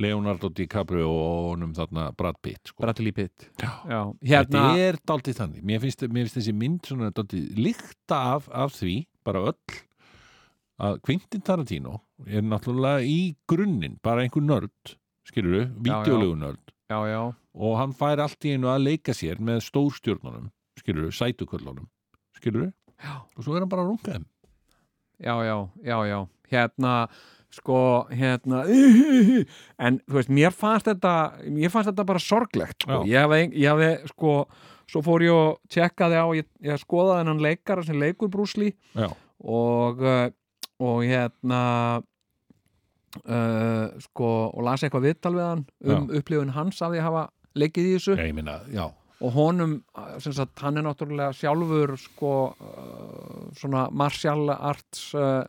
Leonardo DiCaprio og honum þarna Brad Pitt sko.
Bradley Pitt
Já.
Já. Hérna,
þetta er daldið þannig mér finnst, mér finnst þessi mynd svona daldið líkta af, af því, bara öll að Quentin Tarantino er náttúrulega í grunnin bara einhver nörd, skilur við
Já, já.
vídeolegu nörd
já, já,
og hann fær allt í einu að leika sér með stórstjórnunum, skilur við, sætuköllunum skilur við, og svo er hann bara að runga þeim
já, já, já, já hérna, sko hérna, en þú veist mér fannst þetta, mér fannst þetta bara sorglegt, sko,
Já.
ég hafði, ein- ég hafði sko, svo fór ég og tjekkaði á ég, ég skoðaði hennan leikara sem leikur brúsli
Já.
og uh, og hérna uh, sko, og las eitthvað viðtal við hann um upplifun hans af því að hafa leikið í þessu
Já, ég minna, já,
og honum, sem sagt, hann er náttúrulega sjálfur sko uh, svona martial arts uh,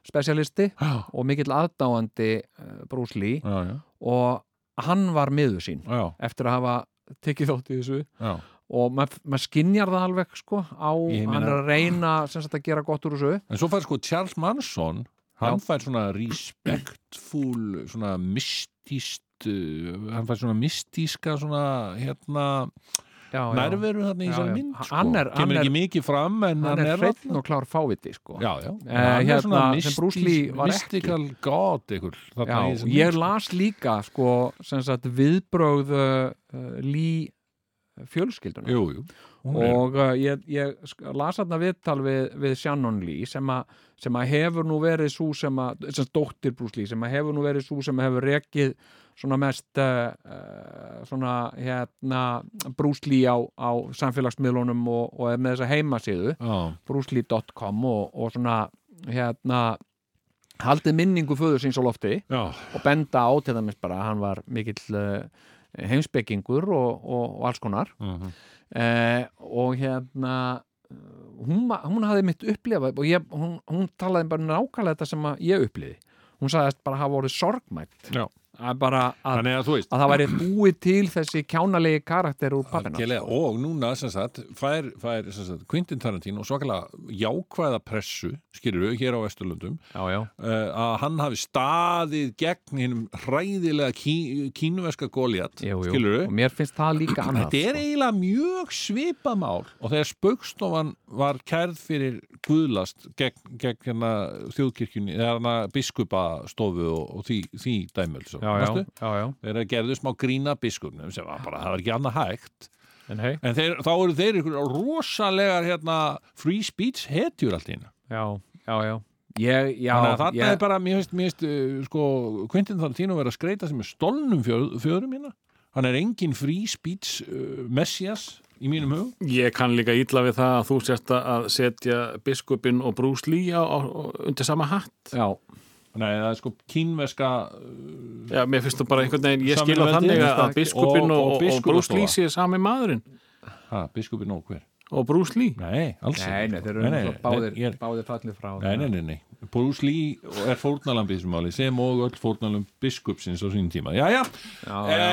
specialisti
já,
og mikill aðdáandi uh, Bruce Lee
já, já,
og hann var miður sín
já,
eftir að hafa tekið þótt í þessu
já.
og maður mað skinjar það alveg sko á,
Ég meina-
hann er að reyna sem sagt að gera gott úr þessu
en svo fær sko Charles Manson hann fær svona respectful svona mystíst uh, hann fær svona mystíska svona hérna
já, já.
nærveru þarna í
Já,
þessari
já.
mynd sko.
Hann er- hann
kemur ekki
er-
mikið fram en
hann er hreinn
þarna.
og klár fáviti sko
já, já,
Eh, hérna, sem Bruce Lee var ekki.
mystical god ykkur
Já, ég las líka sko sem sagt viðbrögð uh, uh, Lee fjölskyldunum
jú, jú, Hún er-
og uh, ég, ég sk- las þarna viðtal við, við Shannon Lee sem, a, sem að hefur nú verið svo sem að, sem sagt, dóttir Bruce Lee sem að hefur nú verið svo sem hefur rekið svona mest uh, uh, svona hérna Bruce Lee á, á samfélagsmiðlunum og, og er með þessa heimasíðu
já,
brucely.com og, og svona hérna haldið minningu föður síns á lofti
já,
og benda á til dæmis bara að hann var mikill uh, heimspekingur og, og, og alls konar
Mhm.
eh, og hérna eh, hún, ma- hún hafði mitt upplifað og ég, hún, hún talaði bara nákvæmlega þetta sem að ég upplifi hún sagðist bara hafa voru sorgmætt
Já.
að bara að,
þannig að þú veist
að það væri búið til þessi kjánalegi karakter úr pappina
Algjörlega, og núna sem sagt, fær, fær sem sagt, Quintin Tarantino svakalega jákvæða pressu, skilur við, hér á Vesturlöndum
já, já.
uh, að hann hafi staðið gegn hinnum hræðilega kí, kínuverska góliat
Jú, jú.
skilur
og mér finnst það líka annað
þetta er eiginlega mjög svipað mál og þegar spaukstofan var kærð fyrir guðlast gegn, gegn hérna þjóðkirkjunni eða hérna biskupastofu og, og því, því dæmjöld svo,
já, já, já, já.
þegar gerðu smá grína biskupnum sem var bara, það var ekki annað hægt
en hei
En þeir, þá eru þeir ykkur rosalegar hérna, free speech hetjur allt í hérna.
já, já, já Ég, já,
Þannig að þarna
ég,
er bara, mér finnst, mér finnst, uh, sko, Quentin Tarantino verið að skreita sem er stolnum fjöð, fjöðrum hérna. Hann er engin free speech uh, messias í mínum hug.
Ég kann líka ítla við það að þú sérst að setja biskupin og brúslí á, á, undir sama hatt.
já,
Nei, það er sko kínverska,
Já, mér finnst það bara einhvern veginn, ég skil
Samveldi,
á þannig að,
finnst það
að
ekki?
biskupin og,
Og- og
og, og
biskupastofa.
brúslí sé sami maðurinn
ha, biskupin og hver?
og brúslí.
Nei, alls
nei, nei, þeir eru
nei,
báðir,
ég er-
báðir fallið frá
Nei, nei, nei, nei, Bruce Lee er fórnalamb í þessu máli sem og öll fórnalamb biskupsins á sínum tíma Jæja,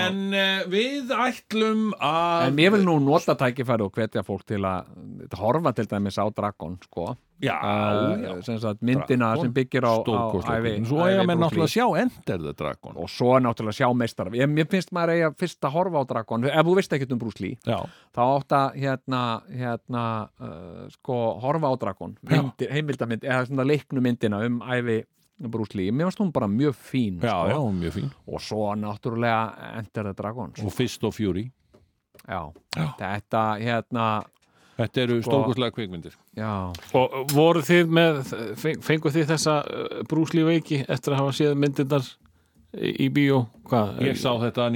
en uh, við ætlum að
En ég vil nú nota tækifæri og hvetja fólk til að horfa til dæmis á Dragon sko.
Já,
Eh,
já.
sem sagt, myndina sem byggir á, á
Stórkostleg
ævi,
mynd. Svo eiga
ævi
menn
Bruce Lee.
náttúrulega að sjá Enter the Dragon
og svo náttúrulega sjá meistar ég, mér finnst maður eiga fyrst að horfa á Dragon ef þú veist ekkert um Bruce Lee
Já,
þá átt að hérna, hérna uh, sko horfa á Dragon myndir, heimildamind, eða svona leiknu myndina um æfi Bruce Lee, mér finnst hún bara mjög fín
já, já,
sko.
mjög fín
og svo náttúrulega Enter the Dragon sko.
Og Fist og Fury
já. þetta hérna
Þetta eru sko, stórkostlega kvikmyndir
já,
Og voru þið með, feng- fenguð þið þessa uh, brúsli veiki eftir að hafa séð myndirnar í í bíó? Hvað?
Ég sá þetta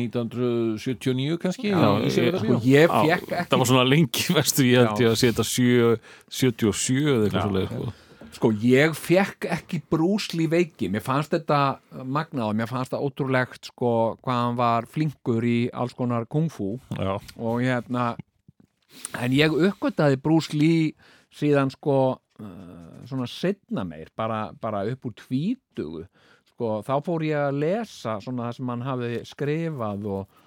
1979 kannski
já
í
ég,
Sigurðarbíó.
sko, ég
Á,
fekk ekki
Það var svona lengi vestu, ég held ég að sé þetta 7 77 eða eitthvað svo leið sko.
Sko, ég fekk ekki brúsli veiki, mér fannst þetta magnað og mér fannst það ótrúlegt sko hvað hann var flinkur í alls konar kungfú
Já.
og hérna en ég uppgötaði brúsli síðan sko uh, svona setna meir, bara, bara upp úr tvítugu, sko þá fór ég að lesa svona það sem hann hafi skrifað og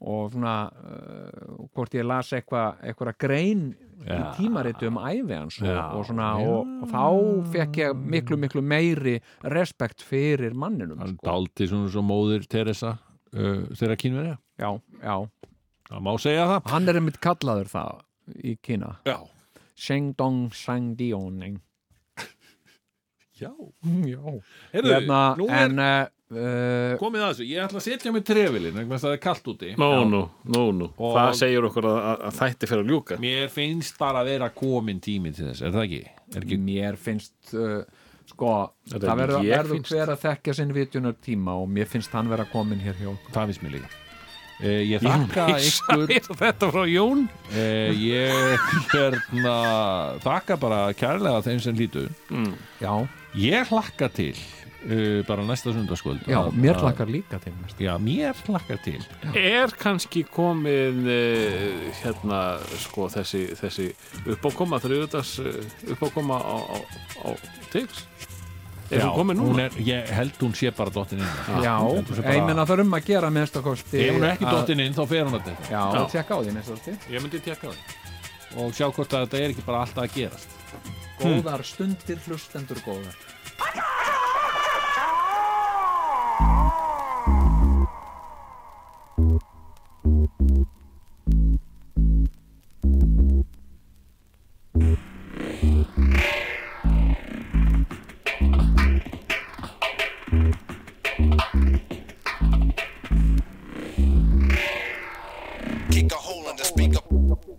og svona uh, hvort ég las eitthvað eitthvað grein í tímaritu um ævi hans og, og svona og, og þá fekk ég miklu miklu meiri respekt fyrir manninum
Hann
sko.
daldi svona svo móðir Teresa uh, þeirra kynverja
já, já.
Það má segja það
hann er einmitt kallaður það í Kína
Já,
Sheng Dong Shang Dioning
já
já
Heyrðu,
hérna,
nú er
en uh, uh,
komið að þessu Ég ætla að setja mig trefilin vegna þess að það er kalt úti
Nú, nú, nú, nú.
Og-
Það segir okkur að, að- að þætti fyrir að ljúka.
Mér finnst bara að vera komin tími til þess Er það ekki? Er ekki
mér finnst uh, sko,
Þetta
það
er
verður
ég
verður
finnst.
hver að þekkja sinn vitjunar tíma og mér finnst hann vera komin hér hjá okkur.
það finnst mér líka eh, Ég þakka ykkur
Þetta frá Jón
eh, Ég hérna þakka bara kærlega þeim sem lítur
já,
Ég hlakka til uh, bara næsta sundarskvöld
já, mér hlakkar líka til næst
Já, mér hlakkar til
er kannski komið uh, hérna sko þessi, þessi uppákoma þriðutas uh, uppákoma á, á, á TIX er hún komið
hún
núna?
er, ég held hún sé bara dottin inn Ég
já,
held hún sé bara-
ég meina það er um að gera minnst að kosti
Ef hún er ekki
að-
dottin inn, þá fer hún að þetta
já, já. tjekka á því minnst að kosti
Ég myndi tjekka það
og sjá hvort að þetta er ekki bara alltaf að gerast Hmm.
góðar stundir hlustendur góðar
Kick a hole in the speaker.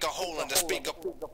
Go.